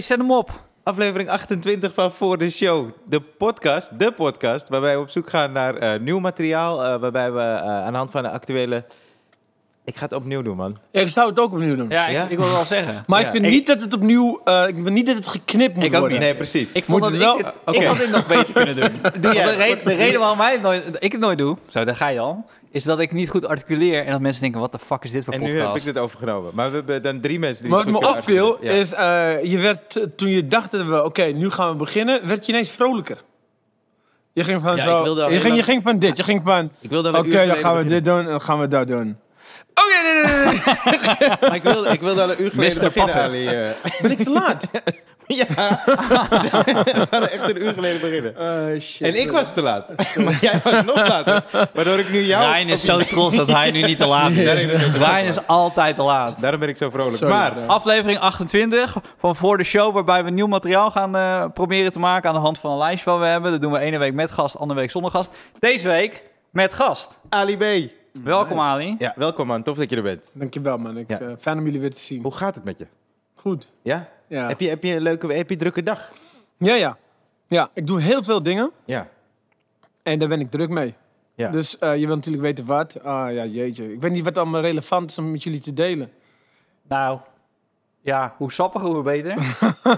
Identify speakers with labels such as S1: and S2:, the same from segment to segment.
S1: zet hem op.
S2: Aflevering 28 van Voor de Show, de podcast, de podcast, waarbij we op zoek gaan naar eh, nieuw materiaal, eh, waarbij we eh, aan de hand van de actuele... Ik ga het opnieuw doen, man.
S3: Ja, ik zou het ook opnieuw doen.
S1: Ja, ik,
S2: Ja?
S1: ik wil het wel zeggen.
S3: Maar
S2: Ja.
S3: ik vind
S1: Ik-
S3: niet dat het opnieuw... eh, ik vind niet dat het geknipt moet
S1: Ik ook
S3: worden.
S1: niet.
S2: Nee, precies.
S1: Ik vond
S3: Moet
S1: dat ik,
S3: het wel-
S1: dit-
S2: Oké.
S1: ik had dit nog beter kunnen doen.
S2: Doe jij-
S1: Want de, reden- de
S2: doe-
S1: reden waarom wij het nooit, ik het nooit doe, zo daar ga je al, is dat ik niet goed articuleer en dat mensen denken, wat de fuck is dit voor
S2: en nu
S1: podcast?
S2: heb ik dit overgenomen. Maar we hebben dan drie mensen die
S3: Maar
S2: het
S3: wat
S2: goed
S3: me
S2: kunnen
S3: opviel
S2: uitvoeren. Ja.
S3: is, eh, je werd, eh, toen je dacht dat we, oké, nu gaan we beginnen, werd je ineens vrolijker. Je ging van
S4: Ja,
S3: zo,
S4: ik wilde al-
S3: je,
S4: ik
S3: ging, je
S4: wilde-
S3: ging van dit, je ging van,
S4: Ik wilde
S3: oké, dan gaan we dit doen en dan gaan we dat doen. Oké, nee, nee, nee, nee,
S2: Maar ik wilde, ik wilde al een uur geleden
S1: Mr.
S2: beginnen,
S1: Puppet.
S2: Ali. eh.
S3: ben ik te laat?
S2: ja, we hadden echt een uur geleden beginnen.
S3: Oh,
S2: En ik was te laat. Maar jij was nog later. Waardoor ik nu jou...
S1: Ryan is zo trots dat hij nu niet te laat is. Ryan is altijd te laat.
S2: Daarom ben ik zo vrolijk.
S3: Sorry,
S2: maar,
S3: bro.
S1: Aflevering 28 van Voor de Show, waarbij we nieuw materiaal gaan eh, proberen te maken aan de hand van een lijstje wat we hebben. Dat doen we ene week met gast, andere week zonder gast. Deze week met gast.
S2: Ali B.
S1: Welkom Ali.
S2: Ja, welkom man. Tof dat je er bent.
S3: Dankjewel man, ik,
S2: Ja.
S3: eh, fijn om jullie weer te zien.
S2: Hoe gaat het met je?
S3: Goed,
S2: Ja?
S3: ja.
S2: Heb, je heb je een leuke, heb je een drukke dag?
S3: Ja, ja. Ja, ik doe heel veel dingen
S2: Ja.
S3: en daar ben ik druk mee.
S2: Ja.
S3: Dus eh, je wilt natuurlijk weten wat. Ah ja, jeetje. Ik weet niet wat allemaal relevant is om met jullie te delen.
S1: Nou, ja, hoe sappiger, hoe beter.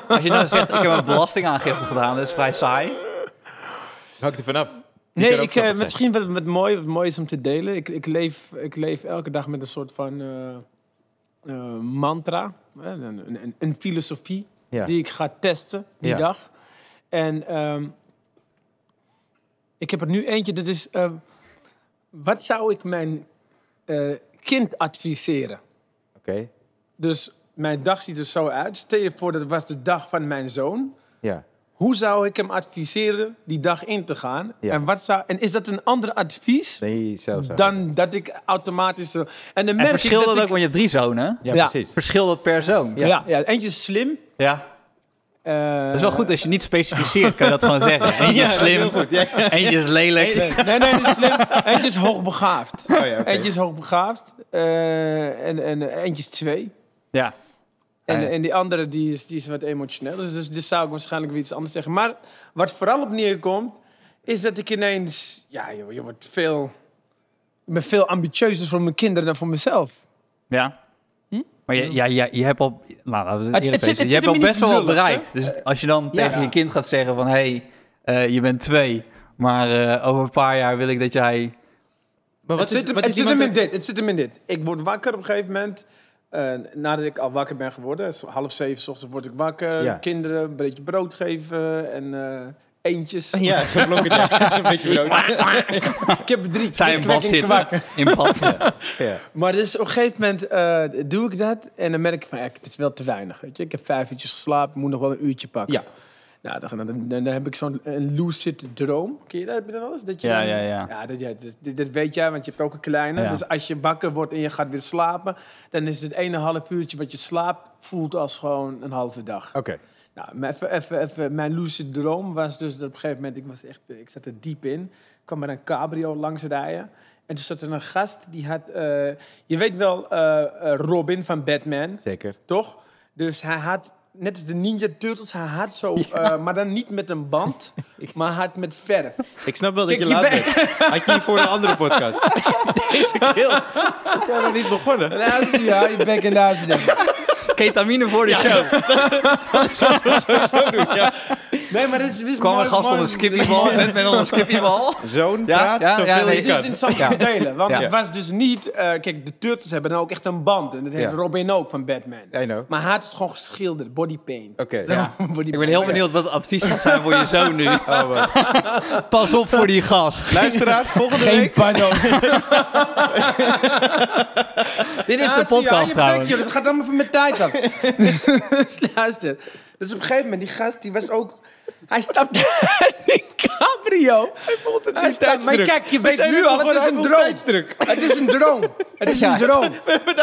S1: Als je dan zegt, ik heb een belastingaangifte gedaan, dat is vrij saai.
S2: Hangt er vanaf. Die
S3: Nee,
S2: kan ook
S3: ik, eh,
S2: grappig zijn.
S3: misschien wat, wat, mooi, wat mooi is om te delen. Ik, ik, leef, ik leef elke dag met een soort van eh, eh, mantra. eh, Een, een, een- een filosofie
S2: Ja.
S3: die ik ga testen die
S2: Ja.
S3: dag. En ehm, ik heb er nu eentje. Dat is, eh, wat zou ik mijn eh, kind adviseren?
S2: Oké.
S3: Dus mijn dag ziet er zo uit. Stel je voor dat het was de dag van mijn zoon.
S2: Ja.
S3: Hoe zou ik hem adviseren die dag in te gaan?
S2: Ja.
S3: En, wat zou, en is dat een ander advies
S2: Nee, zelfs
S3: dan dat ik automatisch... zo- En dan
S1: En
S3: merk ik
S1: verschil
S3: dat,
S1: dat ook,
S3: ik-
S1: want je hebt drie zonen.
S2: Ja,
S3: Ja.
S2: precies.
S1: Verschil dat per zoon.
S3: Ja. Ja, eentje is slim.
S1: Ja.
S3: eh,
S1: Dat is wel goed als je niet specificeert, kan je dat gewoon zeggen. Eentje is
S2: Ja,
S1: slim,
S2: heel goed. Ja. ja.
S1: eentje is lelijk.
S3: Nee, nee, die is slim. Eentje is hoogbegaafd.
S2: Oh, ja, oké.
S3: Eentje is hoogbegaafd. eh, en, en eentje is twee.
S1: Ja.
S3: En,
S1: Ja.
S3: en die andere die is, die is wat emotioneel. Dus, dus, dus zou ik waarschijnlijk weer iets anders zeggen. Maar wat vooral op neerkomt, is dat ik ineens... Ja, joh, je wordt veel... Ik ben veel ambitieuzer voor mijn kinderen dan voor mezelf.
S1: Ja. Maar je, ja, ja, je hebt al, nou, laten we het
S3: Hm? het
S1: eerlijk
S3: zit-
S1: wezen.
S3: het zit
S1: je hebt
S3: hem
S1: al
S3: niet
S1: best wel wat
S3: lulligs, hè?
S1: bereikt. Dus als je dan tegen
S2: Ja.
S1: je kind gaat zeggen van, hé, hey, eh, je bent twee, maar eh, over een paar jaar wil ik dat jij...
S2: Maar wat
S3: het
S2: is,
S3: zit, hem-
S2: wat
S3: het
S2: is
S3: zit hem in
S2: iemand...
S3: dit. Het zit hem in dit. Ik word wakker op een gegeven moment. eh, nadat ik al wakker ben geworden. zo Half zeven 's ochtends word ik wakker.
S2: Ja.
S3: Kinderen een beetje brood geven. En eh, eentjes.
S2: Ja, zo'n blokje. een beetje brood.
S3: Ik heb er drie.
S1: Zij in
S3: Ik
S1: bad
S3: wek en
S1: zitten.
S3: kwak.
S1: In bad.
S2: Ja.
S3: Maar dus op een gegeven moment eh, doe ik dat. En dan merk ik van, ja, het is wel te weinig. Weet je? Ik heb vijf uurtjes geslapen. moet nog wel een uurtje pakken.
S2: Ja.
S3: Nou, dan, dan, dan, dan heb ik zo'n een lucid droom. Ken je dat, heb je dat wel eens? Dat je
S1: Ja,
S3: dan-
S1: ja, ja.
S3: dat, ja dat, dit- dit weet jij, want je hebt ook een kleine.
S1: Ja.
S3: Dus als je wakker wordt en je gaat weer slapen... dan is het ene half uurtje wat je slaapt... voelt als gewoon een halve dag.
S2: Oké.
S3: Nou, maar even, even, even, mijn lucid droom was dus dat op een gegeven moment... ik, was echt, ik zat er diep in, Ik kwam met een cabrio langs rijden... En toen zat er een gast die had. eh, je weet wel, eh, eh, Robin van Batman.
S2: Zeker.
S3: Toch? Dus hij had, net als de Ninja Turtles, hij had zo, eh, maar dan niet met een band, maar hij had met verf.
S2: Ik snap wel dat
S3: Kijk,
S2: je laat
S3: je
S2: bent. Had je hier voor een andere podcast? Deze keel. We zijn nog niet begonnen.
S3: En hij zei, ja, je bek en daar is het.
S1: Ketamine voor de show.
S3: Nee, maar dat is... is
S1: Kwam
S3: mooi-
S1: een gast
S3: mooi-
S1: onder een skippiebal, net met onder een skippiebal.
S2: Zo'n
S1: Ja,
S2: praat,
S1: ja,
S2: zoveel
S1: ja, nee,
S3: Het
S2: je
S3: is
S2: kan.
S3: dus interessant te delen, want
S1: Ja.
S3: het was dus niet... eh, kijk, de Turtles hebben dan ook echt een band. En dat heeft
S2: Ja.
S3: Robin ook van Batman.
S2: I know.
S3: Maar hij had het gewoon geschilderd, body paint.
S2: Oké.
S1: Ja.
S3: Body
S1: Ik ben
S3: paint.
S1: heel benieuwd wat het advies gaat zijn voor je zoon nu.
S2: Oh, man.
S1: Pas op voor die gast.
S2: Luisteraars, volgende
S3: Geen
S2: week.
S3: pano.
S1: Dit is de
S3: Luister, ja, je
S1: podcast
S3: bek,
S1: trouwens.
S3: joh, dat gaat allemaal van mijn tijd af. dus luister. Dus op een gegeven moment, die gast, die was ook... Hij stapte uit die cabrio. Hij voelt het
S2: niet tijdsdruk.
S3: Maar kijk, je
S2: We
S3: weet
S2: zijn
S3: nu
S2: nu
S3: al,
S2: gewoon
S3: het is
S2: uit
S3: een
S2: ons
S3: droom.
S2: tijdsdruk.
S3: Het is een droom. Het is
S1: Ja,
S3: een droom.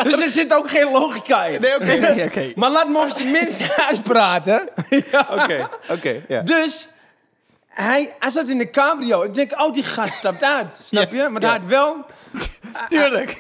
S3: Dus er zit ook geen logica in.
S2: Nee, oké.
S1: Nee, oké.
S3: Maar laat me op zijn minst uitpraten. Ja.
S2: Oké, oké. ja.
S3: Dus hij, hij zat in de cabrio. Ik denk, oh, die gast stapt uit. Snap je? Maar hij had wel...
S1: Tuurlijk.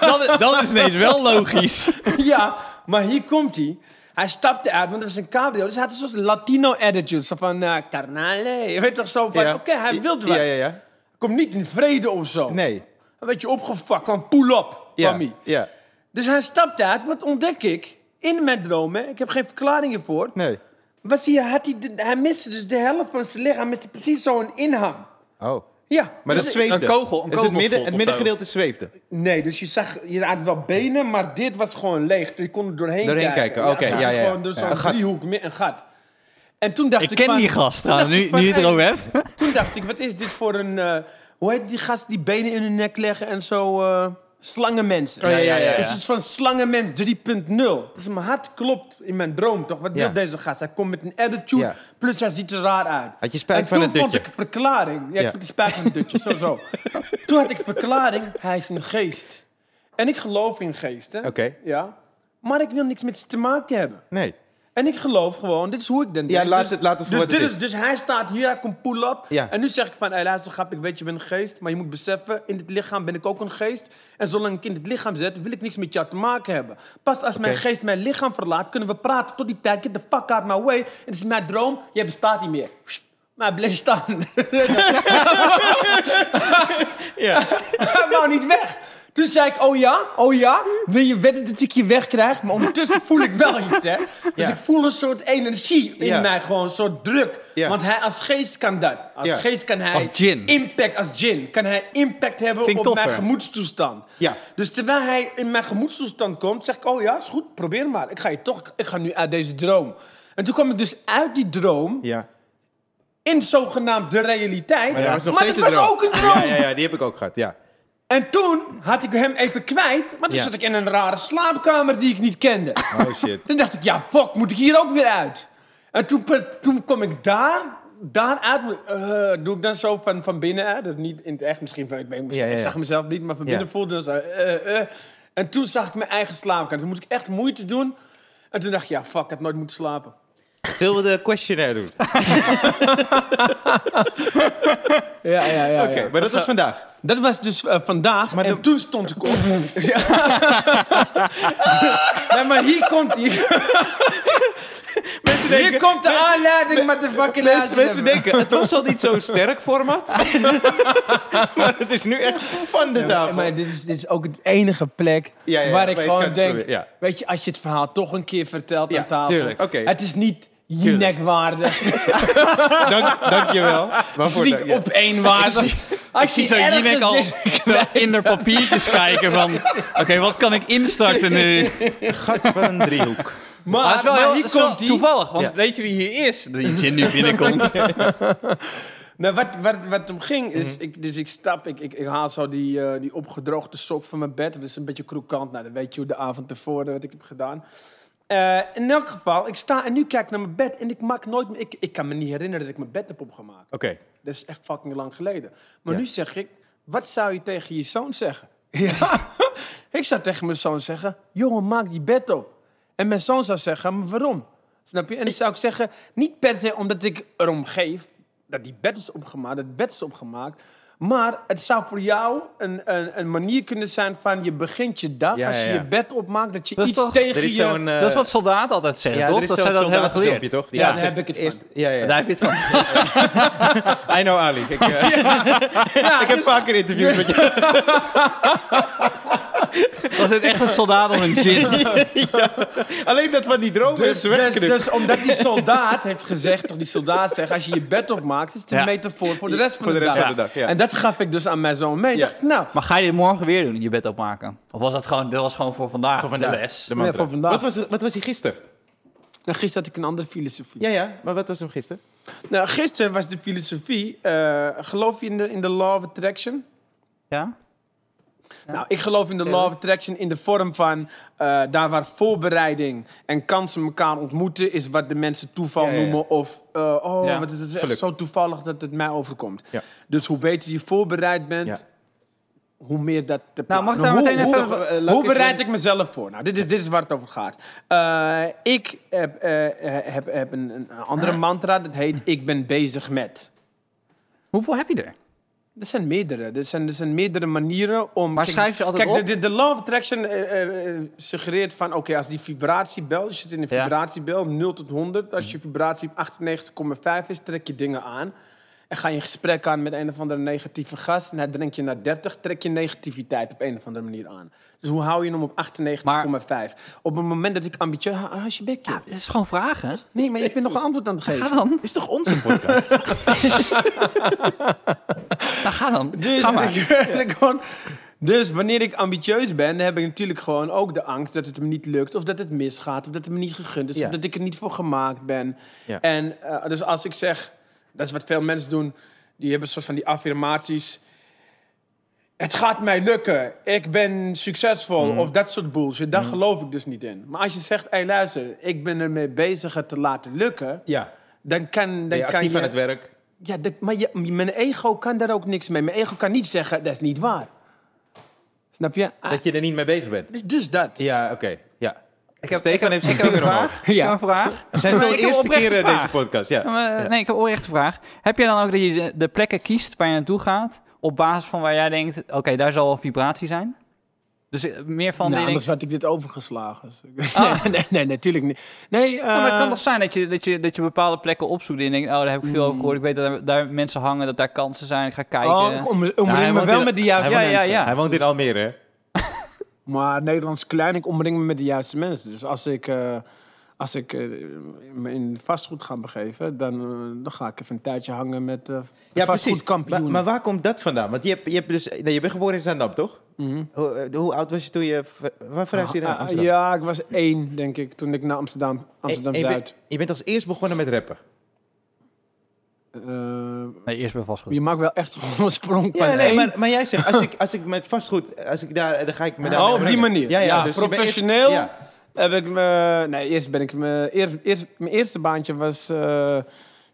S1: dat, dat is ineens wel logisch.
S3: Ja, maar hier komt hij. Hij stapte uit, want het was een cabrio. Dus hij had een soort Latino-attitude. Zo van, eh, carnale. Je weet toch zo van,
S2: Ja.
S3: oké, hij wil wat.
S2: Ja, ja, ja.
S3: Kom niet in vrede of zo.
S2: Nee.
S3: Een beetje opgefuckt, van pull up,
S2: Ja,
S3: mami.
S2: ja.
S3: Dus hij stapte uit. Wat ontdek ik? In mijn dromen, ik heb geen verklaring hiervoor.
S2: Nee.
S3: Was hij, had hij, de- hij miste dus de helft van zijn lichaam. Hij miste precies zo'n inham.
S2: Oh.
S3: Ja.
S2: Maar
S3: dus
S2: dat
S3: ik-
S2: zweefde.
S1: een kogel- een
S2: dus het,
S1: kogelschot
S2: midden,
S1: of
S2: het
S1: zo.
S2: middengedeelte zweefde.
S3: Nee, dus je zag, je had wel benen, maar dit was gewoon leeg. Je kon er doorheen,
S2: Doorheen kijken, oké,
S3: het zat
S2: ja, ja, ja.
S3: Gewoon door
S2: Ja,
S3: zo'n
S2: een gat.
S3: driehoek, met een gat. En toen dacht
S1: Ik
S3: ik,
S1: ken
S3: van-
S1: die gast trouwens,
S3: dacht
S1: nu,
S3: ik van,
S1: nu je het
S3: hey.
S1: erover hebt.
S3: Toen dacht ik, wat is dit voor een, eh, hoe heet die gast die benen in hun nek leggen en zo, eh slangenmensen.
S2: Oh, ja, ja, ja, ja.
S3: Het is van slangenmens 3.0. Dus mijn hart klopt in mijn droom, toch? Wat
S2: Ja.
S3: wil deze gast? Hij komt met een attitude,
S2: Ja.
S3: plus hij ziet er raar uit.
S2: Had je spijt
S3: en
S2: van
S3: toen
S2: het dutje?
S3: vond ik een verklaring.
S2: Ja.
S3: Ja, ik vond die spijt van het dutje, sowieso. toen had ik een verklaring, hij is een geest. En ik geloof in geesten.
S2: Oké.
S3: Ja. Maar ik wil niks met ze te maken hebben.
S2: Nee.
S3: En ik geloof gewoon, dit is hoe ik dan
S2: Ja,
S3: denk.
S2: laat
S3: Dus-
S2: het- laat het voor
S3: dus,
S2: wat het
S3: dit
S2: is.
S3: is. Dus hij staat hier, hij komt pull-up.
S2: Ja.
S3: En nu zeg ik van, hey, luister grap, ik weet je bent een geest. Maar je moet beseffen, in dit lichaam ben ik ook een geest. En zolang ik in dit lichaam zit, wil ik niks met jou te maken hebben. Pas als mijn geest mijn lichaam verlaat, kunnen we praten. Tot die tijd, get the fuck out my way. Het is mijn droom, jij bestaat niet meer. Maar blijf staan.
S2: Ja.
S3: Hij wou niet weg. Toen zei ik, oh ja, oh ja, wil je wedden dat ik je wegkrijg? Maar ondertussen voel ik wel iets, hè. Dus
S2: Ja.
S3: ik voel een soort energie in
S2: Ja.
S3: mij, gewoon een soort druk.
S2: Ja.
S3: Want hij als geest kan dat. Als
S2: Ja.
S3: geest kan hij...
S1: Als djinn.
S3: Impact, als gin. Kan hij impact hebben
S1: Klinkt
S3: op mijn
S1: toffer.
S3: gemoedstoestand.
S2: Ja.
S3: Dus terwijl hij in mijn gemoedstoestand komt, zeg ik, oh ja, is goed, probeer maar. Ik ga je toch, ik ga nu uit deze droom. En toen kwam ik dus uit die droom,
S2: ja.
S3: in zogenaamd de realiteit.
S2: Maar
S3: Maar,
S2: dat was nog steeds
S3: het was
S2: droom.
S3: ook een droom.
S2: Ja, ja, ja, die heb ik ook gehad. Ja.
S3: En toen had ik hem even kwijt, maar toen
S2: Ja.
S3: zat ik in een rare slaapkamer die ik niet kende.
S2: Oh shit.
S3: Toen dacht ik, ja, fuck, moet ik hier ook weer uit? En toen, per- toen kom ik daar, daar uit. Eh, doe ik dan zo van, van binnen uit? Dat niet in het echt, misschien. van- Ik, weet, ik
S2: Ja, ja, ja.
S3: zag mezelf niet, maar van binnen
S2: Ja.
S3: voelde ik dan zo. eh, eh. En toen zag ik mijn eigen slaapkamer. Toen moest ik echt moeite doen. En toen dacht ik, ja, fuck, ik had nooit moeten slapen.
S2: Zullen we de questionnaire doen? Oké,
S3: Ja, ja, ja. ja.
S2: maar dat was vandaag.
S3: Dat was dus eh, vandaag.
S2: Maar
S3: en
S2: de-
S3: toen stond ik op. Ja. nee, maar hier komt... Hier,
S2: Mensen
S3: hier komt de aanleiding, motherfucking
S2: Mensen, mensen
S3: aanleiding.
S2: denken, het was al niet zo'n sterk format. maar het is nu echt van de
S3: Ja,
S2: tafel.
S3: maar dit is, dit is ook het enige plek
S2: Ja, ja, ja,
S3: waar ik
S2: maar je kan
S3: gewoon
S2: het
S3: denk...
S2: proberen, ja.
S3: Weet je, als je het verhaal toch een keer vertelt
S2: Ja,
S3: aan tafel...
S2: tuurlijk, oké.
S3: Het is niet Jinek-waardig.
S2: Dank, dankjewel.
S3: Het is
S2: Waarvoor dank-
S3: niet
S2: ja.
S3: op één waardig. Als je
S1: Zo Jinek
S3: ergens
S1: al
S3: is...
S1: zo in haar papiertjes kijken van... Oké, wat kan ik instarten nu?
S2: Gat van een driehoek.
S3: Maar,
S1: Maar het is wel
S3: maar
S1: heel
S3: hier
S1: het is wel
S3: komt die.
S1: toevallig, want
S2: Ja.
S1: weet je wie hier is? Die Jin nu binnenkomt.
S3: Nou, wat, wat, wat om ging, is, ik, dus ik stap, ik, ik, ik haal zo die, eh, die opgedroogde sok van mijn bed. Dat is een beetje krokant, nou, dan weet je hoe de avond tevoren wat ik heb gedaan. Eh, in elk geval, ik sta en nu kijk ik naar mijn bed en ik maak nooit meer- ik, ik kan me niet herinneren dat ik mijn bed heb opgemaakt.
S2: Oké.
S3: Dat is echt fucking lang geleden. Maar
S2: Ja.
S3: nu zeg ik, wat zou je tegen je zoon zeggen? Ja. ik zou tegen mijn zoon zeggen, jongen, maak die bed op. En mijn zoon zou zeggen, maar waarom? Snap je? En dan zou ik zeggen, niet per se omdat ik erom geef dat die bed is opgemaakt, dat het bed is opgemaakt. Maar het zou voor jou een, een, een manier kunnen zijn van je begint je dag,
S2: Ja,
S3: als je
S2: ja, ja.
S3: je bed opmaakt, dat je
S1: Dat is
S3: iets
S1: toch-
S2: Er
S3: tegen
S2: is
S3: je...
S2: zo'n... eh,
S1: dat is wat soldaten altijd zeggen,
S2: ja,
S1: toch?
S2: er is
S1: Dat
S2: zo'n
S1: zij dat hebben
S2: soldatenfilmpje,
S1: geleerd.
S2: toch? Die
S3: Ja,
S2: eerste-
S3: daar heb ik het van.
S2: eerste- Ja, ja.
S1: Daar heb je het van.
S2: I know Ali. Ik, eh,
S3: Ja,
S2: ik heb
S3: dus-
S2: vaker interviews met je.
S1: Was dit echt een soldaat of een Jin?
S2: Alleen dat van die dromen
S3: Dus,
S2: is weggeknipt.
S3: dus- dus omdat die soldaat heeft gezegd, toch die soldaat zegt, als je je bed opmaakt, is het een
S1: Ja.
S3: metafoor voor de rest van
S2: Voor de rest
S3: dag.
S2: van de dag, ja.
S3: En dat gaf ik dus aan mijn zoon mee. Ik
S2: Ja.
S3: dacht, nou,
S1: Maar ga je dit morgen weer doen, je bed opmaken? Of was dat gewoon, dat was gewoon voor vandaag, voor de les?
S2: De mantra.
S3: Ja, voor vandaag.
S2: Wat was, wat was hij gisteren?
S3: nou, gisteren had ik een andere filosofie.
S2: Ja, ja. Maar wat was hem gisteren?
S3: Nou, gisteren was de filosofie, eh, geloof je in de, in de law of attraction?
S1: Ja?
S3: Nou, ik geloof in de law of attraction in de vorm van eh, daar waar voorbereiding en kansen elkaar ontmoeten, is wat de mensen toeval
S2: Ja, ja, ja.
S3: noemen. Of eh, oh,
S1: Ja.
S3: wat is het is echt
S2: Geluk.
S3: zo toevallig dat het mij overkomt.
S2: Ja.
S3: Dus hoe beter je voorbereid bent,
S2: Ja.
S3: hoe meer dat te
S1: Nou, mag ik daar
S3: hoe,
S1: meteen
S3: hoe,
S1: even-
S3: hoe-
S2: eh,
S3: hoe
S2: Lucas,
S3: bereid
S2: want-
S3: ik mezelf voor? Nou, dit is, dit is waar het over gaat. Eh, ik heb, eh, heb, heb een, een andere mantra, dat heet ik ben bezig met.
S1: Hoeveel heb je er?
S3: Er zijn meerdere. Er zijn, er zijn meerdere manieren om...
S1: Maar
S3: kijk,
S1: schrijf je altijd
S3: Kijk, de,
S1: op?
S3: de, de law of attraction eh, eh, eh, suggereert van... Oké, als die vibratiebel... Je zit in een
S1: Ja.
S3: vibratiebel, 0 tot 100. Als je vibratie op 98,5 is, trek je dingen aan. En ga je een gesprek aan met een of andere negatieve gast. En dan drink je naar 30, trek je negativiteit op een of andere manier aan. Dus hoe hou je hem op 98,5? Op het moment dat ik ambitieus... hou- Hou je bekje.
S1: Het is gewoon vragen.
S3: Ah, Nee, maar je bent nog een antwoord aan het geven.
S1: Ga dan.
S2: Is toch onze podcast?
S1: Nou, ga dan.
S3: Dus,
S1: Ga maar.
S3: ik werd er gewoon- dus wanneer ik ambitieus ben, dan heb ik natuurlijk gewoon ook de angst dat het me niet lukt. Of dat het misgaat. Of dat het me niet gegund is.
S2: Ja.
S3: Of dat ik er niet voor gemaakt ben.
S2: Ja.
S3: En eh, dus als ik zeg, dat is wat veel mensen doen. Die hebben een soort van die affirmaties. Het gaat mij lukken. Ik ben succesvol.
S2: Mm.
S3: Of dat soort bullshit. Daar geloof ik dus niet in. Maar als je zegt, hé luister, ik ben ermee bezig het te laten lukken.
S2: ja.
S3: Dan kan,
S2: Ben
S3: dan
S2: je
S3: kan
S2: actief
S3: je...
S2: aan het werk?
S3: Ja, dat- maar je- mijn ego kan daar ook niks mee. Mijn ego kan niet zeggen, dat is niet waar. Snap je? Ah,
S2: Dat je er niet mee bezig bent?
S3: dus, dus dat.
S2: Ja, oké. Ja.
S1: Ik heb,
S2: Stefan
S1: ik
S2: heeft
S1: heb,
S2: zijn
S1: ik heb een
S2: vinger omhoog.
S1: vraag. Ik
S3: Nou,
S1: heb een vraag.
S2: Het zijn wel
S1: Nee,
S2: de
S1: ik heb
S2: eerste
S1: oprechte
S2: keren
S1: vraag.
S2: deze podcast. Ja.
S1: eh, Ja, maar, Nee, ik heb een oprechte vraag. Heb jij dan ook dat je de- de plekken kiest waar je naartoe gaat... op basis van waar jij denkt, oké, daar zal wel vibratie zijn? Dus eh, meer van...
S3: Nou,
S1: die
S3: anders
S1: denkt,
S3: werd ik dit overgeslagen. Dus nee, nee, nee, natuurlijk niet. Nee, eh,
S1: Ja, Oh, maar het kan toch zijn dat je, dat, je, dat je bepaalde plekken opzoekt... en je denkt, oh, daar heb ik veel over gehoord. Ik weet dat er- daar mensen hangen, dat daar kansen zijn. Ik ga kijken.
S3: oh, ik om, omring
S2: hij
S3: me
S2: woont
S3: wel
S2: in-
S3: met de juiste
S1: hij woont- ja,
S3: mensen.
S1: ja, Dus- ja.
S2: Hij woont in Almere. hè?
S3: Maar Nederlands klein, ik omring me met de juiste mensen. Dus als ik, eh, als ik eh, me in vastgoed ga begeven, dan, eh, dan ga ik even een tijdje hangen met eh
S2: Ja, precies. Maar,
S3: vastgoedkampioenen.
S2: maar waar komt dat vandaan? Want je, hebt, je, hebt dus, nee, je bent geboren in Zandam, toch?
S3: Mhm.
S2: Hoe, eh, hoe oud was je toen je... ver- Waar verhuisde je naar
S3: Ah,
S2: Amsterdam?
S3: Ja, ik was één, denk ik, toen ik naar Amsterdam, Amsterdam
S2: Eh, eh, je,
S3: Zuid.
S2: bent, je bent als eerst begonnen met rappen.
S3: Eh,
S1: Nee, eerst bij vastgoed.
S3: je maakt wel echt gewoon een sprong van
S2: Ja, nee,
S3: één.
S2: maar, maar jij zegt, als ik, als ik met vastgoed, als ik daar, dan ga ik me daar...
S3: oh, op die manier. Ja,
S2: dus je bent eerst-
S3: professioneel
S2: ja.
S3: heb ik me... Nee, eerst ben ik me... Eerst, eerst, mijn eerste baantje was eh,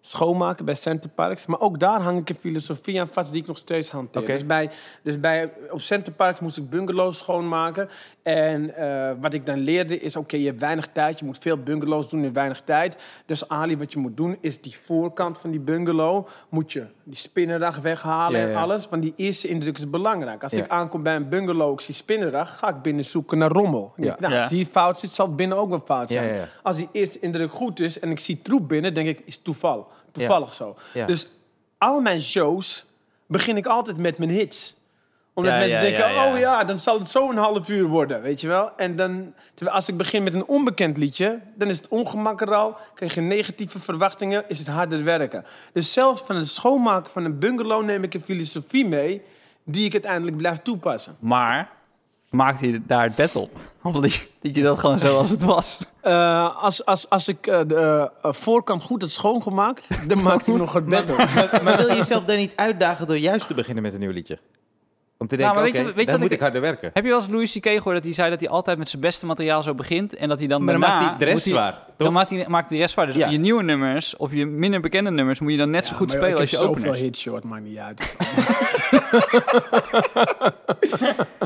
S3: schoonmaken bij Centerparks. Maar ook daar hang ik een filosofie aan vast die ik nog steeds hanteer.
S2: Oké.
S3: Dus, bij, dus bij, op Centerparks moest ik bungalows schoonmaken. En eh, wat ik dan leerde is, oké, je hebt weinig tijd. Je moet veel bungalows doen in weinig tijd. Dus Ali, wat je moet doen is die voorkant van die bungalow... moet je die spinnendag weghalen
S2: Ja,
S3: en
S2: ja.
S3: alles. Want die eerste indruk is belangrijk. Als
S2: Ja.
S3: ik aankom bij een bungalow, ik zie spinnerdag, ga ik binnen zoeken naar rommel. Ik
S2: Ja.
S3: denk, nou,
S1: Ja.
S3: als hier fout zit, zal het binnen ook wel fout
S2: Ja,
S3: zijn.
S2: ja, ja.
S3: Als die eerste indruk goed is en ik zie troep binnen, denk ik, is toeval. Toevallig zo.
S2: Ja.
S3: Dus al mijn shows begin ik altijd met mijn hits omdat
S1: Ja,
S3: mensen
S1: ja,
S3: denken,
S1: ja, ja.
S3: oh ja, dan zal het zo een half uur worden, weet je wel. En dan, terwijl als ik begin met een onbekend liedje, dan is het ongemak er al. Krijg je negatieve verwachtingen, is het harder werken. Dus zelfs van het schoonmaken van een bungalow neem ik een filosofie mee... die ik uiteindelijk blijf toepassen.
S1: Maar maakte je daar het bed op? Omdat je, dat je dat gewoon zo als het was.
S3: Eh, als, als, als ik eh, de eh, voorkant goed had schoongemaakt, dan maakt hij nog het bed op.
S2: Maar, maar wil je jezelf daar niet uitdagen door juist te beginnen met een nieuw liedje? Om te denken,
S1: maar
S2: oké,
S1: weet je- weet je
S2: dan
S1: wat
S2: moet
S1: ik-
S2: ik harder werken.
S1: Heb je wel eens Louis C.K. gehoord dat hij zei dat hij altijd met zijn beste materiaal zo begint en dat hij dan
S2: Maar dan
S1: daarna...
S2: maakt hij de rest
S1: moet hij-
S2: zwaar, toch?
S1: Dan maakt hij, maakt hij de rest zwaar. Dus
S2: Ja.
S1: je nieuwe nummers of je minder bekende nummers moet je dan net zo goed spelen als je
S3: zoveel
S1: openers.
S3: hits, short, maakt niet uit.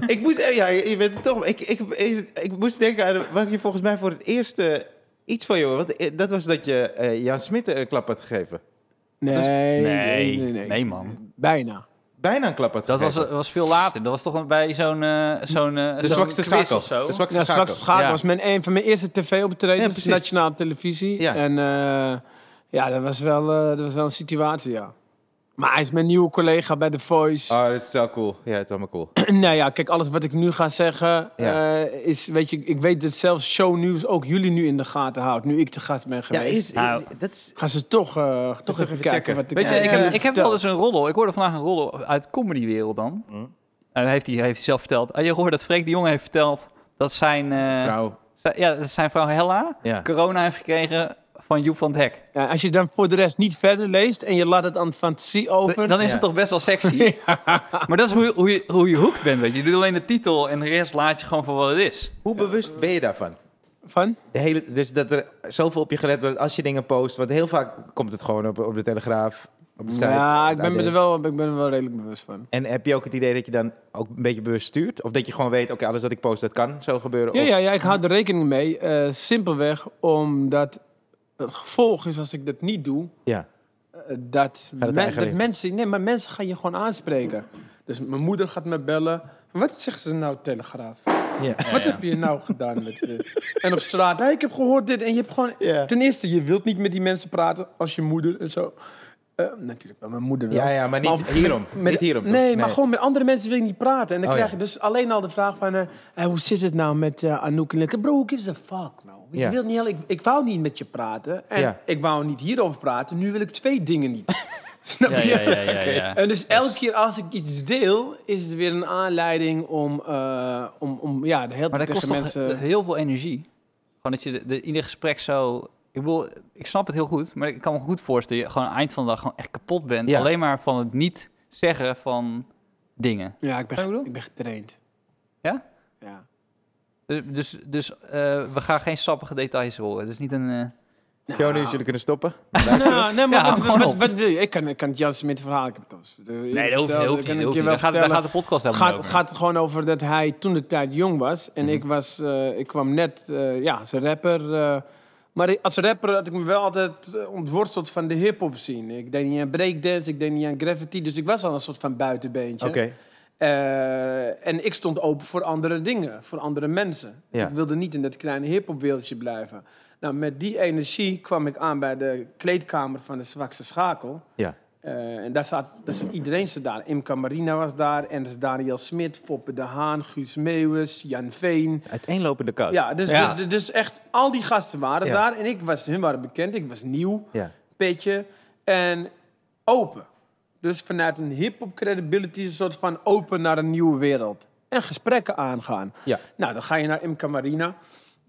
S2: ik moest, eh, ja, je bent toch, ik, ik, ik, ik moest denken aan wat je volgens mij voor het eerst eh, iets van joh, want eh, dat was dat je eh, Jan Smit een klap had gegeven.
S3: Nee, nee, nee. nee.
S1: nee, man.
S3: Bijna.
S2: Bijna een klap had
S1: Dat was,
S2: gegeven.
S1: was veel later. Dat was toch bij zo'n eh zo'n eh,
S2: de
S1: zo'n
S2: zwakste
S1: quiz
S2: schakel.
S1: of zo.
S2: De zwakste
S3: Ja,
S2: schakel.
S3: Straks Schakel
S1: Ja.
S3: was mijn, een van mijn eerste
S2: Ja,
S3: tv-optredens,
S2: precies.
S3: nationale televisie.
S2: Ja.
S3: En eh, ja, dat was, wel, eh, dat was wel een situatie, ja. Maar hij is mijn nieuwe collega bij The Voice.
S2: Oh, dat is zo cool. Ja, het is allemaal cool.
S3: nou ja, kijk, alles wat ik nu ga zeggen
S2: Ja.
S3: eh, is, weet je, ik weet dat zelfs shownieuws ook jullie nu in de gaten houdt. Nu ik te gast ben
S2: Ja,
S3: geweest.
S2: is,
S1: Nou.
S2: dat is...
S3: Gaan ze toch, eh, toch
S2: toch
S3: even,
S2: even
S3: kijken
S2: checken.
S3: wat ik...
S1: Weet je,
S2: Ja,
S1: ik
S2: ja,
S1: heb,
S2: ja.
S1: ik heb
S3: vertel.
S1: wel eens een roddel. Ik hoorde vandaag een roddel uit comedywereld dan.
S2: Hm.
S1: En heeft hij heeft hij zelf verteld. Ah, je hoorde dat Freek de Jonge heeft verteld dat zijn, eh,
S3: Nou,
S2: Vrouw.
S1: zijn- ja, dat zijn vrouw Hella
S2: Ja.
S1: corona heeft gekregen van Joep van het Hek.
S3: Ja, eh, als je dan voor de rest niet verder leest en je laat het aan de fantasie over...
S1: Dan is
S2: Ja.
S1: het toch best wel sexy. Maar dat is hoe, je- hoe, je, hoe je hoekt bent, weet je. Je doet alleen de titel en de rest laat je gewoon voor wat het is.
S2: Hoe bewust ben je daarvan?
S3: Van?
S2: De hele, dus dat er zoveel op je gelet wordt als je dingen post. Want heel vaak komt het gewoon op, op de Telegraaf, op de site.
S3: Ja,
S2: op
S3: ik
S2: het
S3: ben, me
S2: AD.
S3: er wel, ik ben er wel redelijk bewust van.
S2: En heb je ook het idee dat je dan ook een beetje bewust stuurt? Of dat je gewoon weet, oké, alles dat ik post, dat kan zo gebeuren?
S3: Ja,
S2: Of-
S3: ja, ja, ik hou er rekening mee. eh, simpelweg omdat het gevolg is als ik dat niet doe,
S2: ja.
S3: eh, dat,
S2: het
S3: men-
S2: eigen
S3: dat
S2: ring.
S3: mensen... Nee, maar mensen gaan je gewoon aanspreken. Dus mijn moeder gaat me bellen. Wat zegt ze nou, Telegraaf?
S2: Ja.
S3: Wat heb je nou gedaan met dit? En op straat, "Hé, ik heb gehoord dit. En je hebt gewoon...
S2: Ja.
S3: Ten eerste, je wilt niet met die mensen praten als je moeder en zo. Eh, natuurlijk wel, mijn moeder wel.
S2: Ja, ja, maar niet
S3: of-
S2: hierom.
S3: met-
S2: Niet hierom, toch?
S3: Nee, maar
S2: Nee.
S3: gewoon met andere mensen wil ik niet praten. En dan
S2: Oh,
S3: krijg
S2: ja.
S3: je dus alleen al de vraag van... eh, "Hé, hoe zit het nou met eh, Anouk? En ik, bro, who gives a fuck, nou? Ik,
S2: Ja.
S3: wil niet, heel- ik, ik wou niet met je praten. En
S2: Ja.
S3: ik wou niet hierover praten. Nu wil ik twee dingen niet. Snap
S4: Ja,
S3: je?
S4: ja, ja, ja, ja.
S3: En dus elke keer als ik iets deel, is het weer een aanleiding om, eh, om, om ja, de hele
S1: Maar
S3: tijd
S1: dat kost
S3: tegen
S1: toch
S3: mensen...
S1: he- heel veel energie. Gewoon dat je de, de- ieder gesprek zo... Ik bedoel, ik snap het heel goed, maar ik kan me goed voorstellen... dat je gewoon aan het eind van de dag gewoon echt kapot bent.
S2: Ja.
S1: Alleen maar van het niet zeggen van dingen.
S3: Ja, ik ben,
S1: Wat ik bedoel?
S3: ik ben getraind.
S1: Ja?
S3: Ja.
S1: Dus, dus, dus, eh, we gaan geen sappige details horen. Het is niet een... eh,
S2: Show nu, jullie kunnen stoppen.
S3: Nou, nee, maar
S1: Ja,
S3: wat,
S1: gewoon
S3: wat,
S1: op.
S3: wat wil je? Ik kan, ik kan het Jan Smit verhaal, ik heb het al eens-
S1: Nee, dat hoeft, dat hoeft niet.
S3: kan ik
S1: dat
S3: je
S1: hoeft niet.
S3: wel
S1: Daar, gaat, daar
S3: vertellen.
S1: gaat de podcast
S3: Het
S1: helemaal niet
S3: gaat, het
S1: over. Mhm.
S3: gaat er gewoon over dat hij toen de tijd jong was. En ik, was, eh, ik kwam net eh, ja, als rapper. eh, maar ik- als rapper had ik me wel altijd eh, ontworsteld van de hip-hop scene. Ik deed niet aan breakdance, ik deed niet aan graffiti. Dus ik was al een soort van buitenbeentje.
S2: Oké.
S3: Eh, en ik stond open voor andere dingen, voor andere mensen.
S2: Ja.
S3: Ik wilde niet in dat kleine hip wereldje blijven. Nou, met die energie kwam ik aan bij de kleedkamer van de zwakste schakel.
S2: Ja.
S3: Eh, en daar zat, daar zat iedereen zat daar. Imca Marina was daar, Ernst Daniel Smit, Foppe de Haan, Guus Meeuwis, Jan Veen.
S2: Uiteenlopende kast.
S3: Ja, dus,
S1: Ja.
S3: Dus, dus echt al die gasten waren
S2: Ja.
S3: daar. En ik was, hun waren bekend, ik was nieuw
S2: Ja.
S3: petje en open. Dus vanuit een hip-hop credibility, een soort van open naar een nieuwe wereld. En gesprekken aangaan.
S2: Ja.
S3: Nou, dan ga je naar Imca Marina.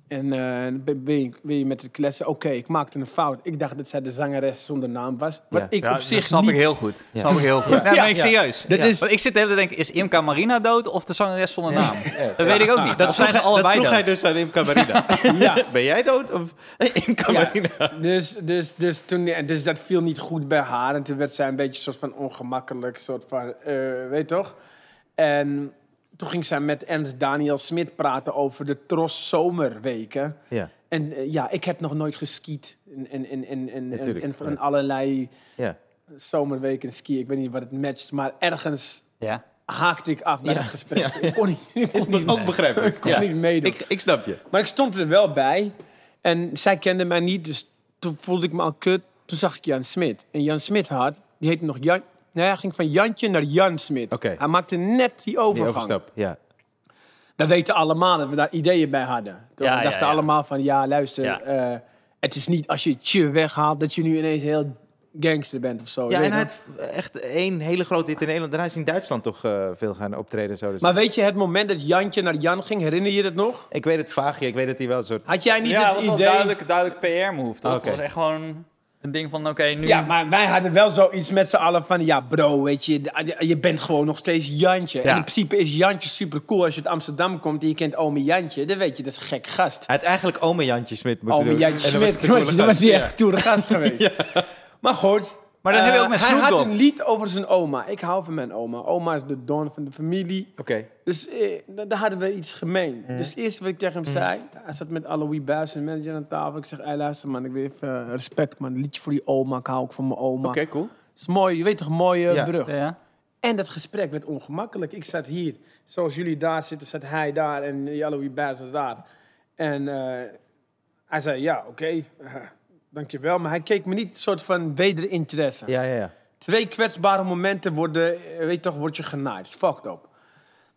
S3: En eh, ben, ben je, ben je met de klessen. Oké, ik maakte een fout. Ik dacht dat zij de zangeres zonder naam was. Wat
S2: Ja.
S3: ik
S1: Ja,
S3: op
S1: dat
S3: zich
S1: snap
S3: niet.
S1: ik heel goed. Snap ik heel goed. Nee,
S3: Ja.
S1: maar ik
S3: Ja.
S1: serieus.
S3: Dat
S1: Ja.
S3: is-
S1: Want ik zit de hele tijd te denken, is Imca Marina dood of de zangeres zonder naam? Dat weet ik ook niet.
S2: Dat
S1: of zijn
S2: vroeg,
S1: ze
S2: hij- dat
S1: allebei
S2: vroeg hij
S1: dood?
S2: dus aan Imca Marina.
S3: Ja.
S2: ben jij dood of Imca
S3: Ja.
S2: Marina?
S3: Dus, dus, dus, toen, en dus dat viel niet goed bij haar. En toen werd zij een beetje soort van ongemakkelijk. Soort van, eh, weet toch? En toen ging zij met Ernst Daniel Smit praten over de Tros Zomerweken.
S2: Ja.
S3: En eh, ja, ik heb nog nooit geskiet. En, en, en, en, en, en,
S2: Natuurlijk,
S3: en van
S2: ja.
S3: allerlei
S2: Ja.
S3: zomerweken skiën. Ik weet niet wat het matcht. Maar ergens
S1: Ja.
S3: haakte ik af bij
S2: Ja,
S3: het gesprek.
S2: ja,
S3: Ik kon niet, ik kon niet,
S2: Ook begrijpelijk.
S3: ik kon niet meedoen.
S2: Ik, ik snap je.
S3: Maar ik stond er wel bij. En zij kende mij niet, dus toen voelde ik me al kut. Toen zag ik Jan Smit. En Jan Smit had, die heette nog Jan... Nee, hij ging van Jantje naar Jan Smit.
S2: Oké.
S3: Hij maakte net die
S2: Die
S3: overgang.
S2: overstap. Ja.
S3: Dat weten allemaal, dat we daar ideeën bij hadden. Toen
S4: Ja,
S3: we
S4: ja,
S3: dachten
S4: ja.
S3: allemaal van, ja, luister...
S4: Ja.
S3: eh, het is niet als je het je weghaalt, dat je nu ineens heel gangster bent of zo.
S2: Ja,
S3: weet
S2: en hij
S3: je?
S2: had echt één hele grote hit in Nederland. Daarna is hij in Duitsland toch eh, veel gaan optreden. en Zo, dus
S3: Maar weet je, het moment dat Jantje naar Jan ging, herinner je dat nog?
S2: Ik weet het vaagje. Ik weet dat hij wel een soort...
S3: Had jij niet
S1: Ja,
S3: het
S1: was
S3: idee...
S1: wel duidelijk, duidelijk PR-move, toch?
S2: Oké.
S1: Het was echt gewoon een ding van, oké, nu...
S3: Ja, maar wij hadden wel zoiets met z'n allen van... Ja, bro, weet je, d- je bent gewoon nog steeds Jantje. En
S1: Ja.
S3: in principe is Jantje super cool als je uit Amsterdam komt... en je kent ome Jantje. Dan weet je, dat is een gek gast.
S2: Hij had eigenlijk ome Jantje Smit moeten
S3: Ome
S2: doen.
S3: Jantje
S2: En dan was
S3: Smit,
S2: het een coole
S3: dat was
S2: gast.
S3: die
S2: Ja.
S3: echt een stoere gast geweest. Maar goed...
S1: Maar dat
S3: eh,
S1: hebben we ook met
S3: Hij
S1: Snoop
S3: had
S1: Dogg.
S3: een lied over zijn oma. Ik hou van mijn oma. Oma is de don van de familie.
S2: Oké.
S3: Dus eh, da- daar hadden we iets gemeen. Dus eerst wat ik tegen hem zei, hij zat met Aloui Buijs, zijn manager aan tafel. Ik zeg, "Ey, luister man, ik wil even eh, respect man, liedje voor die oma, ik hou ook van mijn oma.
S2: Oké, cool.
S3: is mooi, je weet toch, mooie eh,
S2: Ja.
S3: brug.
S1: Ja.
S3: En dat gesprek werd ongemakkelijk. Ik zat hier, zoals jullie daar zitten, zat hij daar en Jallowie Baas was daar. En eh, hij zei, ja, oké, eh, dankjewel. Maar hij keek me niet een soort van wederinteresse.
S2: Ja, ja, ja.
S3: Twee kwetsbare momenten worden, eh, weet toch, word je genaaid. It's Fucked up.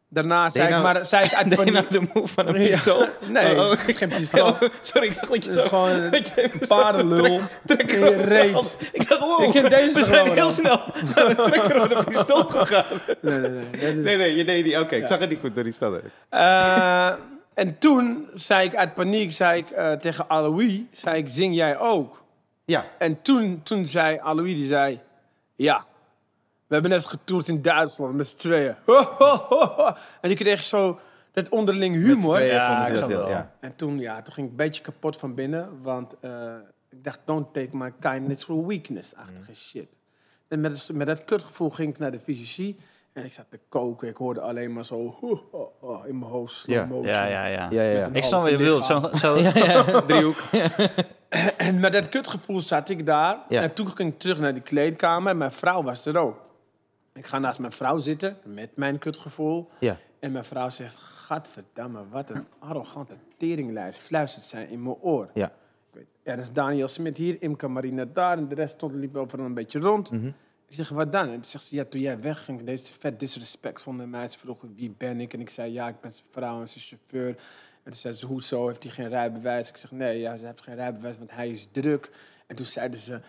S3: Daarna zei
S2: je
S3: ik,
S2: nou-
S3: maar zei ik uit
S2: Deed je nou
S3: paniek...
S2: de move van een
S3: Ja.
S2: pistool?
S3: Nee,
S2: Oh, oh.
S3: het is geen pistool.
S2: Oh, sorry, ik dacht dat je
S3: Het
S2: zo...
S3: is gewoon een
S2: dat je even zo
S3: paardenlul
S2: trek-
S3: in je reet.
S2: Ik dacht, wow,
S3: Ik ken deze
S2: we
S3: nog
S2: zijn
S3: wel,
S2: heel
S3: man.
S2: snel naar de trekker van een pistool gegaan.
S3: Nee, nee, nee. dat is-
S2: Nee, nee, je deed die. Oké, ik zag het niet goed door die standaard.
S3: Eh, en toen zei ik uit paniek zei ik, eh, tegen Alois, zei ik, zing jij ook?
S2: Ja,
S3: En toen, toen zei Alois, die zei, ja, we hebben net getoerd in Duitsland met z'n tweeën. En ik kreeg zo dat onderling
S2: met z'n
S3: humor.
S2: tweeën
S4: Ja,
S2: vonden ze
S4: ik
S2: dat
S4: snap
S2: heel,
S4: wel.
S2: ja.
S3: En toen, ja, toen ging ik een beetje kapot van binnen, want eh, ik dacht, don't take my kindness for weakness-achtige
S1: Mm.
S3: shit. En met, dus, met dat kutgevoel ging ik naar de fysici en ik zat te koken. Ik hoorde alleen maar zo in mijn hoofd slow
S2: Ja,
S3: motion.
S1: Ja, ja, ja.
S2: Ja, ja, ja.
S3: Met
S1: Ik snap wat je
S3: halve
S1: bedoelt.
S3: lichaam.
S1: Zo, zo,
S2: Driehoek.
S3: en met dat kutgevoel zat ik daar.
S2: Ja.
S3: En toen ging ik terug naar de kleedkamer. En mijn vrouw was er ook. Ik ga naast mijn vrouw zitten met mijn kutgevoel.
S2: Ja.
S3: En mijn vrouw zegt: Gadverdamme, wat een arrogante teringlijst. Fluistert zij in mijn oor.
S2: Ja.
S3: Ik weet, Er is Daniel Smit hier, Imke Marina daar. En de rest stond, liep overal een beetje rond.
S1: Mhm.
S3: Ik zeg, wat dan? En toen zegt ze, ja, toen jij wegging, deze vet disrespectvol naar mij. Ze vroeg, wie ben ik? En ik zei, ja, ik ben zijn vrouw en zijn chauffeur. En toen zei ze, hoezo, heeft hij geen rijbewijs? Ik zeg, nee, ja, ze heeft geen rijbewijs, want hij is druk. En toen zeiden ze,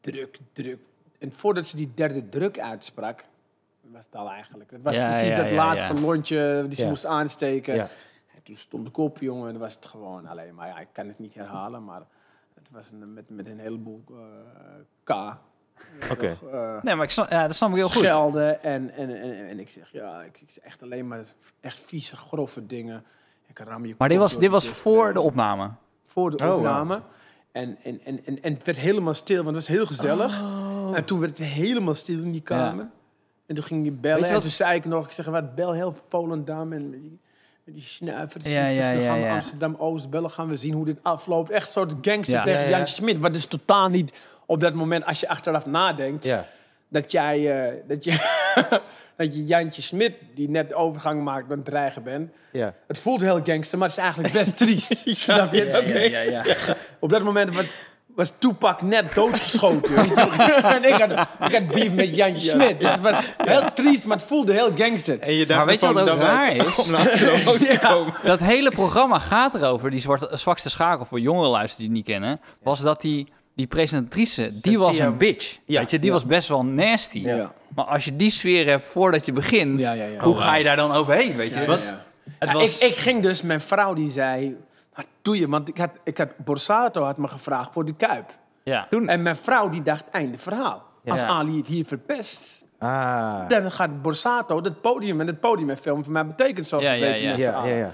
S3: druk, druk. En voordat ze die derde druk uitsprak, was het al eigenlijk. Het was
S1: Ja,
S3: precies
S1: ja,
S3: dat
S1: ja,
S3: laatste
S1: ja.
S3: lontje die ze
S2: Ja.
S3: moest aansteken.
S2: Ja.
S3: En toen stond ik op, jongen, en dan was het gewoon alleen maar, ja, ik kan het niet herhalen, maar het was een, met, met een heleboel eh, K.
S2: Oké.
S3: Eh,
S1: Nee, maar ik snap, ja, dat snap ik Nou, heel goed.
S3: schelden. En, en, en, en ik zeg, ja, ik, ik zeg echt alleen maar echt vieze, grove dingen. Ik ram je
S1: Maar dit
S3: kop
S1: was,
S3: door
S1: dit
S3: die
S1: was
S3: display.
S1: voor de opname.
S3: voor de
S2: Oh, wauw.
S3: opname. En, en, en, en, en het werd helemaal stil, want het was heel
S1: Ah.
S3: gezellig. En toen werd het helemaal stil in die kamer. En toen ging je bellen.
S1: Weet je
S3: en
S1: wat-
S3: toen zei ik nog, ik zeg, wat bel heel Volendam en met die, met die snuivers.
S1: Ja,
S3: ik zeg,
S1: ja,
S3: dan
S1: ja,
S3: gaan we
S1: ja.
S3: Amsterdam-Oost bellen, gaan we zien hoe dit afloopt. Echt een soort gangster
S1: Ja.
S3: tegen
S2: Ja, ja, ja.
S3: Jantje Smit. Wat dus totaal niet op dat moment, als je achteraf nadenkt,
S2: Ja.
S3: dat jij, eh, dat je, dat je Jantje Smit, die net de overgang maakt, aan het dreigen bent.
S2: Ja.
S3: Het voelt heel gangster, maar het is eigenlijk best triest. Snap je? Dat- Op dat moment was, was Tupac net doodgeschoten. weet je toch? en ik had, ik had beef met Jan Smit. Dus het was heel triest, maar het voelde heel gangster.
S2: En je dacht
S1: Maar weet je
S2: ervan
S1: wat ook
S2: dat wij-
S1: raar is?
S2: Om naar Amsterdam Oost te komen.
S1: Dat hele programma gaat erover, die zwarte, zwakste schakel voor jongeren luisteren die het niet kennen, was dat die, die presentatrice, die
S2: Dat
S1: was
S2: zie je.
S1: een bitch.
S2: Ja.
S1: Weet je, die
S2: Ja.
S1: was best wel nasty.
S3: Ja.
S1: Maar als je die sfeer hebt voordat je begint,
S3: Ja, ja, ja.
S1: hoe
S3: Oh,
S1: ga je daar dan overheen, weet je?
S3: Ja,
S1: Het was-
S3: ja.
S1: Het
S3: Ja,
S1: was,
S3: ik, ik ging dus, mijn vrouw die zei, wat doe je? Want ik had, ik had, Borsato had me gevraagd voor de Kuip.
S1: ja.
S2: Toen-
S3: En mijn vrouw die dacht, einde verhaal. Als
S1: Ja.
S3: Ali het hier verpest,
S2: Ah.
S3: dan gaat Borsato dat podium en dat podiumfilm voor mij betekent zoals
S1: Ja,
S3: we
S1: ja,
S3: weten
S1: ja.
S3: met z'n
S2: Ah, Ja,
S3: allen.
S2: ja, ja.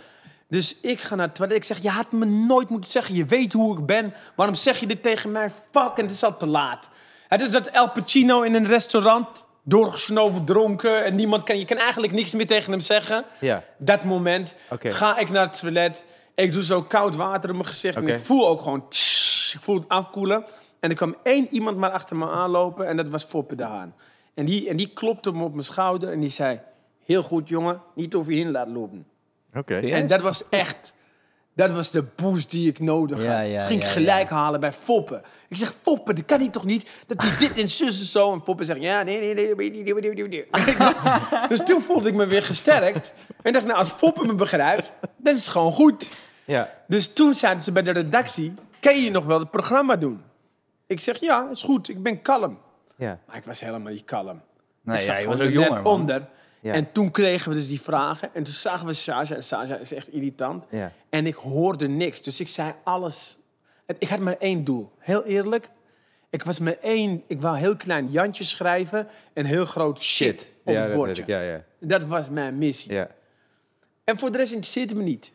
S3: Dus ik ga naar het toilet. Ik zeg, je had me nooit moeten zeggen. Je weet hoe ik ben. Waarom zeg je dit tegen mij? Fuck, en het is al te laat. Het is dat El Pacino in een restaurant, doorgesnoven, dronken. En niemand kan, je kan eigenlijk niks meer tegen hem zeggen.
S2: Ja.
S3: Dat moment
S2: Oké.
S3: ga ik naar het toilet. Ik doe zo koud water in mijn gezicht.
S2: Oké.
S3: En ik voel ook gewoon, tss, ik voel het afkoelen. En er kwam één iemand maar achter me aanlopen. En dat was Foppe de Haan. En die, en die klopte me op mijn schouder en die zei... Heel goed, jongen. Niet over je heen laten lopen.
S2: Oké.
S3: En dat was echt... Dat was de boost die ik nodig had.
S1: Ja, ja,
S3: Dat ging ik
S1: ja,
S3: gelijk halen bij Foppen. Ik zeg, Foppen, dat kan hij toch niet? Dat hij dit en zus en zo. En Foppen zegt, ja, nee, nee, nee, nee, nee, nee, nee, nee, nee. Dus toen voelde ik me weer gesterkt. En dacht, nou, als Foppen me begrijpt, dat is gewoon goed.
S2: Ja.
S3: Dus toen zeiden ze bij de redactie, kan je nog wel het programma doen? Ik zeg, ja, is goed, ik ben kalm.
S2: Ja.
S3: Maar ik was helemaal niet kalm.
S1: Nee,
S3: ik
S1: ja,
S3: zat
S1: je
S3: gewoon
S1: was ook
S3: er net
S1: jonger, man.
S3: onder.
S2: Ja.
S3: En toen kregen we dus die vragen. En toen zagen we Saja. En Saja is echt irritant.
S2: Ja.
S3: En ik hoorde niks. Dus ik zei alles. En Ik had maar één doel. Heel eerlijk. Ik was maar één... Ik wou heel klein Jantje schrijven. En heel groot shit,
S2: Ja,
S3: op het
S2: dat weet
S3: bordje.
S2: ik. Ja, ja.
S3: Dat was mijn missie.
S2: Ja.
S3: En voor de rest interesseerde het me niet.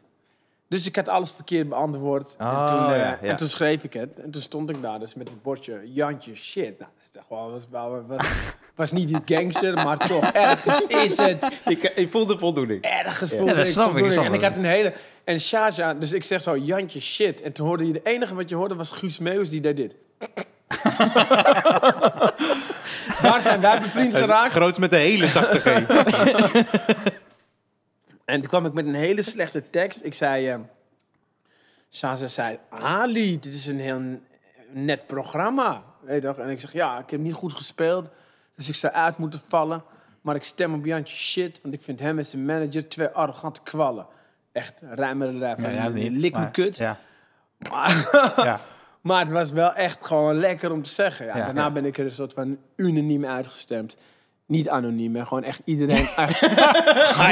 S3: Dus ik had alles verkeerd beantwoord.
S2: Oh,
S1: Ah,
S3: en, toen, eh,
S2: ja, ja.
S3: en toen schreef ik het. En toen stond ik daar dus met het bordje Jantje shit. Nou, dat is toch wel, was, was, was, was niet die gangster, maar toch ergens is het.
S2: Ik, ik voel de voldoening.
S3: Ergens
S1: Ja,
S3: voelde
S1: dat
S3: ik
S1: snap ik,
S3: voldoening.
S1: ik snap
S3: En ik
S1: het.
S3: had een hele... En Shaja, dus ik zeg zo Jantje shit. En toen hoorde je, de enige wat je hoorde was Guus Meeuwis die deed dit. daar zijn wij bevriend geraakt.
S2: Groots met de hele zachte G.
S3: En toen kwam ik met een hele slechte tekst. Ik zei... eh Shaza zei... Ali, dit is een heel net programma. Weet je toch? En ik zeg, ja, ik heb niet goed gespeeld. Dus ik zou uit moeten vallen. Maar ik stem op Jantje shit. Want ik vind hem en zijn manager twee arrogante kwallen. Echt, rijmer rij van lik me
S1: maar-
S3: kut.
S1: Ja.
S3: Maar,
S1: Ja.
S3: maar het was wel echt gewoon lekker om te zeggen. Ja,
S1: Ja,
S3: daarna
S1: ja.
S3: ben ik er een soort van unaniem uitgestemd. Niet anoniem, maar gewoon echt iedereen.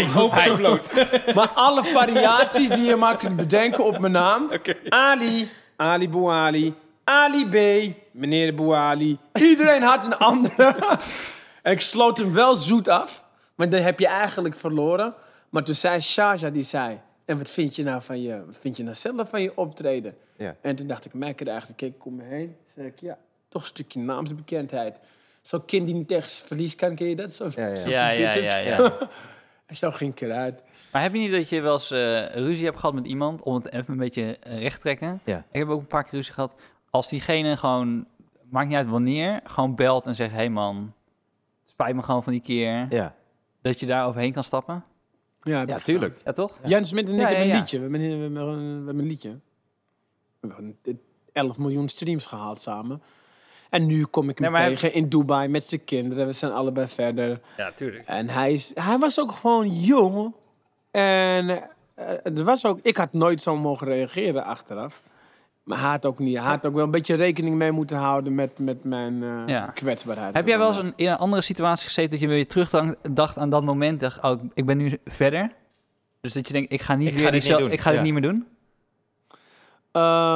S3: Maar alle variaties die je maar kunt bedenken op mijn naam. Ali, Ali Bouali, Ali B, meneer Bouali. Iedereen had een andere. en ik sloot hem wel zoet af. Want dan heb je eigenlijk verloren. Maar toen zei Shaja, die zei... En wat vind je nou van je, wat vind je nou zelf van je optreden?
S2: Ja.
S3: En toen dacht ik, merk het eigenlijk. Keek ik om me heen. Zei ik, ja, toch een stukje naamsbekendheid. Zo'n kind die niet tegen zijn verlies kan, ken je dat? Zo,
S2: Ja, ja.
S3: zo
S1: Ja, ja,
S3: verbitterd.
S1: ja, ja.
S3: En zo ging ik eruit.
S1: Maar heb je niet dat je wel eens eh, ruzie hebt gehad met iemand om het even een beetje eh, recht te trekken?
S2: Ja.
S1: Ik heb ook een paar keer ruzie gehad. Als diegene gewoon, maakt niet uit wanneer, gewoon belt en zegt: hé hey man, het spijt me gewoon van die keer.
S2: Ja,
S1: Dat je daar overheen kan stappen.
S3: Ja,
S2: ja
S3: dat-
S2: tuurlijk.
S1: Ja, toch?
S3: Jens Smit en ik
S1: Ja, ja,
S3: hebben een
S1: ja.
S3: liedje. We hebben, we hebben een, we hebben een liedje. We hebben een- 11 miljoen streams gehaald samen. En nu kom ik hem
S1: Nee, maar hij-
S3: tegen in Dubai met zijn kinderen. We zijn allebei verder.
S1: Ja, tuurlijk.
S3: En hij, is, hij was ook gewoon jong. En eh, er was ook, ik had nooit zo mogen reageren achteraf. Maar hij had ook, niet, hij had ook wel een beetje rekening mee moeten houden met, met mijn eh,
S1: Ja.
S3: kwetsbaarheid.
S1: Heb jij wel eens een, in een andere situatie gezeten dat je weer terugdacht dacht aan dat moment? Dacht, oh, ik- ik ben nu verder. Dus dat je denkt, ik ga niet
S2: Ik ga
S1: weer
S2: dit niet
S1: diezelfde-
S2: doen.
S1: ik ga dit
S2: Ja.
S1: niet meer doen.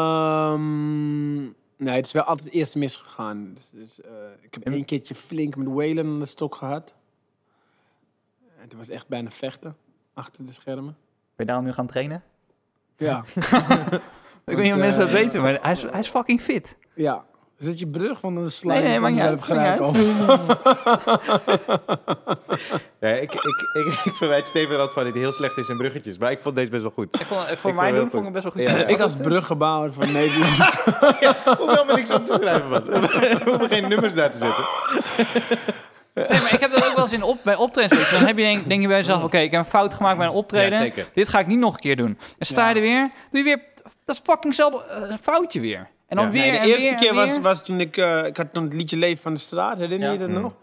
S3: Ehm, nee, het is wel altijd eerst misgegaan. Dus, dus, eh, ik heb één keertje flink met Whalen aan de stok gehad. En toen was echt bijna vechten achter de schermen.
S1: Ben je daarom nu gaan trainen?
S3: Ja,
S1: Ik weet niet of
S3: eh,
S1: mensen dat weten, maar hij is, hij is fucking fit.
S3: ja. Is dat je brug? Want dan sla
S1: Nee,
S3: je
S1: nee,
S3: het
S1: maakt niet
S3: onderwerp
S1: uit, maakt
S3: gelijk
S1: niet
S3: op.
S2: Ja, ik, ik, ik, ik verwijt Steven altijd van dat hij heel slecht is in bruggetjes. Maar ik vond deze best wel goed.
S1: Ik vond, eh, voor
S2: vond
S1: mij
S2: hem heel
S1: doen vond ik
S2: goed.
S1: best wel goed.
S2: Ja, ja.
S3: Ik als bruggebouwer van Nederland.
S2: Hoewel me niks op te schrijven, man. We hoeven geen nummers daar te zetten.
S1: Nee, maar ik heb dat ook wel eens in op, bij optredens. dat je- Dan heb je denk, denk je bij jezelf, oké, ik heb een fout gemaakt bij een optreden.
S2: Ja, zeker.
S1: Dit ga ik niet nog een keer doen. En sta je
S3: Ja.
S1: er weer, doe je weer dat fuckingzelfde eh, foutje weer. En dan
S2: Ja.
S1: weer
S3: Nee, de
S1: en
S3: eerste
S1: weer en
S3: keer was,
S1: weer.
S3: was toen ik... eh, ik had toen het liedje Leven van de Straat, herinner je
S1: Ja.
S3: dat
S2: Mm.
S3: nog?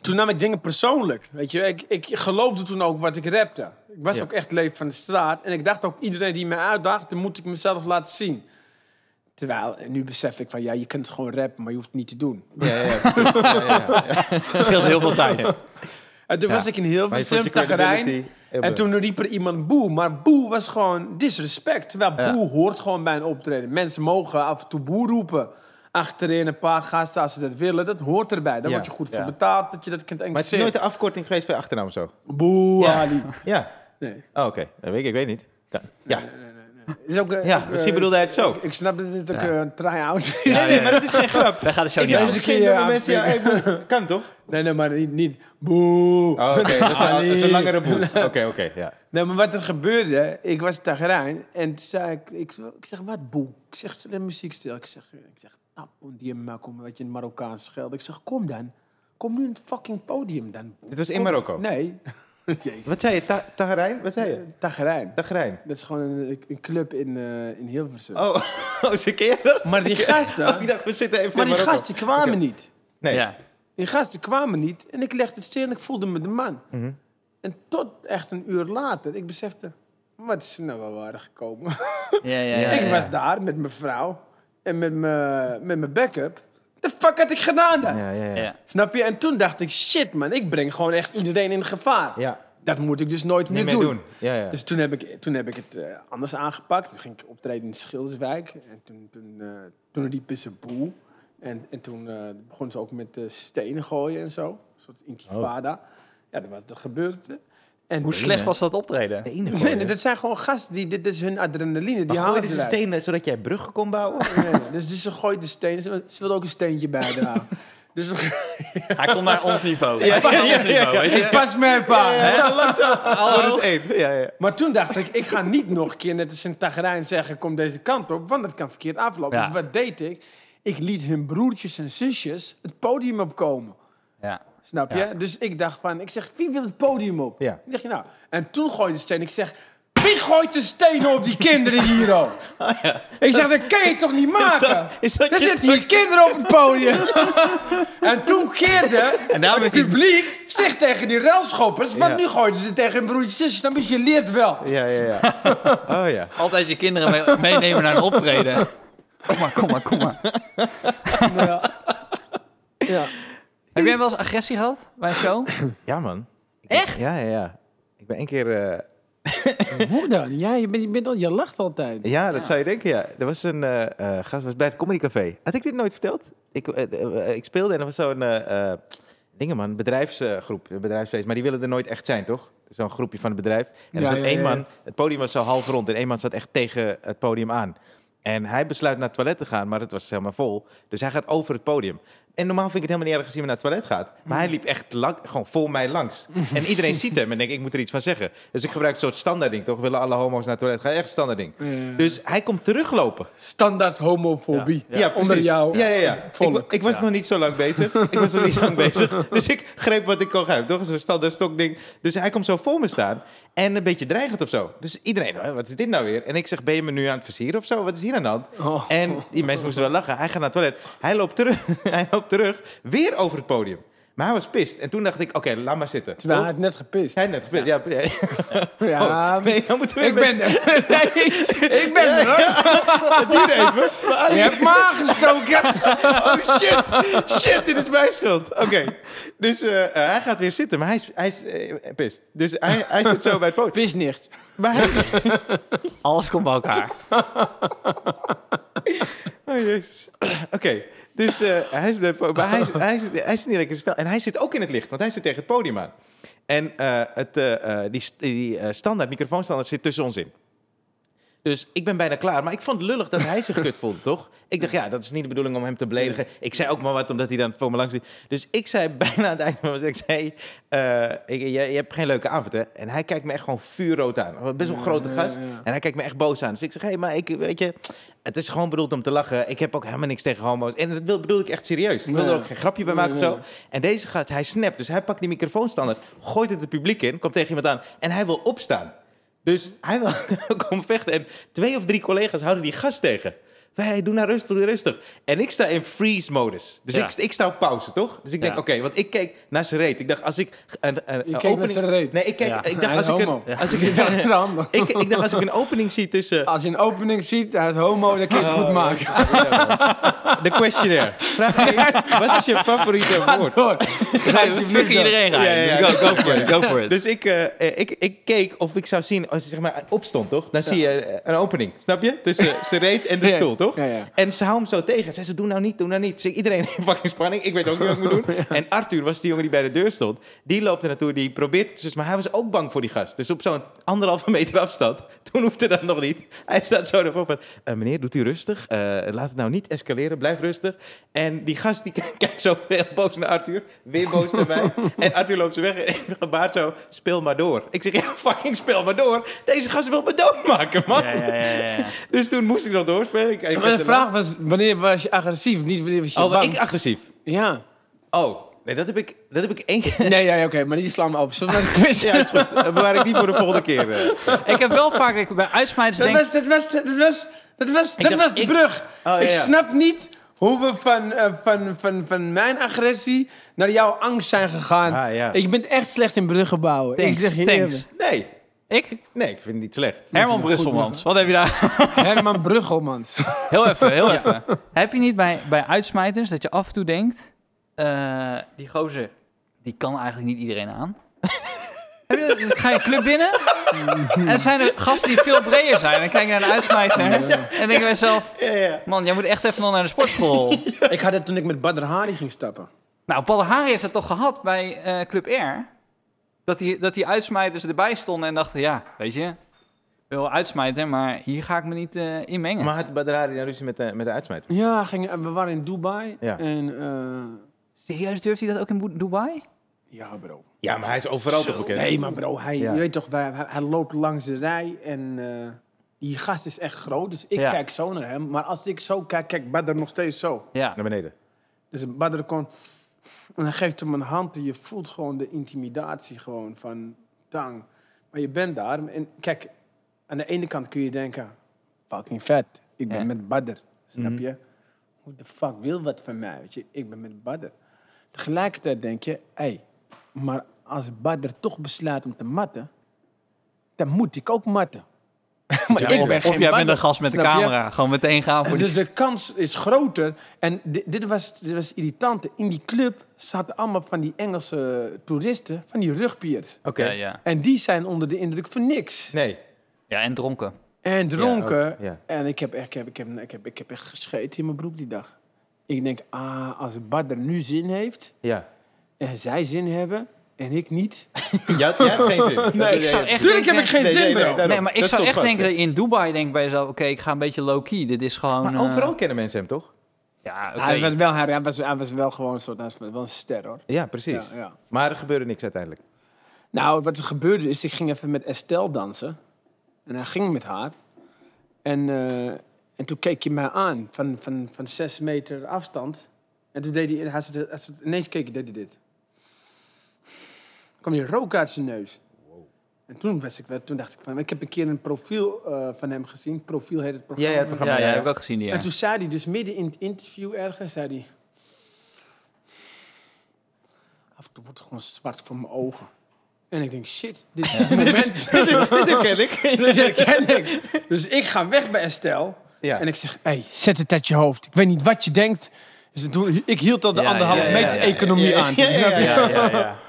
S3: Toen nam ik dingen persoonlijk, weet je. Ik, ik geloofde toen ook wat ik rapte. Ik was
S2: Ja.
S3: ook echt Leven van de Straat. En ik dacht ook, iedereen die mij uitdaagt, dan moet ik mezelf laten zien. Terwijl, en nu besef ik van, ja, je kunt gewoon rappen, maar je hoeft het niet te doen.
S2: Ja, ja, ja, precies. ja, ja, ja.
S1: scheelt heel veel tijd.
S3: En Eh, toen
S2: Ja.
S3: was ik in
S2: Maar
S3: heel
S2: je vond je
S3: veel tagerijn.
S2: credibility heel
S3: En toen riep er iemand boe, maar boe was gewoon disrespect. Terwijl
S2: Ja.
S3: boe hoort gewoon bij een optreden. Mensen mogen af en toe boe roepen. Achterin een paar gasten als ze dat willen, dat hoort erbij. Daar
S2: Ja,
S3: word je goed
S2: ja.
S3: voor betaald, dat je dat kunt
S2: Maar het is
S3: encasseren.
S2: nooit de afkorting geweest van je achternaam of zo?
S3: Boe,
S1: Ja.
S3: Ali.
S2: Ja.
S3: Nee.
S2: Oh, oké. Dat weet ik, ik weet niet. Ja. Ja,
S3: Is ook, eh,
S2: ja
S3: ook,
S2: misschien
S3: eh,
S2: bedoelde hij het zo. Nou,
S3: Ik, ik snap dat dit ook
S1: Ja.
S3: eh, een try-out is.
S2: Nee, nee, maar dat is geen grap.
S1: Wij gaan de show
S2: Ik
S1: niet
S2: weet
S1: aan.
S3: is-
S2: misschien
S3: Ja,
S2: dat er mensen... Ja,
S3: misschien.
S2: hey, broer, kan toch?
S3: Nee, nee, maar niet, niet boe.
S2: Oh, oké. Dat, is een- dat is een
S3: Ali.
S2: langere boel. Oké, oké. ja.
S3: Nee, Nou, maar wat er gebeurde, ik was tagerijn en toen zei ik, ik, zo- ik zeg, wat boe? Ik zeg, de muziek stil. Ik zeg, ik zeg, tap, die makum, wat je in Marokkaans scheldt. Ik zeg, kom dan. Kom nu in het fucking podium dan.
S2: Dit was in
S3: Kom-
S2: Marokko?
S3: Nee. Eh. Jezus.
S2: Wat zei je? Ta Tagarijn? Wat zei je?
S3: Tagerijn.
S2: Tagarijn.
S3: Dat is gewoon een, een club in, eh, in Hilversum.
S2: Oh, oh, ze ken je dat?
S3: Maar die gasten,
S2: Oh, ik dacht, we zitten even in
S3: maar die
S2: Marokko.
S3: gasten kwamen
S2: Oké.
S3: niet.
S2: Nee.
S1: Ja.
S3: Die gasten kwamen niet en ik legde het stil en ik voelde me de man.
S2: Mhm.
S3: En tot echt een uur later, ik besefte, wat is er nou wel waar gekomen?
S1: Ja, ja,
S2: Ja,
S1: ja.
S3: ik
S1: ja.
S3: was daar met mijn vrouw en met mijn, met mijn backup. De fuck had ik gedaan dan?
S2: Ja, ja, ja.
S1: Ja.
S3: Snap je? En toen dacht ik, shit man, ik breng gewoon echt iedereen in gevaar.
S2: Ja,
S3: Dat moet ik dus nooit
S2: niet
S3: meer,
S2: meer
S3: doen.
S2: doen. Ja, ja.
S3: Dus toen heb ik, toen heb ik het eh, anders aangepakt. Toen ging ik optreden in Schilderswijk. En toen, toen, eh toen riepen ze boe. En, en toen eh begonnen ze ook met eh, stenen gooien en zo. Een soort intifada.
S2: Oh.
S3: Ja, dat, was, dat gebeurde. En
S1: Hoe slecht was dat optreden?
S2: de enige.
S3: Nee, nee, dat zijn gewoon gasten. Die, dit is hun adrenaline. Die
S2: Gooi
S3: houden
S2: dus
S3: ze
S2: een
S3: eruit.
S2: stenen zodat jij bruggen kon bouwen?
S3: Nee, nee, dus, dus ze gooit de steen. Ze, wil- ze wilde ook een steentje bijdragen. dus we-
S1: Hij komt naar ons niveau. Hij komt naar ons niveau, weet je?
S3: pas mee, pa.
S2: Ja, langzaam. Hallo. Ja, ja.
S3: Maar toen dacht ik, ik ga niet nog een keer net als een tagerijn zeggen... kom deze kant op, want dat kan verkeerd aflopen.
S1: Ja.
S3: Dus wat deed ik? Ik liet hun broertjes en zusjes het podium opkomen.
S1: Ja.
S3: Snap je?
S1: Ja.
S3: Dus ik dacht van, ik zeg, wie wil het podium op?
S2: Ja.
S3: Ik dacht, nou, en toen gooide de steen. Ik zeg, wie gooit de stenen op die kinderen hier ook? Ik zeg, dat kan je toch niet maken?
S2: Oh, is dat
S3: er
S2: je
S3: zitten hier kinderen op het podium. en toen keerde
S1: En daar
S3: het
S1: werd hij-
S3: publiek zich tegen die relschoppers. Want
S2: nou Ja.
S3: nu gooiden ze tegen hun broertjes en zusjes. Dan je leert wel.
S2: Ja, ja, ja. Oh ja.
S1: altijd je kinderen mee- meenemen naar een optreden. Kom maar, kom maar, kom maar.
S3: Ja. ja.
S1: Heb jij wel eens agressie gehad bij een show?
S2: Ja, man. Ik-
S1: Echt?
S2: Ja, ja, ja. Ik ben één keer... eh,
S3: Hoe dan? Ja, je, bent, je, bent al, je lacht altijd.
S2: Ja, dat zou je denken, ja. Er was een eh, eh, gast was bij het Comedy Café. Had ik dit nooit verteld? Ik, eh, eh, ik speelde en er was zo'n... eh eh dingen, man. Bedrijfsgroep. een bedrijfsfeest. Maar die willen er nooit echt zijn, toch? Zo'n groepje van het bedrijf. En
S3: Ja,
S2: er zat
S3: ja,
S2: één
S3: ja,
S2: man...
S3: ja.
S2: Het podium was zo half rond. En één man zat echt tegen het podium aan. En hij besluit naar het toilet te gaan, maar het was helemaal vol. Dus hij gaat over het podium. En normaal vind ik het helemaal niet erg als iemand naar het toilet gaat. Maar hij
S3: Mhm.
S2: liep echt lang, gewoon vol mij langs. En iedereen ziet hem en denkt, ik moet er iets van zeggen. Dus ik gebruik een soort standaard ding, toch? Willen alle homo's naar het toilet gaan? Echt standaard ding.
S3: Eh,
S2: Dus hij komt teruglopen.
S3: standaard homofobie.
S2: Ja,
S4: Ja,
S2: precies.
S3: onder jou. eh,
S2: Ja, ja, ja.
S3: Volk.
S2: Ik, ik was
S4: Ja.
S2: nog niet zo lang bezig. ik was nog niet zo lang bezig. Dus ik greep wat ik kon grijpen. Toch zo'n standaard stokding. Dus hij komt zo voor me staan. En een beetje dreigend of zo. Dus iedereen, "Hè, wat is dit nou weer? En ik zeg, ben je me nu aan het versieren of zo? Wat is hier aan de hand?
S3: Oh.
S2: En die mensen moesten wel lachen. Hij gaat naar het toilet. Hij loopt terug. hij loopt terug. Weer over het podium. Maar hij was pist. En toen dacht ik, oké, laat maar zitten.
S3: Terwijl hij
S2: Toch?
S3: had net gepist.
S2: Hij net gepist. Ja. ja.
S3: Ja,
S2: Oh, nee, dan moeten we
S3: ik ben er. Nee, ik ben er. hoor.
S2: Duur even. Maar-
S3: Je hebt me aangestoken.
S2: Oh shit, shit, dit is mijn schuld. Oké, dus eh, eh, hij gaat weer zitten, maar hij is, hij is eh, pist. Dus hij, hij zit zo bij het poot.
S3: Pis nicht.
S2: Maar hij is-
S1: Alles komt bij elkaar.
S2: oh jezus. Oké, dus eh, hij is bij het poot, maar hij, is- hij, is- hij zit niet lekker in het spel. En hij zit ook in het licht, want hij zit tegen het podium aan. En eh, het, eh, eh, die, st- die eh, standaard, microfoonstandaard zit tussen ons in. Dus ik ben bijna klaar. Maar ik vond het lullig dat hij zich kut voelde, toch? Ik dacht, ja, dat is niet de bedoeling om hem te beledigen. Ik zei ook maar wat, omdat hij dan voor me langs liep. Dus ik zei bijna aan het einde van mijn zin, ik zei... eh, ik, je, je hebt geen leuke avond, hè? En hij kijkt me echt gewoon vuurrood aan. Best wel een grote
S3: Ja,
S2: gast.
S3: ja, ja.
S2: En hij kijkt me echt boos aan. Dus ik zeg, hé, hey, maar ik, weet je... Het is gewoon bedoeld om te lachen. Ik heb ook helemaal niks tegen homo's. En dat wil- bedoel ik echt serieus. Ik wil
S3: Ja.
S2: er ook geen grapje bij maken of
S3: Ja, ja.
S2: zo. En deze gaat, hij snapt. Dus hij pakt die microfoonstandaard, gooit het het publiek in, komt tegen iemand aan. En hij wil opstaan. Dus hij wil komen vechten. En twee of drie collega's houden die gast tegen. Wij, doe nou rustig, doe rustig. En ik sta in freeze-modus. Dus
S4: Ja.
S2: ik, ik sta op pauze, toch? Dus ik denk,
S4: Ja.
S2: oké, want ik keek naar zijn reet. Ik dacht, als ik een, een, een
S3: keek naar
S2: opening...
S3: zijn reet.
S2: Nee, ik, keek,
S4: Ja.
S2: ik
S3: Hij
S2: dacht,
S3: is
S2: als ik,
S3: homo.
S2: een, als ik,
S3: Dat is
S2: een,
S3: dan.
S2: ik, ik dacht, als ik een opening zie tussen
S3: Als je een opening ziet, hij is homo, dan kun je het goed maken.
S2: de questionnaire. Vraag je, wat is je favoriete woord?
S3: Hoor.
S1: Fuck iedereen
S2: Ja, ja,
S1: rijden.
S2: ja.
S1: Dus go, go for it, go for it.
S2: Dus ik, eh, eh, ik, ik keek of ik zou zien, als je zeg maar opstond, toch? Dan zie je eh, een opening, snap je? Dus, Tussen zijn reet en de
S3: Ja,
S2: stoel, toch?
S3: ja, ja.
S2: En ze houdt hem zo tegen. Ze zei, ze, doe nou niet, doe nou niet. Dus iedereen in fucking spanning. Ik weet ook niet wat ik moet doen. En Arthur was die jongen die bij de deur stond. Die loopt er naartoe, die probeert het. Dus, maar hij was ook bang voor die gast. Dus op zo'n anderhalve meter afstand, toen hoefde dat nog niet. Hij staat zo ervoor van, "Eh, meneer, doet u rustig. Eh, laat het nou niet escaleren, blijf rustig. En die gast die kijkt zo heel boos naar Arthur. Weer boos naar mij. En Arthur loopt ze weg en gebaart zo, speel maar door. Ik zeg, ja, fucking speel maar door. Deze gast wil me doodmaken, man.
S4: Ja, ja, ja, ja, ja.
S2: Dus toen moest ik nog doorspelen. Ik, ik
S3: Maar de vraag was, wanneer was je agressief, niet wanneer was je
S2: Oh, ben
S3: bang?
S2: ik agressief?
S3: Ja.
S2: Oh, nee, dat heb ik, dat heb ik één keer...
S3: Nee, ja, ja, oké, maar die slaan me op. Zullen we naar de quiz?
S2: Ja, is goed. Dan Bewaar ik die voor de volgende keer. eh.
S1: Ik heb wel vaak, ik, bij uitsmijters
S3: Dat
S1: denk
S3: was, dat was, dat was, dat was, dat
S2: dacht,
S3: was de
S2: ik-
S3: brug.
S2: ja,
S3: Ik
S2: ja.
S3: snap niet hoe we van, eh, van, van, van mijn agressie naar jouw angst zijn gegaan.
S2: Ah, ja.
S3: Ik ben echt slecht in bruggen bouwen.
S1: Thanks,
S3: ik zeg je
S1: thanks.
S3: eerlijk.
S2: Nee,
S1: ik,
S2: nee, ik vind het niet slecht.
S1: Herman Brusselmans. Wat heb je daar?
S3: Herman Bruggelmans.
S1: Heel even, heel even. Heb je niet bij, bij uitsmijters dat je af en toe denkt... eh, die gozer, die kan eigenlijk niet iedereen aan? Heb je dat? Dus ga je een club binnen en er zijn er gasten die veel breder zijn. Dan kijk je naar een uitsmijter en denk je bij jezelf...
S2: Ja, ja.
S1: Man, jij moet echt even nog naar de sportschool.
S3: ik had het toen ik met Badr Hari ging stappen.
S1: Nou, Badahari heeft dat toch gehad bij eh, Club R? Dat die, dat die uitsmijters erbij stonden en dachten... Ja, weet je, ik wil wel uitsmijten, maar hier ga ik me niet eh, in mengen.
S2: Maar had Badrari nou ruzie met de, met de uitsmijter?
S3: Ja, ging, eh, we waren in Dubai.
S2: Ja.
S3: En, eh,
S1: Serieus, durft hij dat ook in Bo- Dubai?
S3: ja, bro.
S2: Ja, maar hij is overal toch bekend?
S3: Nee, maar bro, hij,
S2: Ja.
S3: je weet toch, wij- hij, hij loopt langs de rij en eh, die gast is echt groot. Dus ik
S1: Ja.
S3: kijk zo naar hem. Maar als ik zo kijk, kijkt Badr nog steeds zo.
S1: Ja.
S2: Naar beneden.
S3: Dus Badr kon... En hij geeft hem een hand en je voelt gewoon de intimidatie gewoon van... Dang. Maar je bent daar. En kijk, aan de ene kant kun je denken... Fucking vet. Ik ben
S1: Ja. Mhm.
S3: met Badr. Snap je? Hoe de fuck wil wat van mij? Weet je? Ik ben met Badr. Tegelijkertijd denk je... hey, maar als Badr toch besluit om te matten... Dan moet ik ook matten. maar
S2: Ja,
S3: ik ben
S1: Of,
S3: geen
S1: of jij bent
S3: Badr,
S1: de gast met de
S3: snap je?
S1: camera. Gewoon meteen gaan voor die...
S3: Dus de kans is groter. En di- dit was, dit was irritant. In die club zaten allemaal van die Engelse toeristen, van die rugpiers.
S2: Oké.
S1: Ja, ja.
S3: En die zijn onder de indruk van niks.
S2: Nee.
S1: ja, en dronken.
S3: En dronken.
S2: ook, ja.
S3: En ik heb, echt, ik, heb, ik, heb, ik, heb, ik heb echt gescheten in mijn broek die dag. Ik denk, ah, als Badr nu zin heeft,
S2: Ja.
S3: en zij zin hebben, en ik niet.
S2: Jij had, jij had geen zin.
S1: Nee, ik zou echt
S3: Tuurlijk heb
S1: denken-
S3: ik geen
S2: Nee, nee,
S3: zin,
S2: nee,
S3: bro.
S2: daarom.
S1: Nee, maar ik
S2: Dat
S1: zou
S2: stond
S1: echt
S2: vast,
S1: denken
S2: hè.
S1: dat je in Dubai denkt bij jezelf... Oké, ik ga een beetje low-key. Dit is gewoon...
S2: Maar
S1: eh,
S2: overal kennen mensen hem, toch?
S1: Ja, oké.
S3: Hij, was wel, hij, hij was, hij was wel gewoon een soort, hij was wel een ster hoor.
S2: Ja, precies.
S3: Ja, ja.
S2: Maar er gebeurde niks uiteindelijk.
S3: Nou, wat er gebeurde is, ik ging even met Estelle dansen. En hij ging met haar. En, eh, en toen keek hij mij aan van, van, van zes meter afstand. En toen deed hij, hij zat, hij zat, ineens keek hij, deed hij dit. kwam die rook uit zijn neus. En toen, was ik, wel- toen dacht ik van, ik heb een keer een profiel eh, van hem gezien. Profiel heet het programma.
S2: Ja, ja, het programma.
S1: Ja, ja,
S2: ja.
S1: heb ik ook gezien die. Ja.
S3: En toen zei hij, dus midden in het interview ergens, zei hij... Af en toe wordt het gewoon zwart voor mijn ogen. En ik denk, shit, dit is het moment.
S2: Dat ken ik.
S3: Dus dat ken ik. Dus ik ga weg bij Estelle.
S2: Ja.
S3: En ik zeg, hey, zet het uit je hoofd. Ik weet niet wat je denkt. Dus toen, ik hield al de
S1: Ja,
S3: anderhalve
S1: ja,
S2: ja,
S3: meter
S2: ja, ja.
S3: economie aan.
S2: Ja, ja, ja, ja, ja, ja.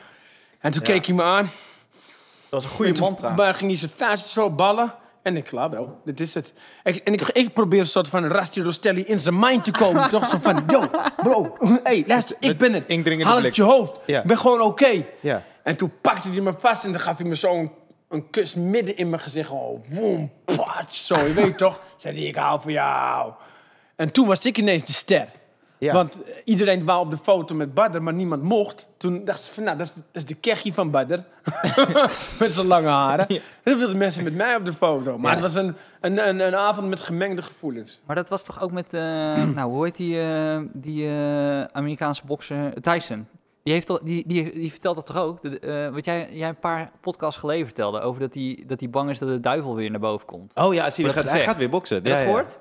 S3: En toen keek hij me aan.
S1: Dat was een goede mantra.
S3: Maar ging hij zijn vuist zo ballen. En ik klaar, bro. Dit is het. Ik, en ik, ik probeer een soort van Rasti Rostelli in zijn mind te komen. Toch zo van, yo, bro. hey, luister, ik ben het.
S2: indringende
S3: Haal het
S2: blik.
S3: je hoofd.
S2: Ja.
S3: Ik ben gewoon oké.
S2: Ja.
S3: En toen pakte hij me vast en dan gaf hij me zo'n een kus midden in mijn gezicht. Oh, woem, pat, zo. Je weet toch? Zei hij, ik hou van jou. En toen was ik ineens de ster.
S2: Ja.
S3: Want eh, iedereen wou op de foto met Badder, maar niemand mocht. Toen dacht ze van, nou, dat is, dat is de kechie van Badder. met zijn lange haren. Heel veel mensen met mij op de foto. Maar
S2: Ja.
S3: het was een, een, een, een avond met gemengde gevoelens.
S1: Maar dat was toch ook met, eh, nou, hoe heet die, eh, die eh, Amerikaanse bokser Tyson? Die, heeft toch, die, die, die vertelt dat toch ook? Dat, eh, wat jij, jij een paar podcasts geleden vertelde over dat hij dat die bang is dat de duivel weer naar boven komt.
S2: Oh ja, zie, je,
S1: Maar dat
S2: gaat, hij
S1: gevecht.
S2: gaat weer boksen.
S1: Heb je
S2: Ja,
S1: dat
S2: ja.
S1: gehoord?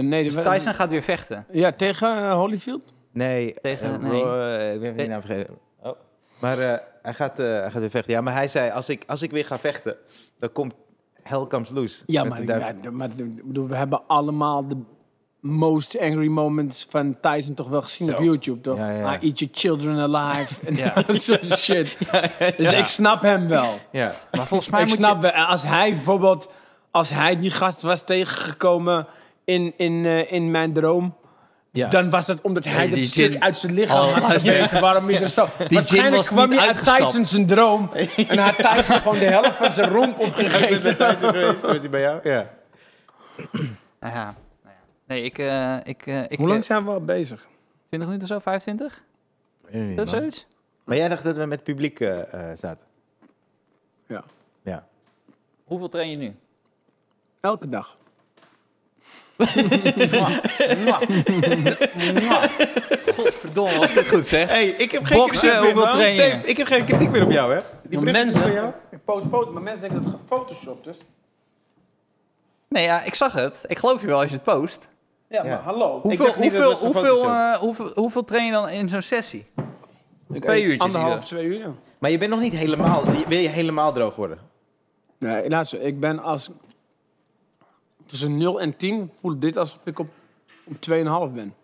S3: nee,
S1: Dus Tyson gaat weer vechten.
S3: Ja, tegen eh, Holyfield.
S2: Nee.
S1: Tegen-
S2: eh,
S1: nee.
S2: Roy- eh, ik ben even die naam vergeten. Oh. Maar eh, hij, gaat, eh, hij gaat weer vechten. Ja, maar hij zei, als ik, als ik weer ga vechten, dan komt Hell Comes Loose.
S3: Ja,
S2: Met
S3: maar,
S2: de duivel.
S3: maar- maar- ik bedoel, we hebben allemaal de most angry moments van Tyson toch wel gezien op YouTube, toch?
S2: Ja, ja.
S3: I eat your children alive. En
S1: Ja.
S3: dat soort shit. Dus ik snap hem wel.
S2: Ja.
S1: Maar volgens mij
S3: ik
S1: moet
S3: snap, wel. En als hij bijvoorbeeld, als hij die gast was tegengekomen in, in, eh, in mijn droom,
S2: Ja.
S3: dan was dat omdat hij
S1: Hey,
S3: dat
S1: die
S3: stuk
S1: gin-
S3: uit zijn lichaam
S1: Oh,
S3: had gezeten. Waarom ik er zo...
S1: gin
S3: Waarschijnlijk
S1: was
S3: kwam
S1: niet
S3: hij uit
S1: uitgestapt.
S3: Tyson zijn droom en had Tyson gewoon de helft van zijn romp
S2: Hij is
S3: opgegeten.
S2: met Tyson geweest. Was hij bij jou? Ja.
S1: je... Nou ja, nou ja. Nee, ik... eh, ik, eh, ik
S3: Hoe lang zijn we al bezig?
S1: 20 minuten of zo? 25? Dat is zoiets?
S2: Maar jij dacht dat we met het publiek eh, eh, zaten.
S3: Ja.
S2: Ja.
S1: Hoeveel train je nu?
S3: Elke dag.
S1: Godverdomme, was dit goed zeg.
S2: hey, ik heb
S1: geen Boksen, kritiek meer, hoeveel man. train je? Steve,
S2: ik heb geen kritiek meer op jou, hè? Die
S3: Maar
S2: mensen van jou.
S3: ik post foto's, maar mensen denken dat het gefotoshopt dus- is.
S1: Nee, ja, ik zag het. Ik geloof je wel als je het post.
S3: Ja,
S2: Ja.
S3: maar hallo.
S2: Ik
S1: Hoeveel,
S2: dacht niet dat
S1: hoeveel,
S2: het was
S1: hoeveel,
S2: gefotoshopt.
S1: eh, hoeveel, hoeveel train je dan in zo'n sessie? twee uurtjes
S3: Anderhalf,
S1: ieder.
S3: twee uur. ja.
S2: Maar je bent nog niet helemaal... je- Wil je helemaal droog worden?
S3: Nee, luister, ik ben als... Tussen 0 en 10 voelt dit alsof ik op, op 2,5 ben.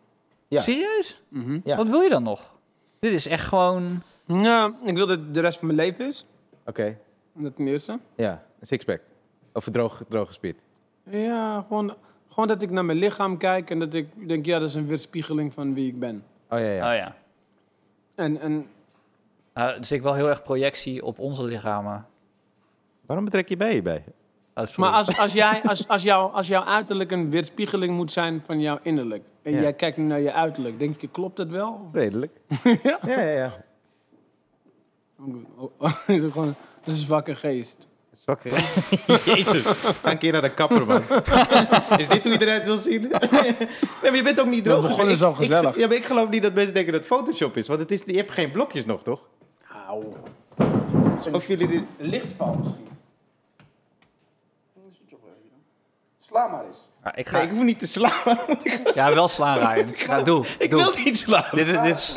S2: Ja.
S1: Serieus?
S3: Mhm.
S2: Ja.
S1: Wat wil je dan nog? Dit is echt gewoon...
S3: Nou, ik wil dat het de rest van mijn leven is.
S2: Oké.
S3: Dat ten eerste.
S2: Ja, een sixpack. Of een droog, droog gespierd.
S3: Ja, gewoon, gewoon dat ik naar mijn lichaam kijk en dat ik denk, ja, dat is een weerspiegeling van wie ik ben.
S2: Oh ja, ja.
S1: Oh ja.
S3: En, en
S1: Eh, dus ik wel heel erg projectie op onze lichamen.
S2: Waarom betrek je bij je bij?
S1: Oh, sorry.
S3: Maar als, als, jij, als, als, jou, als jouw uiterlijk een weerspiegeling moet zijn van jouw innerlijk. En
S2: Ja.
S3: jij kijkt naar je uiterlijk. Denk je, klopt dat wel?
S2: Redelijk.
S3: Ja.
S2: Ja, ja, ja.
S3: oh, Is het gewoon een zwakke geest.
S2: Zwakker. Jezus. Ga een keer naar de kapper, man. is dit hoe je eruit wil zien? nee, maar je bent ook niet droog.
S3: We begonnen
S2: Ik-
S3: zo
S2: ik-
S3: gezellig.
S2: ja, maar ik geloof niet dat mensen denken dat het Photoshop is. Want het is, je hebt geen blokjes nog, toch?
S3: Auw.
S2: Of jullie dit...
S3: Lichtval misschien. Sla maar eens.
S1: Ah, ik ga...
S2: Nee, ik hoef niet te slaan. want ik
S1: Ja, wel slaan, Ryan. Ja, doe.
S2: ik
S1: doe.
S2: wil niet slaan.
S1: Dit, is- dit is...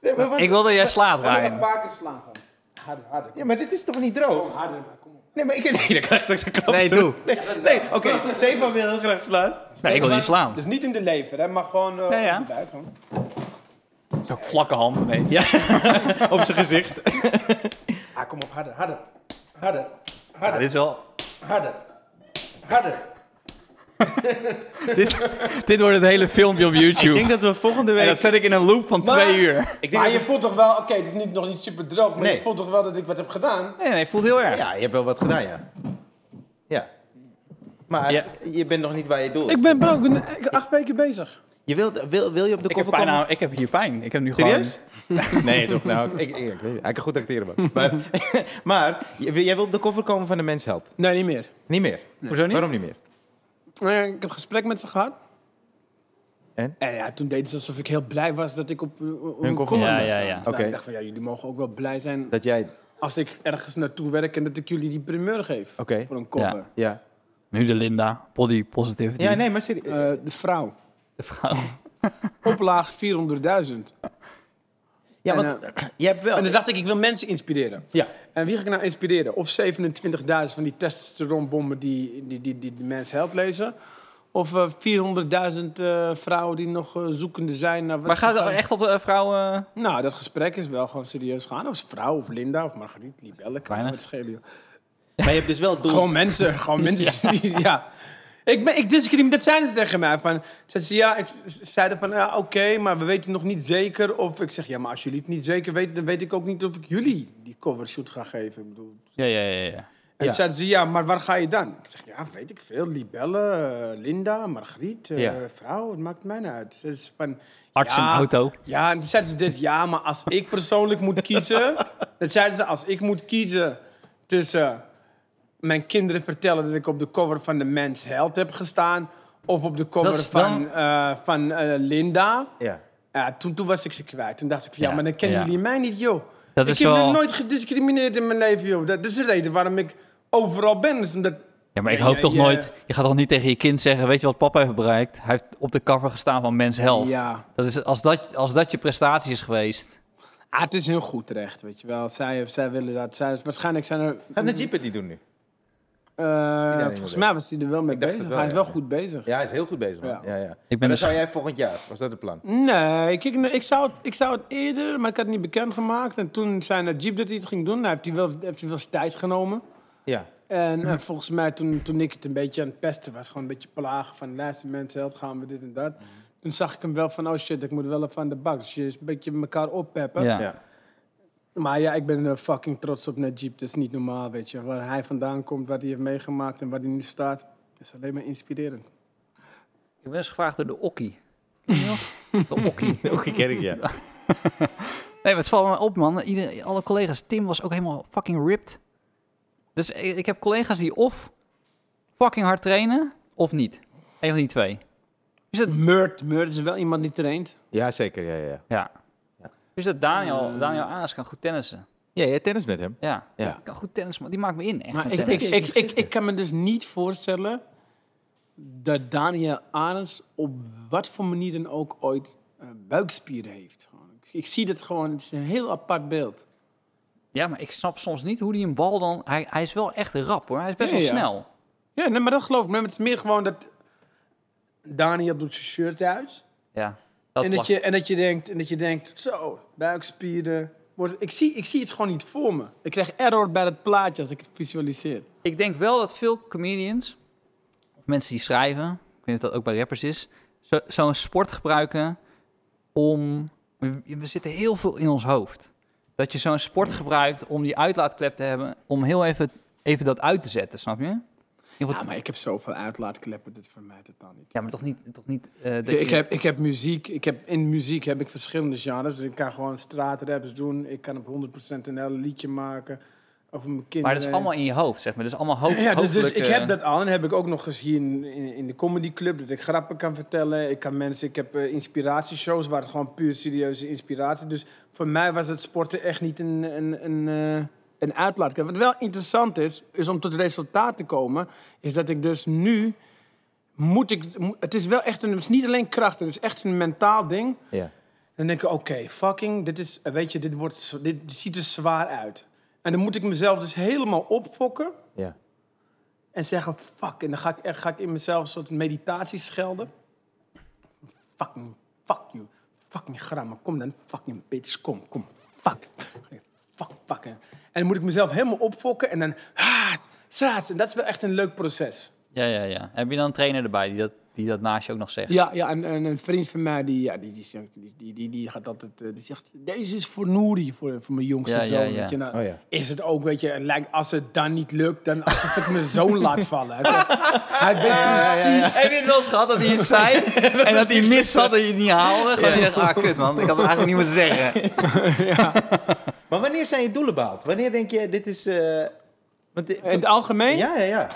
S2: Nee, maar wat-
S1: Ik wil dat jij slaat,
S3: een
S1: Ryan.
S3: paar keer slaan gaan. Harder, harder.
S2: Ja, maar dit is toch niet droog?
S3: Harder, maar kom op.
S2: Nee, maar ik... Nee, dan krijg ik straks een klap.
S1: Nee,
S2: terug.
S1: doe.
S2: Nee, nee, oké. Stefan wil heel graag slaan.
S1: Nee, ik wil niet slaan.
S3: Dus niet in de lever, hè, maar gewoon eh
S1: Ja, ja.
S3: op de buik. Gewoon.
S1: Zo'n vlakke hand ineens.
S2: Op zijn gezicht.
S3: Ah, kom op, harder, harder. Harder,
S1: Ja, dit is wel...
S3: harder. Harder.
S1: Dit wordt het hele filmpje op
S2: Ik
S1: YouTube.
S2: denk dat we volgende week...
S1: En dat zet ik in een loop van
S3: Maar-
S1: twee uur.
S2: Ik denk
S3: Maar
S2: dat-
S3: je voelt toch wel, oké, het is niet, nog niet super droog, maar
S2: Nee.
S3: je voelt toch wel dat ik wat heb gedaan?
S1: Nee, nee, voelt heel erg.
S2: Ja, je hebt wel wat gedaan, ja. Ja. Maar
S1: Ja.
S2: je bent nog niet waar je doel is.
S3: ben bro, ik ben acht weken bezig.
S2: Je wilt, wil, wil je op de
S1: Ik heb,
S2: koffer
S1: pijn,
S2: komen?
S1: nou, ik heb hier pijn. Ik heb nu
S2: Serieus?
S1: gewoon...
S2: nee, toch? Nou, ik, ik, ik, weet het. hij kan goed acteren, man. Maar, maar j- jij wil op de koffer komen van de mens help.
S3: Nee, niet meer.
S2: Niet meer.
S1: Hoezo niet?
S2: Waarom niet meer?
S3: Eh, ik heb gesprek met ze gehad.
S2: En?
S3: En ja, toen deden ze alsof ik heel blij was dat ik op eh, op
S2: Hun
S3: een
S2: koffer-
S3: column
S1: Ja,
S3: zou
S1: ja,
S3: staan.
S1: ja.
S3: Nou,
S2: Oké.
S3: Ik dacht van, ja, jullie mogen ook wel blij zijn
S2: Dat jij...
S3: als ik ergens naartoe werk en dat ik jullie die primeur geef.
S2: Oké.
S3: Voor een cover.
S1: Ja.
S2: Ja.
S1: Nu de Linda. Body positivity.
S2: Ja, nee, maar serieus.
S3: Eh, de vrouw.
S1: De vrouw.
S3: Oplaag 400.000.
S2: ja,
S3: en, eh,
S2: want je hebt wel...
S3: En dan dacht ik, ik wil mensen inspireren.
S2: Ja.
S3: En wie ga ik nou inspireren? Of 27.000 van die testosteronbommen die, die, die, die de mens helpt lezen. Of eh, 400.000 eh, vrouwen die nog eh, zoekende zijn. Naar wat
S1: Maar
S3: ze
S1: gaat het
S3: gaan-
S1: echt op de eh, vrouwen...
S3: Nou, dat gesprek is wel gewoon serieus gaan. Of ze vrouw, of Linda, of Margriet, Libelle. kan
S1: Weinig.
S3: het schelen, joh.
S2: Maar je hebt dus wel het doel...
S3: Gewoon mensen, gewoon mensen. die- Ja. Ik, ben, ik discrimineer, dat zeiden ze tegen mij. Van, zeiden ze, ja, ik ze zeiden van, ja, oké, maar we weten nog niet zeker. Of ik zeg, ja, maar als jullie het niet zeker weten, dan weet ik ook niet of ik jullie die covershoot ga geven. Ik bedoel,
S1: Ja, ja, ja. ja.
S3: en
S2: Ja.
S3: zeiden ze, ja, maar waar ga je dan? Ik zeg, ja, weet ik veel. Libelle, eh, Linda, Margriet, eh,
S2: Ja.
S3: vrouw, het maakt mij niet uit. Ze is van,
S1: Arts en
S3: ja,
S1: auto.
S3: Ja, en toen zeiden ze dit, ja, maar als ik persoonlijk moet kiezen... dat zeiden ze, als ik moet kiezen tussen mijn kinderen vertellen... dat ik op de cover van de Mens Held heb gestaan... of op de cover
S1: Dat is
S3: van,
S1: dan-
S3: eh, van eh, Linda...
S2: Ja.
S3: Ja, toen, toen was ik ze kwijt. Toen dacht ik van, ja,
S1: Ja,
S3: maar dan kennen
S1: ja.
S3: jullie mij niet, joh.
S1: Dat
S3: ik
S1: is
S3: heb
S1: wel-
S3: nog nooit gediscrimineerd in mijn leven, joh. Dat is de reden waarom ik overal ben. Is omdat...
S1: Ja, maar ik
S3: Ja,
S1: hoop
S3: ja,
S1: toch
S3: ja.
S1: nooit... Je gaat toch niet tegen je kind zeggen... Weet je wat papa heeft bereikt? Hij heeft op de cover gestaan van Mens Health.
S3: Ja.
S1: Dat is, als, dat, als dat je prestatie is geweest...
S3: Ah, het is heel goed terecht, weet je wel. Zij, zij willen dat. Zij, waarschijnlijk zijn er...
S2: Gaat Najib het niet doen nu?
S3: eh, volgens mij was hij er wel mee
S2: dacht
S3: bezig.
S2: het wel,
S3: hij is
S2: ja.
S3: wel goed bezig.
S2: Ja, hij is heel goed bezig, man. Ja,
S3: Ja.
S2: ja. Ik
S1: ben
S2: ben dan
S1: dus-
S2: zou jij volgend jaar... Was dat het plan?
S3: Nee, ik, ik, ik, zou het, ik zou het eerder, maar ik had het niet bekendgemaakt. En toen zei Najib dat hij het ging doen. Nou, heeft hij wel, heeft hij wel zijn tijd genomen.
S2: Ja.
S3: En eh, volgens mij, toen, toen ik het een beetje aan het pesten was, gewoon een beetje plagen van luister mensen, help gaan we dit en dat. Toen zag ik hem wel van, oh shit, ik moet wel even aan de bak. Dus je is een beetje elkaar oppeppen.
S1: Ja.
S2: Ja.
S3: Maar ja, ik ben eh, fucking trots op Najib. Dat is niet normaal, weet je. Waar hij vandaan komt, wat hij heeft meegemaakt en waar hij nu staat, is alleen maar inspirerend.
S1: Ik ben eens gevraagd door de Okkie. De Okkie.
S2: Ook een kerk, ja.
S1: Nee, maar het valt me op, man. Ieder, alle collega's. Tim was ook helemaal fucking ripped. Dus ik, ik heb collega's die of fucking hard trainen, of niet. Eén van die twee. Is dat...
S3: Murt, Murt is wel iemand die traint.
S2: Ja, zeker, ja, ja, ja.
S1: Ja. Dus dat
S3: Eh.
S1: Daniel, Daniel Aas kan goed tennissen.
S2: Ja, jij tennis met hem.
S1: Ja.
S2: Ja.
S1: Die kan goed tennissen, maar die maakt me in. Echt
S3: Maar
S1: met
S3: ik, ik,
S1: tennis.
S3: ik, ik, ik kan me dus niet voorstellen dat Daniel Arends op wat voor manier dan ook ooit eh, buikspieren heeft. Gewoon, Ik, ik zie dat gewoon, het is een heel apart beeld.
S1: Ja, maar ik snap soms niet hoe die een bal dan... Hij, hij is wel echt rap, hoor. Hij is best
S3: Ja,
S1: wel
S3: ja.
S1: snel.
S3: Ja, nee, maar dat geloof ik. Maar het is meer gewoon dat Daniel doet zijn shirt uit.
S1: Ja. Dat
S3: En dat,
S1: lag-
S3: je, en, dat je denkt, en dat je denkt, zo, buikspieren. Wordt, ik, zie, ik zie het gewoon niet voor me. Ik krijg error bij het plaatje als ik het visualiseer.
S1: Ik denk wel dat veel comedians, of mensen die schrijven, ik weet niet of dat ook bij rappers is, zo- zo'n sport gebruiken om. We, we zitten heel veel in ons hoofd. Dat je zo'n sport gebruikt om die uitlaatklep te hebben, om heel even, even dat uit te zetten, snap je? In ieder geval-
S3: Ja, maar ik heb zoveel uitlaatkleppen, dit voor mij totaal niet.
S1: ja, maar toch niet. Toch niet eh, dat
S3: Ik, ik,
S1: je-
S3: heb, ik heb muziek, ik heb, in muziek heb ik verschillende genres. Dus ik kan gewoon straatraps doen, ik kan op 100% een heel liedje maken. Over mijn kinderen.
S1: maar dat is allemaal in je hoofd, zeg maar. Dat is allemaal hoofd.
S3: eh, Ja, dus, dus ik
S1: hoofdelijke-
S3: heb dat al en heb ik ook nog eens hier in, in, in de comedyclub dat ik grappen kan vertellen. Ik, kan mensen, ik heb eh, inspiratieshows waar het gewoon puur serieuze inspiratie. Dus voor mij was het sporten echt niet een, een, een, eh, een uitlaatklep. Wat wel interessant is, is om tot resultaat te komen, is dat ik dus nu moet ik. mo- Het is wel echt een. Het is niet alleen kracht, het is echt een mentaal ding.
S2: Ja.
S3: Dan denk ik, oké, fucking, dit is, eh, weet je, dit, wordt, z- dit ziet er zwaar uit. En dan moet ik mezelf dus helemaal opfokken.
S2: Ja.
S3: En zeggen, fuck. En dan ga ik, echt- ga ik in mezelf een soort meditatie schelden. Fucking, fuck you. Fucking gramma. Kom dan, fucking bitch. Kom, kom. Fuck. Fuck, fuck. En dan moet ik mezelf helemaal opfokken. ah, En dan, haas, straat. En dat is wel echt een leuk proces.
S1: Ja, ja, ja. Heb je dan een trainer erbij die dat die dat naast je ook nog zegt.
S3: Ja, ja en, en een vriend van mij die, ja, die, die, zegt- die, die, die, die gaat altijd, eh, die zegt, deze is voor Nouri, voor, voor mijn jongste
S1: Ja, ja,
S3: zoon.
S1: ja.
S3: Weet je, nou,
S2: Oh ja.
S3: Is het ook, weet je, het lijkt, als het dan niet lukt, dan als ik het mijn zoon laat vallen. Hij, zegt, hij weet precies,
S1: Heb je het wel eens gehad dat hij het zei en dat hij mis had dat je het niet haalde? Gewoon je dacht, ah kut man, ik had het eigenlijk niet moeten zeggen.
S2: Maar wanneer zijn je doelen behaald? Wanneer denk je, dit is... eh, want dit-
S3: in het algemeen,
S2: Ja, ja, ja.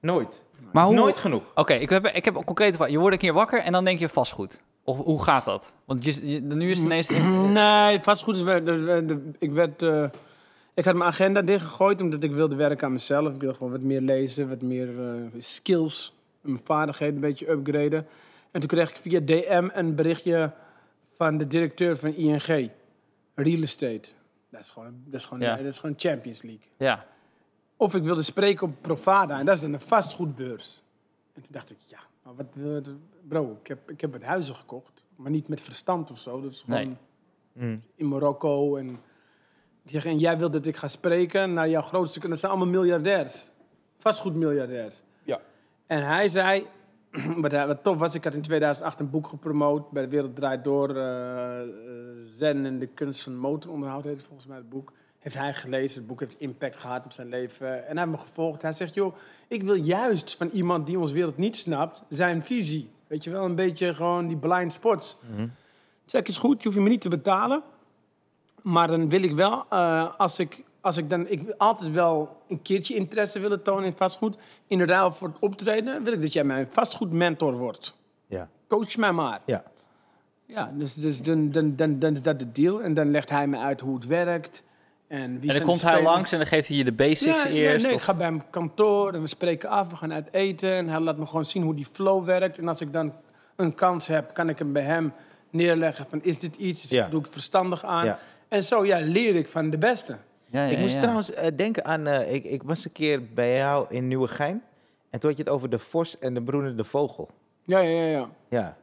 S2: Nooit.
S1: Maar hoe...
S2: Nooit genoeg.
S1: Oké, ik, heb, ik heb een concrete vraag. Je wordt een keer wakker en dan denk je vastgoed. Of hoe gaat dat? Want je, je- nu is het ineens...
S3: Nee, vastgoed is... wel- dat- dat- dat- Ik werd... eh, ik had mijn agenda dichtgegooid omdat ik wilde werken aan mezelf. Ik wilde gewoon wat meer lezen, wat meer eh, skills, mijn vaardigheden een beetje upgraden. En toen kreeg ik via DM een berichtje van de directeur van ING, Real Estate. Dat is gewoon, dat is gewoon,
S1: Ja.
S3: dat is gewoon Champions League.
S1: Ja,
S3: Of ik wilde spreken op Provada en dat is dan een vastgoedbeurs. En toen dacht ik, ja, maar wat wil het... Bro, ik heb, ik heb wat huizen gekocht, maar niet met verstand of zo. Dat is gewoon
S1: Nee.
S2: Mm.
S3: in Marokko. En ik zeg, en jij wil dat ik ga spreken naar jouw grootste... En dat zijn allemaal miljardairs. Vastgoedmiljardairs.
S2: Ja.
S3: En hij zei, wat, hij- wat tof was, ik had in 2008 een boek gepromoot... bij De Wereld Draait Door, eh, eh, Zen en de kunst van motoronderhoud heet het volgens mij het boek. Heeft hij gelezen, het boek heeft impact gehad op zijn leven. En hij heeft me gevolgd. Hij zegt, joh, ik wil juist van iemand die ons wereld niet snapt... zijn visie. Weet je wel, een beetje gewoon die blind spots. Check is goed, je hoeft me niet te betalen. Maar dan wil ik wel, eh, als, ik, als ik dan... Ik wil altijd wel een keertje interesse willen tonen in vastgoed. In ruil voor het optreden wil ik dat jij mijn vastgoedmentor wordt.
S2: Ja.
S3: Coach mij maar.
S2: Ja.
S3: Ja, dus, dus dan, dan, dan, dan is dat de deal. En dan legt hij me uit hoe het werkt. En,
S1: en
S3: wie
S1: dan
S3: zijn
S1: komt
S3: de
S1: hij
S3: spelers.
S1: langs en dan geeft hij je de basics
S3: Ja, ja,
S1: eerst.
S3: nee, ik
S1: of-
S3: ga bij hem kantoor en we spreken af, we gaan uit eten. En hij laat me gewoon zien hoe die flow werkt. En als ik dan een kans heb, kan ik hem bij hem neerleggen. Van, is dit iets?
S2: Ja.
S3: Doe ik het verstandig aan?
S2: Ja.
S3: En zo ja, leer ik van de beste.
S1: Ja, ja,
S2: Ik moest
S1: ja.
S2: trouwens eh, denken aan... eh, ik, ik was een keer bij jou in Nieuwegein. En toen had je het over de vos en de broedende vogel.
S3: Ja, ja, ja. ja.
S2: Ja.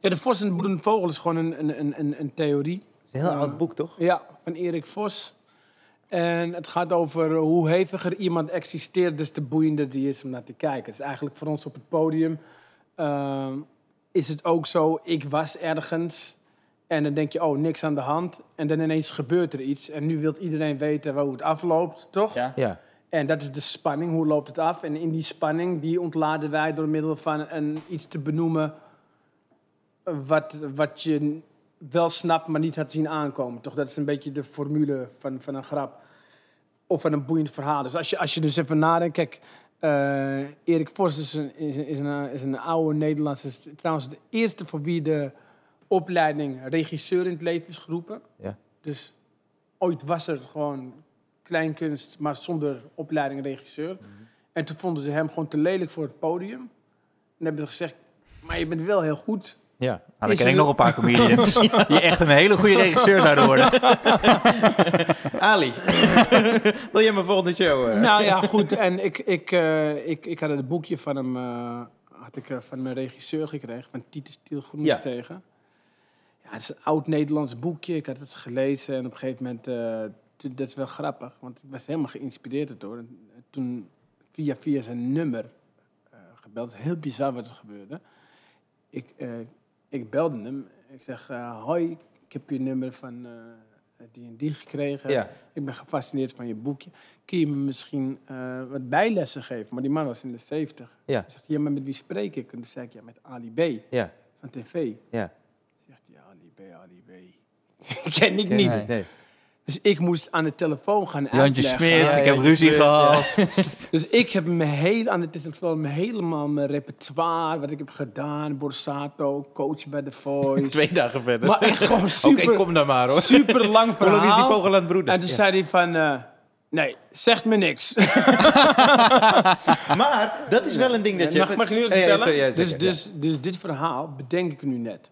S3: ja de Vos en de Broedende Vogel is gewoon een, een, een, een, een theorie.
S2: Het is een heel oud boek, toch?
S3: Ja, van Erik Vos. En het gaat over hoe heviger iemand existeert, dus te boeiender die is om naar te kijken. Dus eigenlijk voor ons op het podium ehm, is het ook zo, ik was ergens en dan denk je, oh, niks aan de hand. En dan ineens gebeurt er iets en nu wil iedereen weten hoe het afloopt, toch?
S1: Ja.
S2: Ja.
S3: En dat is de spanning, hoe loopt het af? En in die spanning, die ontladen wij door middel van een, iets te benoemen... Wat, wat je wel snapt, maar niet had zien aankomen. Toch? Dat is een beetje de formule van, van een grap. Of van een boeiend verhaal. Dus als je, als je dus even nadenkt... Kijk, eh, Erik Vos is een, is, een- is, een, is een oude Nederlandse... is trouwens de eerste voor wie de opleiding regisseur in het leven is geroepen.
S2: Ja.
S3: Dus ooit was er gewoon kleinkunst, maar zonder opleiding regisseur. En toen vonden ze hem gewoon te lelijk voor het podium. En hebben ze gezegd, maar je bent wel heel goed.
S2: Ja.
S1: Nou, dan
S3: Is
S1: ken
S3: er
S1: ik
S3: wel-
S1: nog een paar comedians die echt een hele goede regisseur zouden worden.
S2: Ali. Wil jij mijn volgende show? eh?
S3: Nou ja, goed. En ik, ik, eh, ik, ik had het boekje van hem, eh, had ik eh, van mijn regisseur gekregen, van Titus Tiel Groenstegen. Ja. het is een oud Nederlands boekje. Ik had het gelezen en op een gegeven moment, eh, toen- dat is wel grappig, want ik was helemaal geïnspireerd erdoor. En eh, toen via via zijn nummer eh, gebeld. Het is heel bizar wat er gebeurde. Ik, eh, ik belde hem. Ik zeg, eh, hoi, ik heb je nummer van eh, die en die gekregen.
S2: Ja.
S3: Ik ben gefascineerd van je boekje. Kun je me misschien eh, wat bijlessen geven? Maar die man was in de 70.
S2: Ja.
S3: Hij zegt, ja, maar met wie spreek ik? En toen zei ik, ja, met Ali B.
S2: Ja.
S3: Van tv.
S2: Ja.
S3: Zegt hij, Ali B, Ali B. Ken ik niet.
S1: Nee.
S2: Nee.
S3: Dus ik moest aan de telefoon gaan
S1: Jantje
S3: uitleggen.
S1: Smit,
S2: Ja,
S1: ik
S2: ja,
S1: heb ruzie
S2: Smit,
S1: gehad.
S3: Dus ik heb me heel aan het telefoon, helemaal mijn repertoire, wat ik heb gedaan, Borsato, coach bij The Voice.
S2: Twee dagen verder.
S3: maar echt gewoon
S2: Oké,
S3: super,
S2: kom dan maar hoor.
S3: super lang
S2: Hoe
S3: verhaal.
S2: lang is die vogel aan het broeden?
S3: En toen
S2: Ja.
S3: zei hij van, eh, nee, zegt me niks.
S2: Maar dat is wel een ding dat je...
S3: Mag, mag ik nu wat
S2: Ja, ja,
S3: vertellen?
S2: sorry, ja,
S3: dus,
S2: zeker, ja.
S3: dus, dus dit verhaal bedenk ik nu net.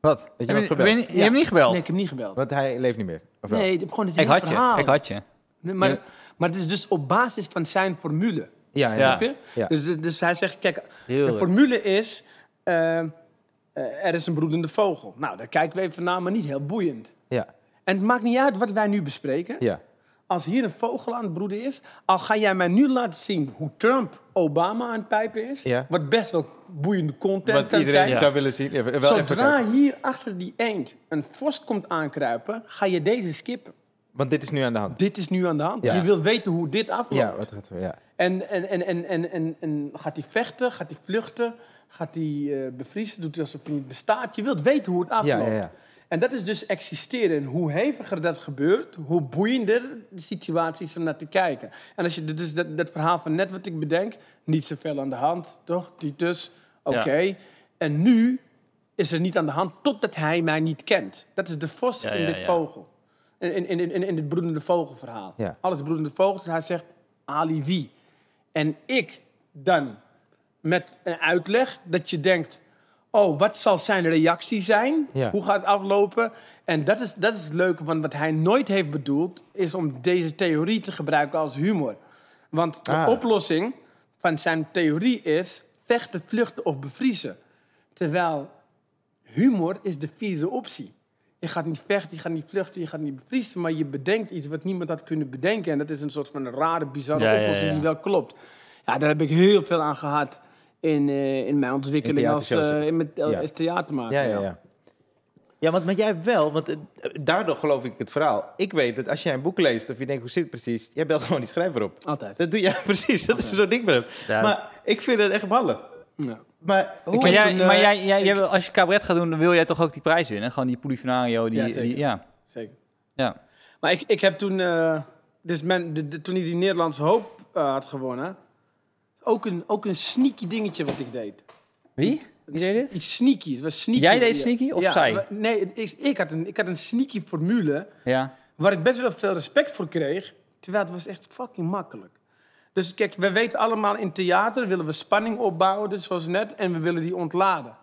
S1: Wat? Heb
S2: nog
S1: je,
S2: gebeld?
S1: ben je- je
S3: Ja.
S1: hebt niet gebeld?
S3: Nee, ik heb niet gebeld.
S2: Want hij leeft niet meer. Of wel?
S3: Nee, ik heb gewoon het
S1: ik
S3: hele
S1: had
S3: verhaal.
S1: je, ik had je.
S3: Nee, maar,
S1: Ja.
S3: maar het is dus op basis van zijn formule.
S2: Ja, ja.
S1: Ja.
S2: ja.
S3: Snap je?
S2: Ja.
S3: Dus, dus hij zegt, kijk, de
S1: Heerlijk.
S3: formule is... eh, eh, er is een broedende vogel. Nou, daar kijken we even naar, maar niet heel boeiend.
S2: ja.
S3: En het maakt niet uit wat wij nu bespreken. als hier een vogel aan het broeden is, al ga jij mij nu laten zien hoe Trump Obama aan het pijpen is,
S2: Ja.
S3: wat best wel boeiende content
S2: Wat
S3: kan
S2: iedereen
S3: zijn.
S1: Ja.
S2: zou willen zien. Ja, wel even
S3: Zodra
S2: kijken.
S3: hier achter die eend een vos komt aankruipen, ga je deze skippen.
S2: Want dit is nu aan de hand.
S3: Dit is nu aan de hand.
S2: Ja.
S3: Je wilt weten hoe dit afloopt.
S2: Ja, wat gaat er? Ja.
S3: En, en, en, en, en, en, en gaat hij vechten? Gaat hij vluchten? Gaat hij eh, bevriezen? Doet hij alsof hij niet bestaat? Je wilt weten hoe het afloopt.
S2: ja, ja.
S3: En dat is dus existeren. En hoe heviger dat gebeurt, hoe boeiender de situatie is om naar te kijken. En als je d- dus dat, dat verhaal van net wat ik bedenk, niet zoveel aan de hand, toch? Die dus, oké. En nu is er niet aan de hand totdat hij mij niet kent. Dat is de vos
S1: Ja,
S3: in
S1: ja,
S3: dit
S1: ja.
S3: vogel. In, in, in, in, in dit broedende vogelverhaal.
S2: Ja.
S3: Alles broedende vogels. Hij zegt Ali wie? En ik dan met een uitleg dat je denkt... oh, wat zal zijn reactie zijn?
S2: Ja.
S3: Hoe gaat het aflopen? En dat is, dat is het leuke, want wat hij nooit heeft bedoeld... is om deze theorie te gebruiken als humor. Want de
S2: Ah.
S3: oplossing van zijn theorie is... vechten, vluchten of bevriezen. Terwijl humor is de vierde optie. Je gaat niet vechten, je gaat niet vluchten, je gaat niet bevriezen... maar je bedenkt iets wat niemand had kunnen bedenken. En dat is een soort van rare, bizarre
S1: Ja, ja,
S3: oplossing
S1: ja.
S3: die wel klopt. Ja, daar heb ik heel veel aan gehad in, eh, in mijn ontwikkeling
S2: In
S3: als,
S2: theatershows.
S3: eh, in met,
S2: Ja.
S3: als theatermaker.
S2: Ja, ja, ja. Ja, want, maar jij wel, want eh, daardoor geloof ik het verhaal. Ik weet dat als jij een boek leest of je denkt hoe zit het precies, jij belt gewoon die schrijver op.
S3: Altijd.
S2: Dat doe jij precies, dat is zo'n ding voor hem.
S1: Ja.
S2: Maar ik vind het echt ballen.
S3: Ja.
S2: Maar hoe?
S1: Maar, jij,
S3: toen, eh,
S1: maar jij, jij, jij wil- als je cabaret gaat doen, dan wil jij toch ook die prijs winnen? Gewoon die Polifinario. Die,
S3: Ja,
S1: die- ja,
S3: zeker.
S1: ja,
S3: Zeker.
S1: ja.
S3: Maar ik, ik heb toen, eh, dus men, de- de- toen hij die Nederlandse hoop eh, had gewonnen, ook een, ook een sneaky dingetje wat ik deed.
S1: Wie? Wie deed dit?
S3: Iets sneaky. Het was sneaky.
S1: Jij deed
S3: Ja.
S1: sneaky of
S3: Ja,
S1: zij?
S3: maar- Nee, ik, ik, had een, ik had een sneaky formule
S1: Ja.
S3: waar ik best wel veel respect voor kreeg. Terwijl het was echt fucking makkelijk. Dus kijk, we weten allemaal in theater willen we spanning opbouwen, dus zoals net, en we willen die ontladen.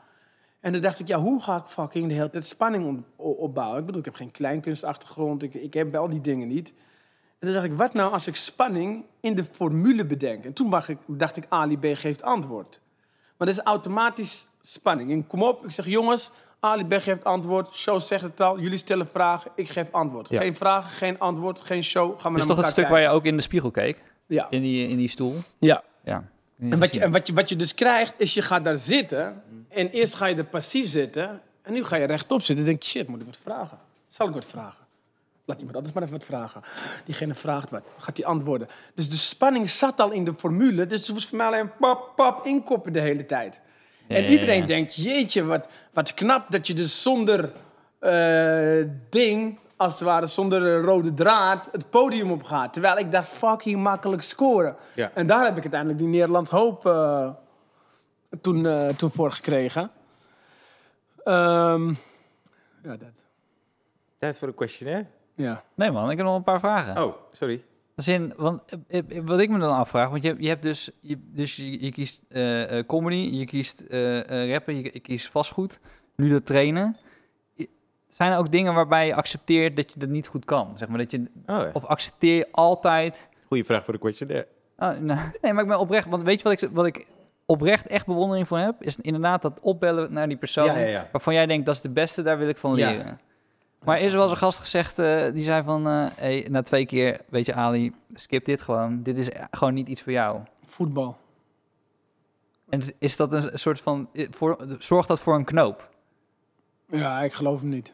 S3: En dan dacht ik, ja, hoe ga ik fucking de hele tijd spanning on- o- opbouwen? Ik bedoel, ik heb geen kleinkunstachtergrond, ik, ik heb al die dingen niet. En toen dacht ik, wat nou als ik spanning in de formule bedenk? En toen dacht ik, dacht ik Ali B geeft antwoord. Maar dat is automatisch spanning. En kom op, ik zeg jongens, Ali B geeft antwoord, show zegt het al, jullie stellen vragen, ik geef antwoord.
S2: Ja.
S3: Geen vragen, geen antwoord, geen show, gaan we
S1: Dat is toch
S3: naar
S1: het
S3: elkaar
S1: stuk waar je ook in de spiegel keek?
S3: kijken. Ja,
S1: In die, in die stoel?
S3: ja.
S1: Ja.
S3: En, wat je, en wat, je, wat je dus krijgt, is je gaat daar zitten. En eerst ga je er passief zitten. En nu ga je rechtop zitten. En denk je, shit, moet ik wat vragen? Zal ik wat vragen? Laat iemand anders maar even wat vragen. Diegene vraagt wat. Gaat die antwoorden. Dus de spanning zat al in de formule. Dus het was voor mij alleen pap, pap, inkoppen de hele tijd.
S1: Ja,
S3: en
S1: ja,
S3: iedereen
S1: ja.
S3: denkt, jeetje, wat, wat knap dat je dus zonder eh, ding... Als het ware zonder eh, rode draad het podium op gaat. Terwijl ik dacht, fucking makkelijk scoren.
S2: Ja.
S3: En daar heb ik uiteindelijk die Nederland Hoop eh, toen, eh, toen voor gekregen. Ehm, ja, dat.
S2: Tijd voor een questionnaire.
S3: Ja.
S1: Nee man, ik heb nog een paar vragen.
S2: Oh, sorry.
S1: Als in, want eh, eh, wat ik me dan afvraag, want je, je hebt dus, je, dus je, je kiest eh, eh, comedy, je kiest eh, eh, rappen, je, je kiest vastgoed, nu dat trainen. Je- Zijn er ook dingen waarbij je accepteert dat je dat niet goed kan? Zeg maar dat je,
S2: Oh, ja.
S1: of accepteer je altijd...
S2: Goeie vraag voor de questionnaire.
S1: Ah, nou, nee, maar ik ben oprecht, want weet je wat ik, wat ik oprecht echt bewondering voor heb? Is inderdaad dat opbellen naar die persoon
S2: Ja, ja, ja.
S1: waarvan jij denkt, dat is de beste, daar wil ik van
S2: Ja.
S1: leren. Maar is er wel eens een gast gezegd, eh, die zei van, eh, hey, na twee keer, weet je Ali, skip dit gewoon. Dit is gewoon niet iets voor jou.
S3: Voetbal.
S1: En is- is dat een soort van, eh, voor, zorgt dat voor een knoop?
S3: Ja, ik geloof hem niet.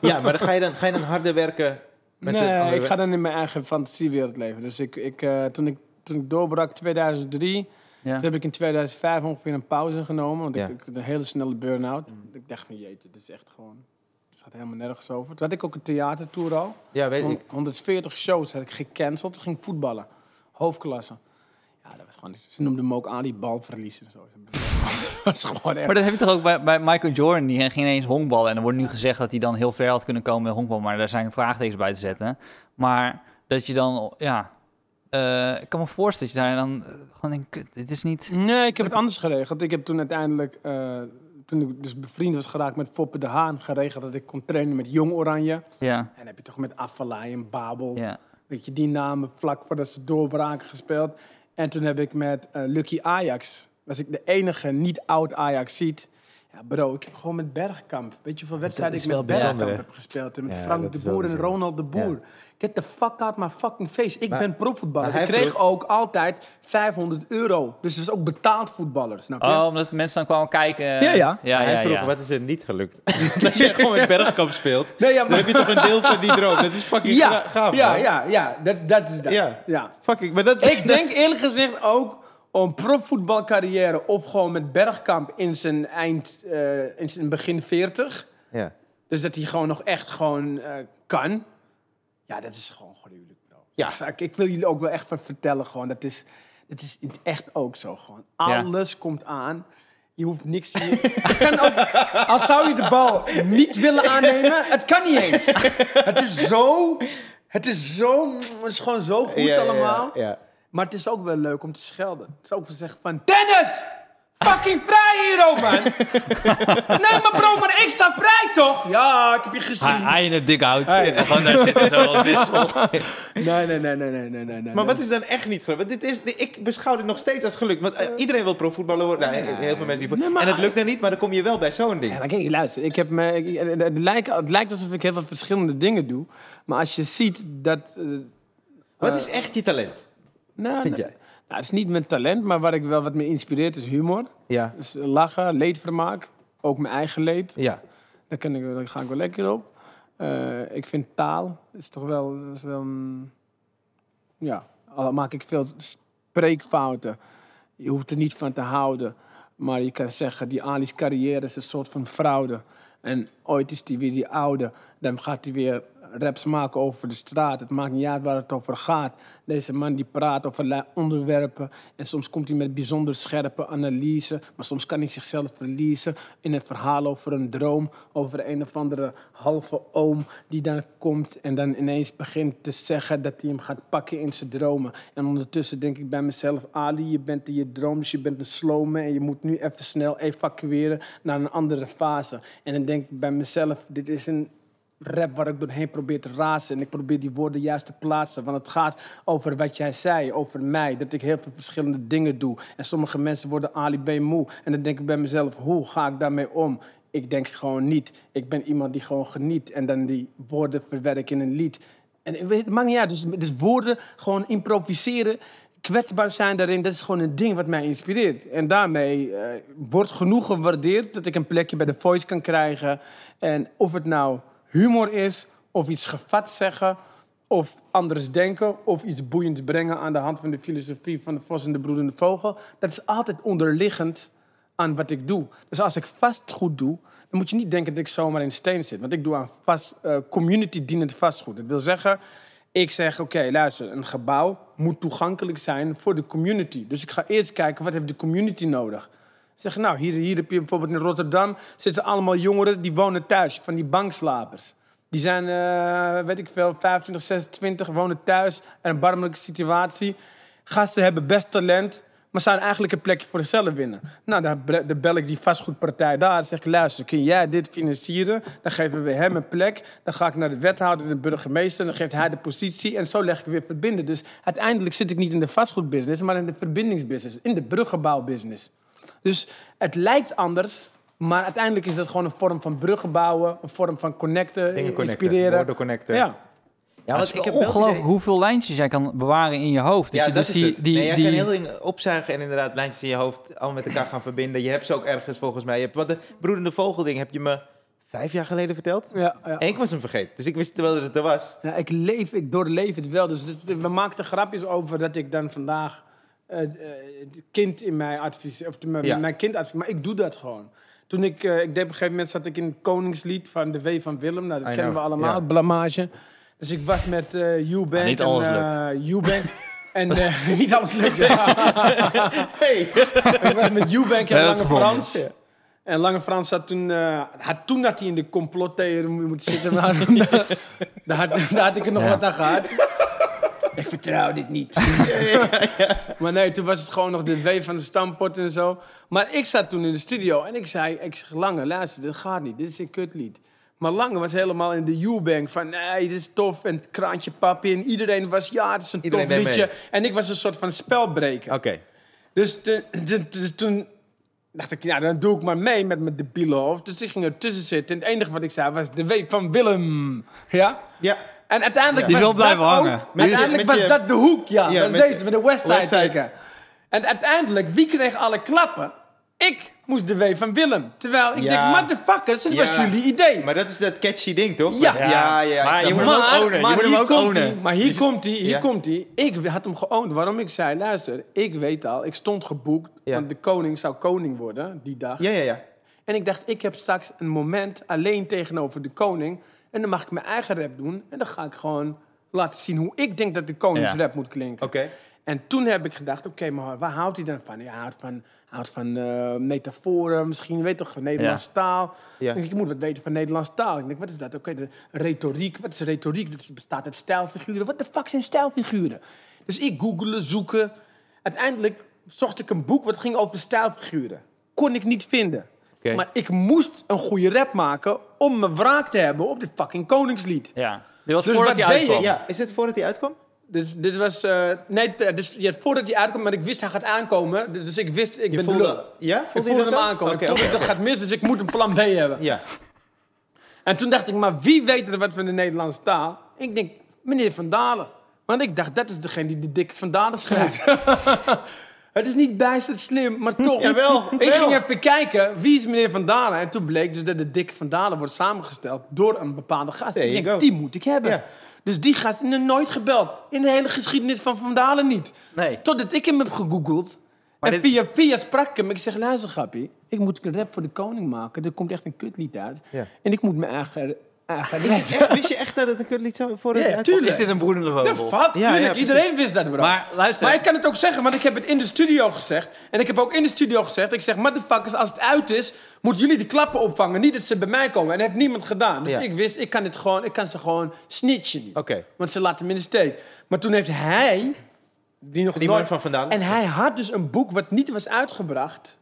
S2: Ja, maar dan ga, je dan, ga je dan harder werken met de
S3: nee,
S2: andere
S3: ik ga dan in mijn eigen fantasiewereld leven. Dus ik, ik, eh, toen, ik, toen ik doorbrak 2003,
S1: Ja.
S3: toen heb ik in 2005 ongeveer een pauze genomen. Want
S2: Ja. Mm.
S3: ik, ik had een hele snelle burn-out. Ik dacht van jeetje, dit is echt gewoon... Het gaat helemaal nergens over. Toen had ik ook een theatertour al.
S2: Ja, weet
S3: Hon-
S2: ik.
S3: 140 shows had ik gecanceld. Toen ging ik voetballen. Hoofdklasse. Ja, dat was gewoon... Ze noemden me ook aan die balverliezen. en Zo. dat is gewoon echt...
S1: Maar dat heb je toch ook bij, bij Michael Jordan, die ging ineens honkballen. En er wordt nu gezegd dat hij dan heel ver had kunnen komen met honkbal. Maar daar zijn vraagtekens bij te zetten. Maar dat je dan, ja... eh, ik kan me voorstellen dat je daar dan eh, gewoon denkt, kut, dit is niet...
S3: Nee, ik heb het anders geregeld. Ik heb toen uiteindelijk, eh, toen ik dus bevriend was geraakt met Foppe de Haan, geregeld dat ik kon trainen met Jong Oranje. En
S1: Ja,
S3: dan heb je toch met Affalay en Babel,
S1: ja.
S3: weet je, die namen vlak voordat ze doorbraken gespeeld. En toen heb ik met eh, Lucky Ajax, was ik de enige niet-oud Ajax ziet. Ja, bro, ik heb gewoon met Bergkamp. Weet je hoeveel wedstrijden
S2: is
S3: ik met
S2: wel bijzonder,
S3: Bergkamp
S2: hè?
S3: heb gespeeld? En met
S2: Ja,
S3: Frank
S2: dat
S3: de
S2: is wel
S3: Boer en
S2: bijzonder.
S3: Ronald de Boer. Get the fuck out my fucking face. Ik
S2: Maar-
S3: ben profvoetballer.
S2: maar hij
S3: Ik kreeg
S2: vroeg-
S3: ook altijd 500 euro. Dus het is ook betaald voetballer, snap je?
S1: Oh, omdat mensen dan kwamen kijken.
S3: Ja, ja.
S1: ja,
S2: hij
S1: ja,
S2: vroeg,
S1: ja.
S2: wat is er niet gelukt? Als je gewoon met Bergkamp speelt,
S3: Nee, ja,
S2: dan
S3: maar...
S2: heb je toch een deel van die droom. Dat is fucking
S3: Ja,
S2: gra- gaaf,
S3: ja,
S2: man.
S3: ja, ja, dat, dat is dat.
S2: Ja.
S3: ja.
S2: Fucking, maar dat...
S3: Ik denk eerlijk gezegd ook om profvoetbalcarrière of gewoon met Bergkamp in zijn eind, eh, in zijn begin 40.
S2: Ja.
S3: Dus dat hij gewoon nog echt gewoon eh, kan. Ja, dat is gewoon gruwelijk, bro.
S2: Ja.
S3: Dus ik, ik wil jullie ook wel echt wat vertellen, gewoon. Dat is, dat is in het echt ook zo, gewoon.
S1: Ja.
S3: Alles komt aan. Je hoeft niks te Het kan ook, al zou je de bal niet willen aannemen, het kan niet eens. Het is zo... Het is zo... Het is gewoon zo goed
S2: Ja, ja, ja,
S3: allemaal.
S2: ja.
S3: Maar het is ook wel leuk om te schelden. Het is ook wel zeggen van... Dennis! Fucking vrij hier, oh man! nee, maar bro, maar ik sta vrij toch? Ja, ik heb je gezien.
S2: Ah,
S1: Hij, hij in het dik hout. Gewoon daar zitten zo als wissel.
S3: Nee, nee, nee, nee, nee, nee, nee, nee.
S2: Maar wat is dan echt niet gelukt? Want dit is, dit- ik beschouw dit nog steeds als gelukt. Want eh, iedereen wil profvoetballer worden. Nou, heel veel mensen die
S3: Nee,
S2: vo-
S3: maar-
S2: En het lukt dan niet, maar dan kom je wel bij zo'n
S3: Ja,
S2: ding.
S3: maar kijk, luister. Ik heb me, ik- het, het lijkt, het lijkt alsof ik heel veel verschillende dingen doe. Maar als je ziet dat... eh,
S2: Wat is echt je talent?
S3: nou,
S2: Vind
S3: nou,
S2: jij?
S3: nou, het is niet mijn talent, maar wat, ik wel, wat me inspireert is humor.
S2: Ja.
S3: Dus lachen, leedvermaak. Ook mijn eigen leed.
S2: Ja.
S3: Daar, kan ik, daar ga ik wel lekker op. Eh, ik vind taal is toch wel... Is wel een- ja, al maak ik veel spreekfouten. Je hoeft er niet van te houden. Maar je kan zeggen, die Ali's carrière is een soort van fraude. En ooit is hij weer die oude. Dan gaat hij weer raps maken over de straat. Het maakt niet uit waar het over gaat. Deze man die praat over allerlei onderwerpen. En soms komt hij met bijzonder scherpe analyse. Maar soms kan hij zichzelf verliezen in een verhaal over een droom. Over een of andere halve oom die dan komt en dan ineens begint te zeggen dat hij hem gaat pakken in zijn dromen. En ondertussen denk ik bij mezelf, Ali, je bent in je droom, dus je bent een slome en je moet nu even snel evacueren naar een andere fase. En dan denk ik bij mezelf, dit is een rap waar ik doorheen probeer te razen. En ik probeer die woorden juist te plaatsen. Want het gaat over wat jij zei, over mij. Dat ik heel veel verschillende dingen doe. En sommige mensen worden Ali B. moe. En dan denk ik bij mezelf, hoe ga ik daarmee om? Ik denk gewoon niet. Ik ben iemand die gewoon geniet. En dan die woorden verwerk in een lied. En ik weet- het maakt niet uit. Dus, dus woorden, gewoon improviseren, kwetsbaar zijn daarin. Dat is gewoon een ding wat mij inspireert. En daarmee eh, wordt genoeg gewaardeerd dat ik een plekje bij de Voice kan krijgen. En of het nou humor is, of iets gevat zeggen, of anders denken, of iets boeiends brengen aan de hand van de filosofie van de Vos en de Broedende Vogel. Dat is altijd onderliggend aan wat ik doe. Dus als ik vastgoed doe, dan moet je niet denken dat ik zomaar in steen zit. Want ik doe aan vast, eh, community-dienend vastgoed. Dat wil zeggen, ik zeg, oké, luister, een gebouw moet toegankelijk zijn voor de community. Dus ik ga eerst kijken, wat heeft de community nodig? Zeg, nou, hier, hier heb je bijvoorbeeld in Rotterdam... zitten allemaal jongeren die wonen thuis, van die bankslapers. Die zijn, eh, weet ik veel, 25, 26, wonen thuis... en een barmelijke situatie. Gasten hebben best talent, maar zouden eigenlijk een plekje voor zichzelf winnen. Nou, dan, bre- dan bel ik die vastgoedpartij daar en zeg ik... luister, kun jij dit financieren? Dan geven we hem een plek. Dan ga ik naar de wethouder en de burgemeester... dan geeft hij de positie en zo leg ik weer verbinden. Dus uiteindelijk zit ik niet in de vastgoedbusiness... maar in de verbindingsbusiness, in de bruggenbouwbusiness. Dus het lijkt anders... Maar uiteindelijk is dat gewoon een vorm van bruggen bouwen, een vorm van connecten,
S2: Dingen connecten,
S3: eh, inspireren.
S2: woorden connecten.
S3: Ja.
S2: Ja,
S1: Het is
S2: ik heb wel het
S1: ongelooflijk
S2: idee-
S1: hoeveel lijntjes jij kan bewaren in je hoofd. Dat
S2: Ja,
S1: je
S2: dat
S1: dus
S2: is
S1: die,
S2: het.
S1: die,
S2: nee, jij
S1: die,
S2: kan heel dingen opzuigen en inderdaad lijntjes in je hoofd allemaal met elkaar gaan verbinden. Je hebt ze ook ergens volgens mij. Je hebt, want de broedende vogelding heb je me vijf jaar geleden verteld.
S3: Ja, ja.
S2: En ik was hem vergeten, dus ik wist wel dat het er was.
S3: Ja, ik leef, ik doorleef het wel. Dus dit- we maakten grapjes over dat ik dan vandaag eh, eh, het kind in mij adviseer. Of te- mijn,
S2: Ja.
S3: mijn kind adviseer. Maar ik doe dat gewoon. Toen ik, eh, ik deed op een gegeven moment zat ik in het Koningslied van de W van Willem. Nou, dat
S2: I
S3: kennen
S2: know,
S3: we allemaal,
S2: ja.
S3: blamage. Dus ik was met eh Eubank.
S1: Maar niet
S3: en,
S1: alles
S3: eh, Eubank. En eh, niet alles lukt. ja.
S2: Hey.
S3: Ik was met Eubank en
S1: hebben het
S3: Lange
S1: gevonden.
S3: Frans. En Lange Frans had toen, eh, had toen dat hij in de complottheorie mo- moet zitten. Maar daar, had, daar had ik er nog wat aan gehad. Ik vertrouw dit niet. Maar nee, toen was het gewoon nog de W van de stampot en zo. Maar ik zat toen in de studio en ik zei, ik zeg, Lange, luister, dit gaat niet. Dit is een kutlied. Maar Lange was helemaal in de U-bank van, nee, dit is tof. En kraantje pap in. Iedereen was, ja, het is een
S2: Iedereen
S3: tof
S2: deed
S3: liedje.
S2: mee.
S3: En ik was een soort van spelbreker.
S2: Oké.
S3: Dus, te- te- te- dus toen dacht ik, ja, dan doe ik maar mee met mijn debiele hoofd. Dus ik ging ertussen zitten. En het enige wat ik zei was de weep van Willem. Ja?
S2: Ja.
S3: En uiteindelijk
S1: Die
S3: was
S1: wil blijven
S3: dat
S1: hangen.
S3: ook-
S2: Met-
S3: uiteindelijk
S2: met je-
S3: was dat de hoek, ja.
S2: Ja,
S3: dat is
S2: met-
S3: deze, met de Westside
S2: Westside.
S3: teken. En uiteindelijk, wie kreeg alle klappen? Ik moest de weep van Willem. Terwijl ik
S2: Ja.
S3: denk, motherfuckers, dit
S2: Ja.
S3: was jullie idee.
S2: Maar dat is dat catchy ding, toch?
S3: Ja.
S2: ja, ja,
S4: Maar
S2: ik snap
S4: Ah, je
S2: het.
S4: moet hem ook ownen. Je moet hem
S3: hier
S4: ook
S3: komt
S4: ownen.
S3: ie, maar hier
S2: Dus-
S3: komt hij, hier
S2: ja.
S3: komt hij. Ik had hem geowned. Waarom ik zei, luister, ik weet al, ik stond geboekt.
S2: Ja.
S3: Want de koning zou koning worden die dag.
S2: Ja, ja, ja.
S3: En ik dacht, ik heb straks een moment alleen tegenover de koning. En dan mag ik mijn eigen rap doen. En dan ga ik gewoon laten zien hoe ik denk dat de koningsrap moet klinken.
S2: Oké.
S3: En toen heb ik gedacht, oké, maar waar houdt hij dan van? Hij houdt van, houdt van eh, metaforen, misschien, weet toch, Nederlands taal.
S2: Ja.
S3: Ik, denk, ik moet wat weten van Nederlands taal. Ik denk, wat is dat? Oké, de retoriek, wat is retoriek? Dat is- bestaat uit stijlfiguren. Wat de fuck zijn stijlfiguren? Dus ik googelen, zoeken. Uiteindelijk zocht ik een boek wat ging over stijlfiguren. Kon ik niet vinden.
S2: Oké.
S3: Maar ik moest een goede rap maken om mijn wraak te hebben op dit fucking koningslied.
S1: Ja. Dit was
S3: Dus
S1: voordat hij
S3: wat deed je?
S1: uitkwam.
S2: Ja, is het voordat hij uitkwam?
S3: Dus dit was... eh, nee, t- dus, ja, voordat hij uitkomt, maar ik wist hij gaat aankomen. Dus, dus ik wist, ik ben de lul.
S2: Ja?
S3: Ik
S2: Voelde je
S3: voelde
S2: dat
S3: hem
S2: dan?
S3: aankomen.
S2: Oké,
S3: ik voelde
S2: oké.
S3: dat gaat mis, dus ik moet een plan B hebben.
S2: Ja.
S3: En toen dacht ik, maar wie weet er wat van de Nederlandse taal? Ik denk, meneer Van Dalen. Want ik dacht, dat is degene die de dikke Van Dalen schrijft. Het is niet bijzonder slim, maar toch.
S2: Jawel,
S3: ik
S2: wel.
S3: ging even kijken, wie is meneer Van Dalen? En toen bleek dus dat de dikke Van Dalen wordt samengesteld door een bepaalde gast.
S2: There
S3: ik
S2: you
S3: denk,
S2: go.
S3: die moet ik hebben.
S2: Ja.
S3: Dus die gast is nooit gebeld. In de hele geschiedenis van Van Dalen niet.
S2: Nee.
S3: Totdat ik hem heb gegoogeld. en
S1: dit-
S3: via, via sprak ik hem. Ik zeg, luister grappie. Ik moet een rap voor de koning maken. Er komt echt een kutlied uit.
S2: Ja.
S3: En ik moet mijn eigen... eigen
S2: Wist je, echt, wist je echt dat het een kutlied zou voordat
S3: Ja,
S2: hij uitkwam?
S3: tuurlijk.
S1: Is dit een broedende
S3: The
S1: vogel?
S3: fuck?
S2: ja,
S3: Tuurlijk,
S2: precies.
S3: iedereen wist dat, bro.
S1: Maar luister.
S3: Maar ik kan het ook zeggen, want ik heb het in de studio gezegd. En ik heb ook in de studio gezegd, ik zeg, motherfuckers, als het uit is, moeten jullie de klappen opvangen. Niet dat ze bij mij komen. En dat heeft niemand gedaan. Dus
S2: Ja.
S3: ik wist, ik kan, dit gewoon, ik kan ze gewoon snitchen.
S2: Oké.
S3: Want ze laten hem in de steek. Maar toen heeft hij... Die, nog
S2: Die
S3: nooit-
S2: man van vandaan.
S3: En hij had dus een boek wat niet was uitgebracht,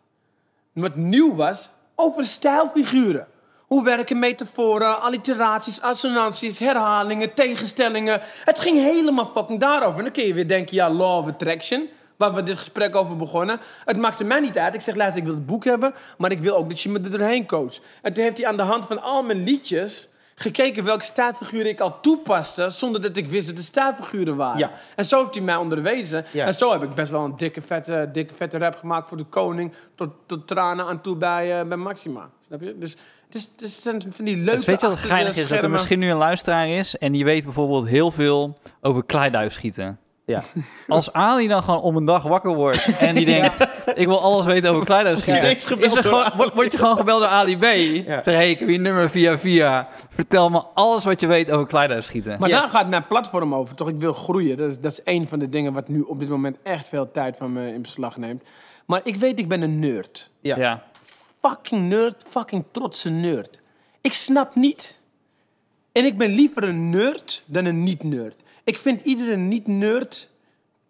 S3: wat nieuw was, over stijlfiguren. Hoe werken metaforen, alliteraties, assonanties, herhalingen, tegenstellingen. Het ging helemaal fucking daarover. En dan kun je weer denken, ja, law of attraction, waar we dit gesprek over begonnen. Het maakte mij niet uit. Ik zeg, luister, ik wil het boek hebben, maar ik wil ook dat je me er doorheen coacht. En toen heeft hij aan de hand van al mijn liedjes gekeken welke stijlfiguren ik al toepaste, zonder dat ik wist dat het stijlfiguren waren.
S2: Ja.
S3: En zo heeft hij mij onderwezen.
S2: Ja.
S3: En zo heb ik best wel een dikke vette, dikke vette rap gemaakt voor de koning. Tot, tot tranen aan toe bij, eh, bij Maxima. Snap je? Dus het is, het is een van die leuke
S1: Dus weet je wat
S3: achter de
S1: geinig is? Dat er
S3: schermen-
S1: misschien nu een luisteraar is en die weet bijvoorbeeld heel veel over kleiduif schieten.
S2: Ja.
S1: Als Ali dan gewoon om een dag wakker wordt en die denkt, ik wil alles weten over kleiduif schieten.
S2: ineens gebeld
S1: is er
S2: door
S1: gewoon, word, word je gewoon gebeld door Ali B?
S2: Ja.
S1: Zeg, hey, ik heb je nummer via via. Vertel me alles wat je weet over kleiduif schieten.
S3: Maar
S2: Yes.
S3: daar gaat mijn platform over, toch? Ik wil groeien. Dat is, dat is één van de dingen wat nu op dit moment echt veel tijd van me in beslag neemt. Maar ik weet, ik ben een nerd.
S2: Ja.
S1: ja.
S3: fucking nerd, fucking trotse nerd. Ik snap niet. En ik ben liever een nerd dan een niet-nerd. Ik vind iedere niet-nerd...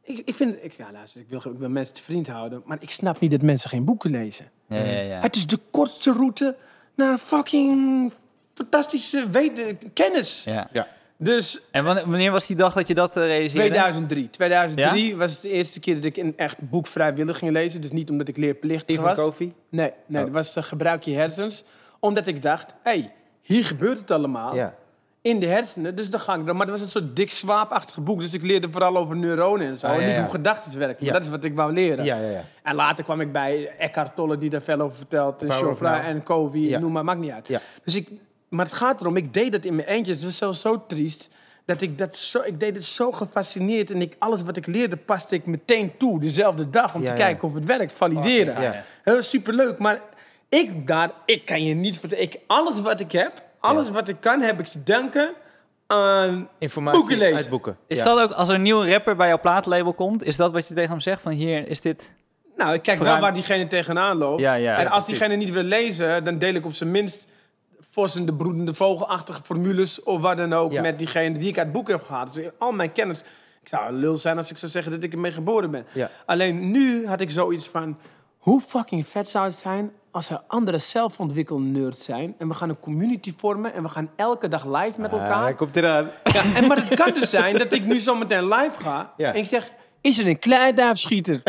S3: Ik, ik vind... Ik, ja, luister, ik wil, ik wil mensen te vriend houden. Maar ik snap niet dat mensen geen boeken lezen.
S1: Ja, ja, ja.
S3: Het is de kortste route naar fucking fantastische weten, kennis.
S1: ja.
S3: Dus
S1: En wanne- wanneer was die dag dat je dat eh, realiseerde?
S3: 2003. 2003 was het de eerste keer dat ik een echt boek vrijwillig ging lezen. Dus niet omdat ik leerplichtig
S2: Stephen
S3: was.
S2: Covey.
S3: Nee, nee
S2: Oh.
S3: dat was eh, gebruik je hersens. Omdat ik dacht, hé, hey, hier gebeurt het allemaal.
S2: Ja.
S3: In de hersenen, dus dan ga ik dan. Maar dat was een soort dik zwaapachtig boek. Dus ik leerde vooral over neuronen en zo.
S2: Ah, ja,
S3: en Niet
S2: ja.
S3: hoe gedachten werken. maar
S2: Ja.
S3: Dat is wat ik wou leren.
S2: Ja, ja, ja.
S3: En later kwam ik bij Eckhart Tolle, die daar veel over vertelt. En
S2: Power of
S3: Chopra
S2: Now.
S3: en Covey,
S2: Ja.
S3: noem maar, maakt niet uit.
S2: Ja.
S3: Dus ik, maar het gaat erom, ik deed dat in mijn eentje. Het was zelfs zo triest. Dat ik, dat zo, ik deed het zo gefascineerd. En ik, alles wat ik leerde, paste ik meteen toe. Dezelfde dag, om
S2: Ja,
S3: te
S2: ja.
S3: kijken of het werkt. Valideren.
S2: ja. Ja.
S3: Heel superleuk. Maar ik daar, ik kan je niet vertellen. Ik, alles wat ik heb, alles wat ik kan, heb ik te danken aan...
S2: Informatie
S3: Boeken lezen.
S2: uit boeken.
S1: Is
S2: Ja.
S1: dat ook, als er een nieuwe rapper bij jouw plaatlabel komt, is dat wat je tegen hem zegt? Van hier, is dit...
S3: Nou, ik kijk
S1: Vooruit-
S3: wel waar diegene tegenaan loopt.
S1: Ja, ja,
S3: en
S1: ja,
S3: als
S1: precies.
S3: diegene niet wil lezen, dan deel ik op zijn minst vossende, broedende, vogelachtige formules of wat dan ook
S2: Ja.
S3: met diegene die ik uit het boek heb gehad. Dus al mijn kennis. Ik zou een lul zijn als ik zou zeggen dat ik ermee geboren ben.
S2: Ja.
S3: Alleen nu had ik zoiets van, hoe fucking vet zou het zijn als er andere zelfontwikkelnerds zijn en we gaan een community vormen en we gaan elke dag live met
S2: Ah,
S3: elkaar.
S2: hij komt eraan.
S3: Ja, en, maar het kan dus zijn dat ik nu zometeen live ga
S2: Ja.
S3: en ik zeg... is er een kleiduifschieter?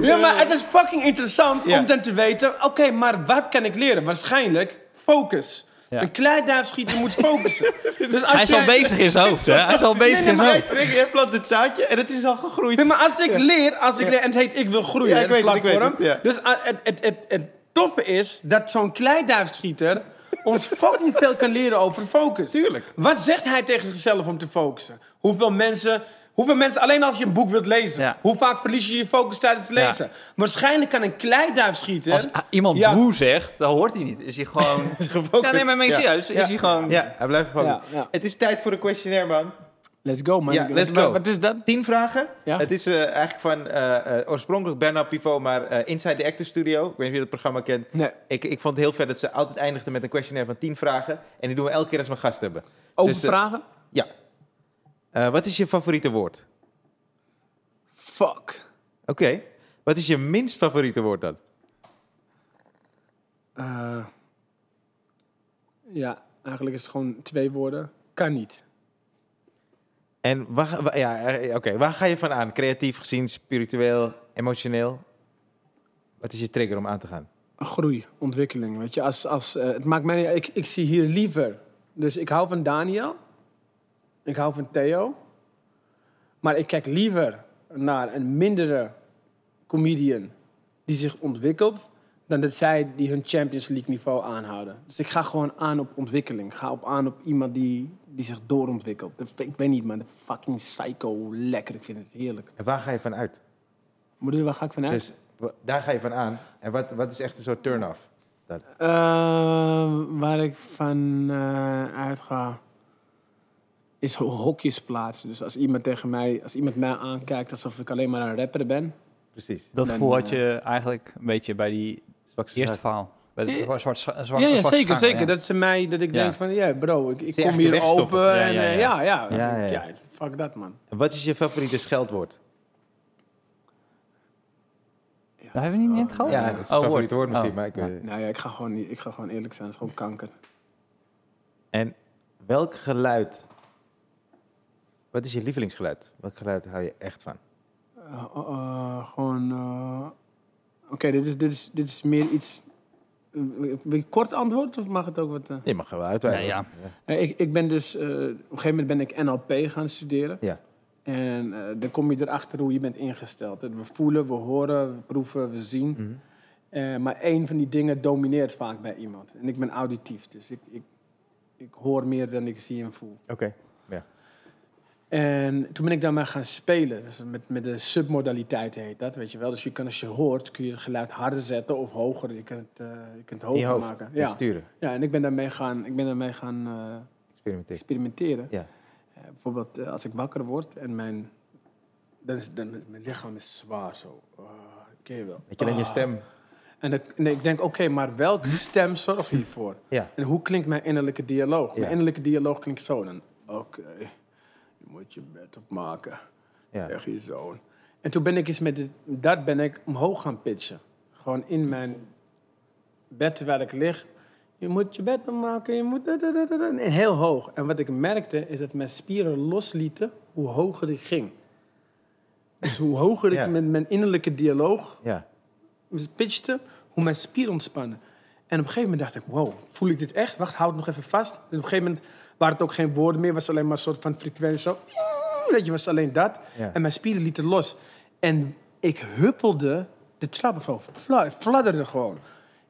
S3: ja, maar het is fucking interessant
S2: Ja.
S3: om dan te weten... Oké, maar wat kan ik leren? Waarschijnlijk focus.
S1: Ja.
S3: Een kleiduifschieter moet focussen. dus als
S1: Hij is al
S3: jij-
S1: bezig in zijn hoofd, hè? Hij is al bezig in zijn
S2: Jij
S1: hoofd.
S2: trekt, jij plant het zaadje en het is al gegroeid.
S3: Nee, maar als ik leer, als ik leer, en het heet ik wil groeien,
S2: Ja, ik
S3: het
S2: weet het, ik weet
S3: platform.
S2: het, ja.
S3: Dus ah, het, het, het, het toffe is dat zo'n kleiduifschieter ons fucking veel kan leren over focus.
S2: Tuurlijk.
S3: Wat zegt hij tegen zichzelf om te focussen? Hoeveel mensen, hoeveel mensen alleen als je een boek wilt lezen,
S1: Ja.
S3: hoe vaak verlies je je focus tijdens het
S1: Ja.
S3: lezen? Waarschijnlijk kan een kleiduifschieter...
S1: Als ah, iemand
S3: Ja.
S1: boe zegt, dan hoort hij niet. Is hij gewoon...
S2: Gefocust.
S1: Ja, nee, maar meen
S2: Ja.
S1: serieus. Is
S2: Ja.
S1: hij gewoon...
S2: Ja, hij blijft gewoon.
S3: Ja, ja.
S2: Het is tijd voor een questionnaire, man.
S3: Let's go, man.
S2: Ja, let's
S3: Wat-
S2: go.
S3: Wat is dat?
S2: Tien vragen.
S3: Ja.
S2: Het is eh, eigenlijk van eh, eh, oorspronkelijk Bernard Pivot, maar eh, Inside the Actors Studio. Ik weet niet of je dat programma kent.
S3: Nee.
S2: Ik, ik vond het heel vet dat ze altijd eindigden met een questionnaire van tien vragen. En die doen we elke keer als we een gast hebben.
S3: Open
S2: Dus, eh,
S3: vragen?
S2: Ja. Eh, wat is je favoriete woord?
S3: Fuck.
S2: Oké. Wat is je minst favoriete woord dan?
S3: Eh, ja, eigenlijk is het gewoon twee woorden. Kan niet.
S2: En waar, ga- wa- ja, eh, oké, waar ga je van aan? Creatief gezien, spiritueel, emotioneel? Wat is je trigger om aan te gaan?
S3: groei, ontwikkeling. Weet je, als, als, eh, het maakt mij niet- ik, ik zie hier liever. Dus ik hou van Daniel. Ik hou van Theo. Maar ik kijk liever naar een mindere comedian die zich ontwikkelt. dan dat zij die hun Champions League niveau aanhouden. Dus ik ga gewoon aan op ontwikkeling. Ik ga op aan op iemand die, die zich doorontwikkelt. Dat vind- Ik weet niet, man. dat Fucking psycho lekker. Ik vind het heerlijk.
S2: En waar ga je van uit?
S3: Moeder, waar ga ik vanuit?
S2: Dus wa- daar ga je van aan. En wat, wat is echt een soort turn-off? dan?
S3: Eh, waar ik van eh, uitga is ho- hokjes plaatsen. Dus als iemand tegen mij, als iemand mij aankijkt alsof ik alleen maar een rapper ben.
S2: Precies.
S1: Dat
S3: Dan,
S1: gevoel had
S3: eh,
S1: je eigenlijk een beetje bij die
S2: Zwakste
S1: eerste
S2: zaak.
S1: verhaal. Bij de
S3: Ja,
S1: zwart, zwart, zwart,
S3: ja, ja,
S1: zwarte
S3: zeker,
S1: schaar,
S3: zeker.
S1: ja.
S3: Dat ze mij, dat ik
S1: Ja.
S3: denk van, ja, bro, ik, ik
S2: Ze
S3: kom
S2: echt weer
S3: hier
S2: wegstoppen.
S3: open.
S1: Ja,
S3: en,
S1: ja,
S3: eh,
S1: ja.
S3: ja, ja.
S2: Ja, ja, ja.
S3: Ja, het- fuck dat, man.
S2: En wat is je favoriete scheldwoord?
S1: Dat hebben we niet net gehad?
S2: Ja, dat is het favoriete woord misschien.
S1: Oh.
S2: Maar ik, eh, weet het.
S3: Nou ja, ik ga gewoon, niet- ik ga gewoon eerlijk zijn. Het is gewoon kanker.
S2: En welk geluid... Wat is je lievelingsgeluid? Welk geluid hou je echt van?
S3: Eh, eh, eh, gewoon. eh, Oké, dit, is, dit, is, dit is meer iets. eh, Wil je een kort antwoord of mag het ook wat. eh?
S2: Je mag wel uitwijken.
S1: Ja,
S3: Eh, Ik, ik ben dus, eh, op een gegeven moment ben ik NLP gaan studeren.
S2: Ja.
S3: En eh, dan kom je erachter hoe je bent ingesteld. Dat We voelen, we horen, we proeven, we zien.
S2: Mm. Mhm.
S3: Eh, maar één van die dingen domineert vaak bij iemand. En ik ben auditief, dus ik, ik, ik hoor meer dan ik zie en voel.
S2: Oké.
S3: En toen ben ik daarmee gaan spelen. Dus met, met de submodaliteit heet dat, weet je wel. Dus je kan, als je hoort, kun je het geluid harder zetten of hoger. Je kunt het, eh, je kunt het
S2: In je
S3: hoger
S2: hoofd. Dus
S3: maken.
S2: Ja.
S3: Ja.
S2: Sturen.
S3: ja, en ik ben daarmee gaan, ik ben daarmee gaan eh,
S2: Experimenteer.
S3: experimenteren.
S2: Ja.
S3: Eh, bijvoorbeeld eh, als ik wakker word en mijn, dan is, dan, mijn lichaam is zwaar zo. Ah, ken je wel.
S2: Weet je alleen je
S3: Ah.
S2: stem? Hm?
S3: En dan- nee, ik denk, oké, maar welke stem zorgt hiervoor?
S2: Ja.
S3: En hoe klinkt mijn innerlijke dialoog?
S2: Ja.
S3: Mijn innerlijke dialoog klinkt zo dan. Oké, je moet je bed opmaken.
S2: Ja.
S3: Echt je zoon. En toen ben ik eens met dit, dat ben ik omhoog gaan pitchen. Gewoon in mijn bed terwijl ik lig. Je moet je bed opmaken, je moet... da, da, da, da, da. En heel hoog. En wat ik merkte is dat mijn spieren loslieten hoe hoger ik ging. Dus hoe hoger ik
S2: Ja.
S3: met mijn innerlijke dialoog
S2: Ja.
S3: pitchte, hoe mijn spieren ontspannen. En op een gegeven moment dacht ik, wow, voel ik dit echt? Wacht, houd nog even vast. En op een gegeven moment waren het ook geen woorden meer, was alleen maar een soort van frequentie. Zo, weet je, was alleen dat.
S2: Ja.
S3: En mijn spieren lieten los. En ik huppelde de trappen zo, fla- fladderde gewoon.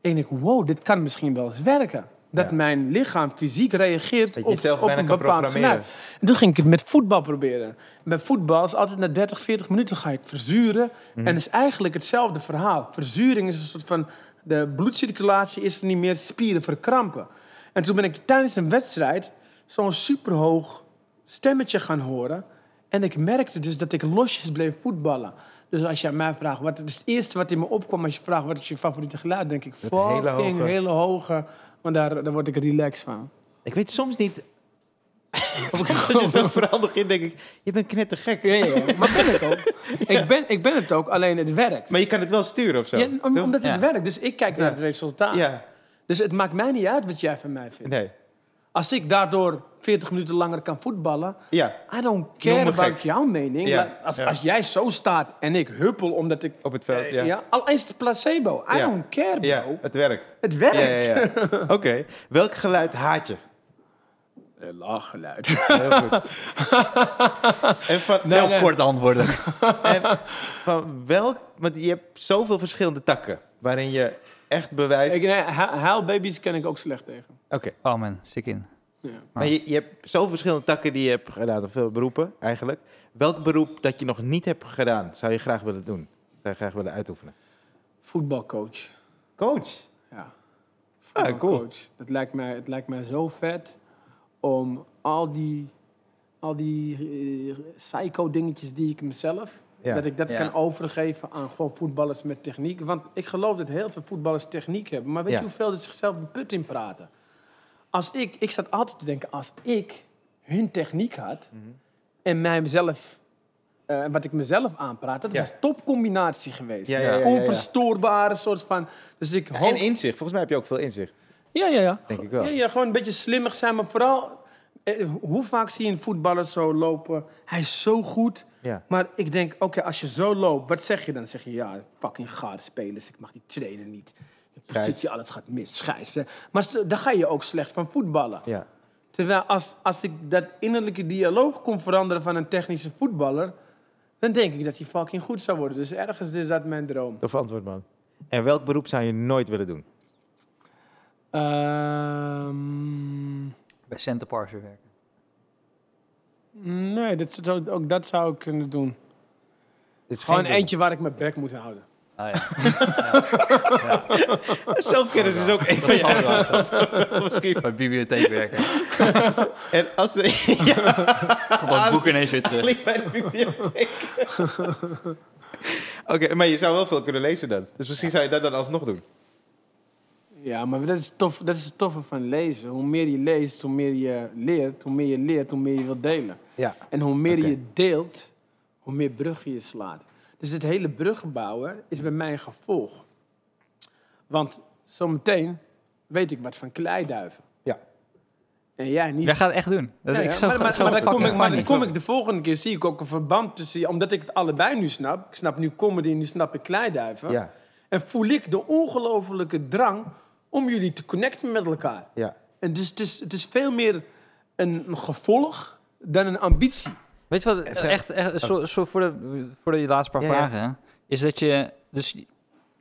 S3: En ik denk, wow, dit kan misschien wel eens werken. Dat
S2: Ja.
S3: mijn lichaam fysiek reageert
S2: Dat je
S3: op,
S2: jezelf
S3: op
S2: bijna
S3: een
S2: kan
S3: bepaald
S2: programmeren.
S3: geluid. En toen ging ik het met voetbal proberen. Met voetbal is altijd na 30, 40 minuten ga je het verzuren.
S2: Mhm.
S3: En het is eigenlijk hetzelfde verhaal. Verzuring is een soort van... De bloedcirculatie is er niet meer, spieren verkrampen. En toen ben ik tijdens een wedstrijd zo'n superhoog stemmetje gaan horen. En ik merkte dus dat ik losjes bleef voetballen. Dus als je aan mij vraagt, wat het is het eerste wat in me opkwam als je vraagt wat is je favoriete geluid, denk ik
S2: Dat hele
S3: fucking hele
S2: hoge.
S3: hoge. want daar, daar word ik relaxed van.
S2: Ik weet soms niet... Als je het zo verhaal begint, denk ik... Je bent knettergek.
S3: Ja, ja, ja. maar ben ik ook. Ik, ben, ik ben het ook, alleen het werkt.
S2: Maar je kan het wel sturen of zo.
S3: Ja, om- omdat het
S1: Ja.
S3: werkt, dus ik kijk naar het resultaat.
S2: Ja.
S3: Dus het maakt mij niet uit wat jij van mij vindt.
S2: Nee.
S3: Als ik daardoor 40 minuten langer kan voetballen.
S2: Ja,
S3: I don't
S2: Noem
S3: care
S2: me
S3: about
S2: gek.
S3: jouw mening.
S2: Ja,
S3: maar als,
S2: ja.
S3: als jij zo staat en ik huppel omdat ik...
S2: op het veld.
S3: eh,
S2: Ja,
S3: ja.
S2: ja.
S3: al is het placebo. I
S2: Ja.
S3: don't care, bro.
S2: het werkt.
S3: Het werkt.
S2: Ja, ja, ja. Oké, welk geluid haat je?
S3: Eh, Lachgeluid.
S2: Heel goed. en van,
S1: Heel
S3: nee.
S1: kort antwoorden.
S2: en van welk... Want je hebt zoveel verschillende takken waarin je echt bewijst...
S3: ik, nee, hu- huilbabies ken ik ook slecht tegen.
S2: Oké,
S1: Oh man, stik in.
S3: Ja.
S2: maar je, je hebt zoveel verschillende takken die je hebt gedaan. Of veel beroepen eigenlijk. Welk beroep dat je nog niet hebt gedaan zou je graag willen doen? Zou je graag willen uitoefenen?
S3: Voetbalcoach.
S2: Coach.
S3: Ja.
S2: Ah,
S3: Voetbalcoach.
S2: cool.
S3: Dat lijkt mij, het lijkt mij zo vet om al die, al die eh, psycho-dingetjes die ik mezelf...
S2: Ja.
S3: Dat ik dat
S1: Ja.
S3: kan overgeven aan gewoon voetballers met techniek. Want ik geloof dat heel veel voetballers techniek hebben. Maar weet
S2: Ja.
S3: je hoeveel er zichzelf de put in praten? Als ik, ik zat altijd te denken, als ik hun techniek had...
S2: Mhm.
S3: en mij mezelf, eh, wat ik mezelf aanpraat... dat
S2: Ja.
S3: was topcombinatie geweest.
S2: Ja, ja, ja, ja, ja.
S3: Onverstoorbare soort van... Dus ik hoop...
S2: En inzicht. Volgens mij heb je ook veel inzicht.
S3: Ja, ja, ja.
S2: Denk ik wel.
S3: Ja, ja, gewoon een beetje slimmig zijn, maar vooral... eh, hoe vaak zie je een voetballer zo lopen? Hij is zo goed.
S2: Ja.
S3: Maar ik denk, oké, als je zo loopt, wat zeg je dan? Zeg je, ja, fucking gaar spelers, ik mag die trainen niet. De
S2: Scheids.
S3: positie, alles gaat mis, scheids. hè. Maar s- daar ga je ook slecht van voetballen.
S2: Ja.
S3: Terwijl als, als ik dat innerlijke dialoog kon veranderen van een technische voetballer... dan denk ik dat hij fucking goed zou worden. Dus ergens is dat mijn droom.
S2: Tof antwoord, man. En welk beroep zou je nooit willen doen?
S3: Ehm...
S1: Bij Center Parser werken.
S3: Nee, dat zou, ook dat zou ik kunnen doen.
S2: Het is
S3: Gewoon
S2: geen beroep.
S3: eentje waar ik mijn bek moet houden.
S1: Oh ja.
S2: Zelfkennis is ook een van je eigenschappen, misschien.
S1: Bij bibliotheek werken.
S2: En als de... ja,
S1: Tot
S3: Ah,
S1: dat boek ineens weer terug.
S2: ligt bij de bibliotheek. Oké, maar je zou wel veel kunnen lezen dan. Dus misschien zou je dat dan alsnog doen.
S3: Ja, maar dat is, tof, dat is het toffe van lezen. Hoe meer je leest, hoe meer je leert. Hoe meer je leert, hoe meer je wilt delen.
S2: Ja.
S3: En hoe meer
S2: Oké.
S3: je deelt, hoe meer bruggen je slaat. Dus het hele bruggen bouwen is bij mij een gevolg. Want zometeen weet ik wat van kleiduiven.
S2: Ja.
S3: En jij niet.
S1: Jij gaat het echt doen. Dat
S3: Ja,
S1: is ik
S3: ja,
S1: zo,
S3: maar, maar,
S1: zo
S3: maar dan
S1: fucking
S3: kom ik, maar dan
S1: funny.
S3: kom ik de volgende keer, zie ik ook een verband tussen... Omdat ik het allebei nu snap. Ik snap nu comedy en nu snap ik kleiduiven.
S2: Ja.
S3: En voel ik de ongelofelijke drang om jullie te connecten met elkaar.
S2: Ja.
S3: En dus het is, het is veel meer een gevolg dan een ambitie.
S1: Weet je wat,
S2: Zeg-
S1: echt, echt zo, zo voordat, voordat je de laatste paar
S2: Oh. Ja, ja.
S1: vragen... is dat je... Dus ik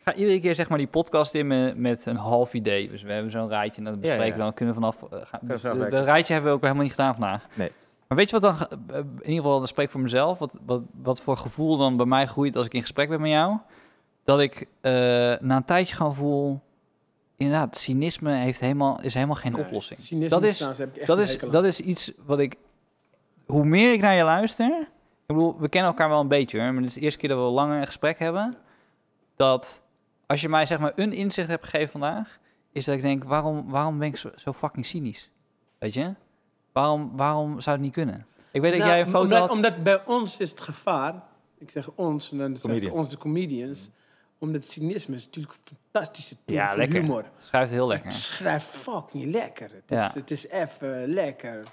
S1: ga iedere keer zeg maar die podcast in me- met een half idee. Dus we hebben zo'n rijtje en dat bespreken we
S2: ja.
S1: dan. Kunnen we vanaf... eh, gaan,
S2: we
S1: dus
S2: vanaf
S1: de- dat
S2: werken.
S1: rijtje hebben we ook helemaal niet gedaan vandaag.
S2: Nee.
S1: Maar weet je wat dan... ge- eh, In ieder geval, dan spreek ik voor mezelf. Wat, wat, wat voor gevoel dan bij mij groeit als ik in gesprek ben met jou. Dat ik eh, na een tijdje gewoon voel... Inderdaad, cynisme heeft helemaal, is helemaal geen
S3: Nee,
S1: oplossing.
S3: Eh, cynisme
S1: dat is,
S3: trouwens heb ik echt
S1: dat
S3: een
S1: is,
S3: hekel aan.
S1: dat is iets wat ik. Hoe meer ik naar je luister. Ik bedoel, we kennen elkaar wel een beetje hoor. Maar dit is de eerste keer dat we langer een gesprek hebben. Dat als je mij zeg maar een inzicht hebt gegeven vandaag. Is dat ik denk, waarom, waarom ben ik zo, zo fucking cynisch? Weet je? Waarom, waarom zou het niet kunnen? Ik weet dat
S3: Nou,
S1: jij een foto
S3: omdat,
S1: had.
S3: omdat bij ons is het gevaar... Ik zeg ons, en dan zeg ik
S2: Comedians.
S3: onze comedians... Omdat cynisme is natuurlijk een fantastische tool
S1: Ja,
S3: voor
S1: lekker.
S3: humor.
S1: Schuift heel
S3: Het
S1: lekker.
S3: schrijft fucking lekker. Het
S1: Ja.
S3: is, het is even lekker.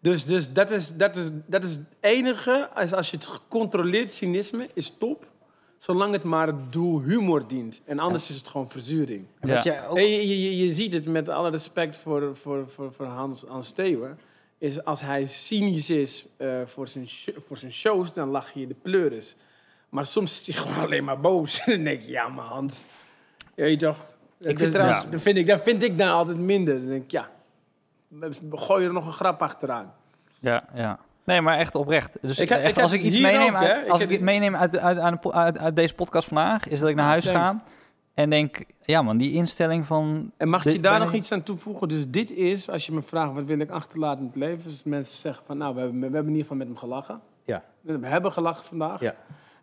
S3: Dus, dus dat, is, dat, is, dat is het enige. Als, als je het gecontroleerd cynisme is top. Zolang het maar het doel humor dient. En anders is het gewoon verzuring.
S1: Ja.
S2: Wat jij ook...
S3: En je, je, je- je ziet het met alle respect voor, voor, voor, voor Hans, Hans Steeuwen. Is als hij cynisch is eh, voor, zijn sh- voor zijn shows, dan lach je de pleuris. Maar soms is hij gewoon alleen maar boos. en dan denk je, ja, maar Hans. Je weet toch?
S2: vind
S3: Dus-
S2: trouwens-
S3: dan vind ik, dat vind ik dan altijd minder. Dan denk ik, ja, gooi er nog een grap achteraan.
S1: Ja, ja. Nee, maar echt oprecht. Dus
S3: Ik heb-
S1: echt,
S3: ik heb
S1: als ik iets
S3: hier
S1: meeneem,
S3: ook, hè.
S1: uit,
S3: Ik
S1: als ik
S3: heb-
S1: het meeneem uit, uit, aan de po- uit, uit deze podcast vandaag, is dat ik naar huis
S3: Thanks.
S1: ga en denk, ja man, die instelling van
S3: En mag ik
S1: Dit-
S3: je daar
S1: ben
S3: nog
S1: ik-
S3: iets aan toevoegen? Dus dit is, als je me vraagt, wat wil ik achterlaten in het leven? Dus mensen zeggen van, nou, we hebben, we hebben in ieder geval met hem gelachen.
S2: Ja.
S3: We hebben gelachen vandaag.
S2: Ja.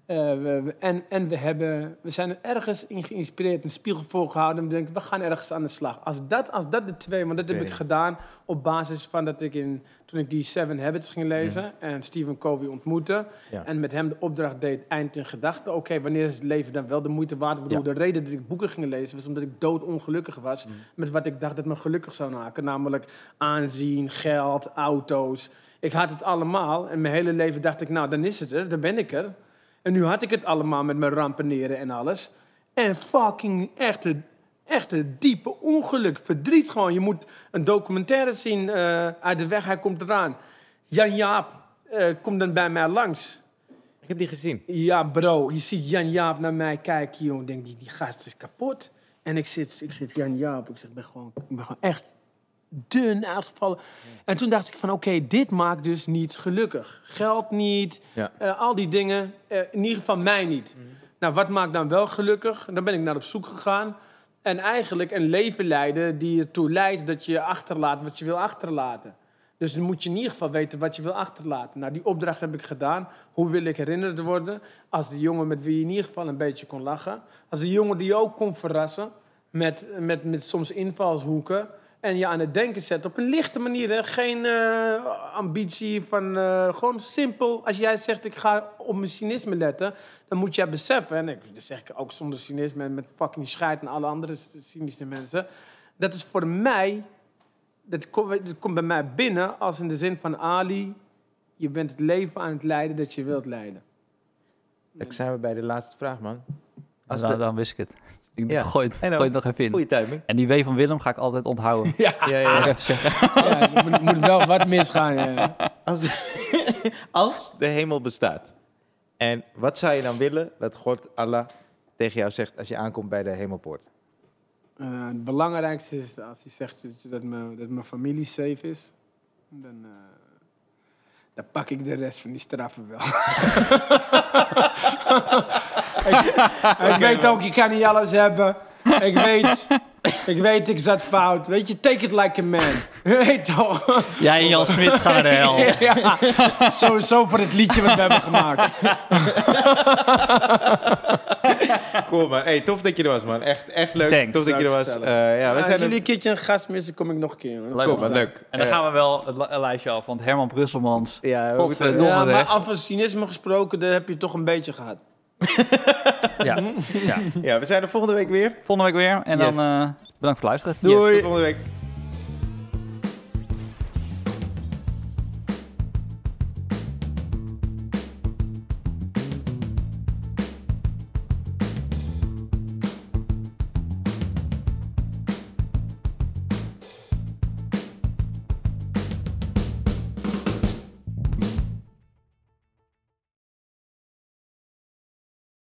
S3: Eh, we- we- en en we, hebben, we zijn er ergens in geïnspireerd, een spiegel voorgehouden. En we denken, we gaan ergens aan de slag. Als dat, als dat de twee, want dat heb ik
S2: Oké.
S3: gedaan op basis van dat ik in, toen ik die Seven Habits ging lezen en Stephen Covey ontmoette.
S2: Ja.
S3: En met hem de opdracht deed, eind in gedachten. Oké, wanneer is het leven dan wel de moeite waard? Ik bedoel, de reden dat ik boeken ging lezen was omdat ik doodongelukkig was met wat ik dacht dat me gelukkig zou maken. Namelijk aanzien, geld, auto's. Ik had het allemaal en mijn hele leven dacht ik, nou dan is het er, dan ben ik er. En nu had ik het allemaal met mijn rampeneren en alles. En fucking echte, echte diepe ongeluk, verdriet gewoon. Je moet een documentaire zien eh, uit de weg, hij komt eraan. Jan Jaap eh, komt dan bij mij langs.
S2: Ik heb die gezien.
S3: Ja, bro, je ziet Jan Jaap naar mij kijken, joh. Ik denk, die, die gast is kapot. En ik zit, ik zit Jan Jaap, ik, zeg, ik, ben gewoon, ik ben gewoon echt dun uitgevallen. En toen dacht ik van, oké, dit maakt dus niet gelukkig. Geld niet,
S2: Ja.
S3: eh, al die dingen. eh, in ieder geval mij niet. Nou, wat maakt dan wel gelukkig? En Daar ben ik naar op zoek gegaan. En eigenlijk een leven leiden die ertoe leidt dat je achterlaat wat je wil achterlaten. Dus dan moet je in ieder geval weten wat je wil achterlaten. Nou, die opdracht heb ik gedaan. Hoe wil ik herinnerd worden? Als de jongen met wie je in ieder geval een beetje kon lachen. Als de jongen die je ook kon verrassen. Met, met, met soms invalshoeken. En je aan het denken zet op een lichte manier. Hè? Geen eh, ambitie van eh, gewoon simpel. Als jij zegt ik ga op mijn cynisme letten, dan moet jij beseffen. En ik, dat zeg ik ook zonder cynisme en met fucking scheid en alle andere c- cynische mensen. Dat is voor mij, dat, kom- dat komt bij mij binnen als in de zin van Ali. Je bent het leven aan het leiden dat je wilt leiden.
S2: Dan zijn we bij de laatste vraag, man. Als
S1: Nou,
S2: de-
S1: dan wist ik het. Ik
S2: Ja.
S1: gooi, het,
S2: En dan-
S1: gooi het nog even in.
S2: Goeie timing.
S1: En die W van Willem ga ik altijd onthouden.
S3: Ja,
S2: Ja,
S1: Wil ik
S2: ja.
S1: even zeggen.
S3: er moet, moet wel wat misgaan. ja.
S2: Als, de, als de hemel bestaat. En wat zou je dan willen dat God, Allah, tegen jou zegt als je aankomt bij de hemelpoort?
S3: Eh, het belangrijkste is als hij zegt dat, je- dat, mijn, dat mijn familie safe is, dan, eh, dan pak ik de rest van die straffen wel. ik ik weet ook, je kan niet alles hebben. Ik weet, ik weet, ik zat fout. Weet je, take it like a man. Weet toch?
S1: Jij en Jan Smit gaan naar de hel.
S3: ja, sowieso voor het liedje wat we hebben gemaakt.
S2: Cool, man. Hey, tof dat je er was, man. Echt, echt leuk.
S1: Thanks.
S2: Tof dat je er was.
S3: Gezellig.
S2: Eh, ja, wij
S3: Als
S2: zijn
S3: jullie een keertje een gast missen, kom ik nog een keer. hoor.
S1: Leuk.
S2: Cool, man. Leuk.
S1: En dan
S2: Eh,
S1: gaan we wel het li- lijstje af, want Herman Brusselmans.
S2: Ja, we moeten-
S1: Godverdomme.
S3: Ja, maar
S1: Donderdag.
S3: af van cynisme gesproken, daar heb je toch een beetje gehad.
S1: Ja. ja.
S2: ja, we zijn er volgende week weer.
S1: Volgende week weer. En dan
S2: Yes.
S1: eh, bedankt voor het luisteren.
S2: Yes, tot volgende week.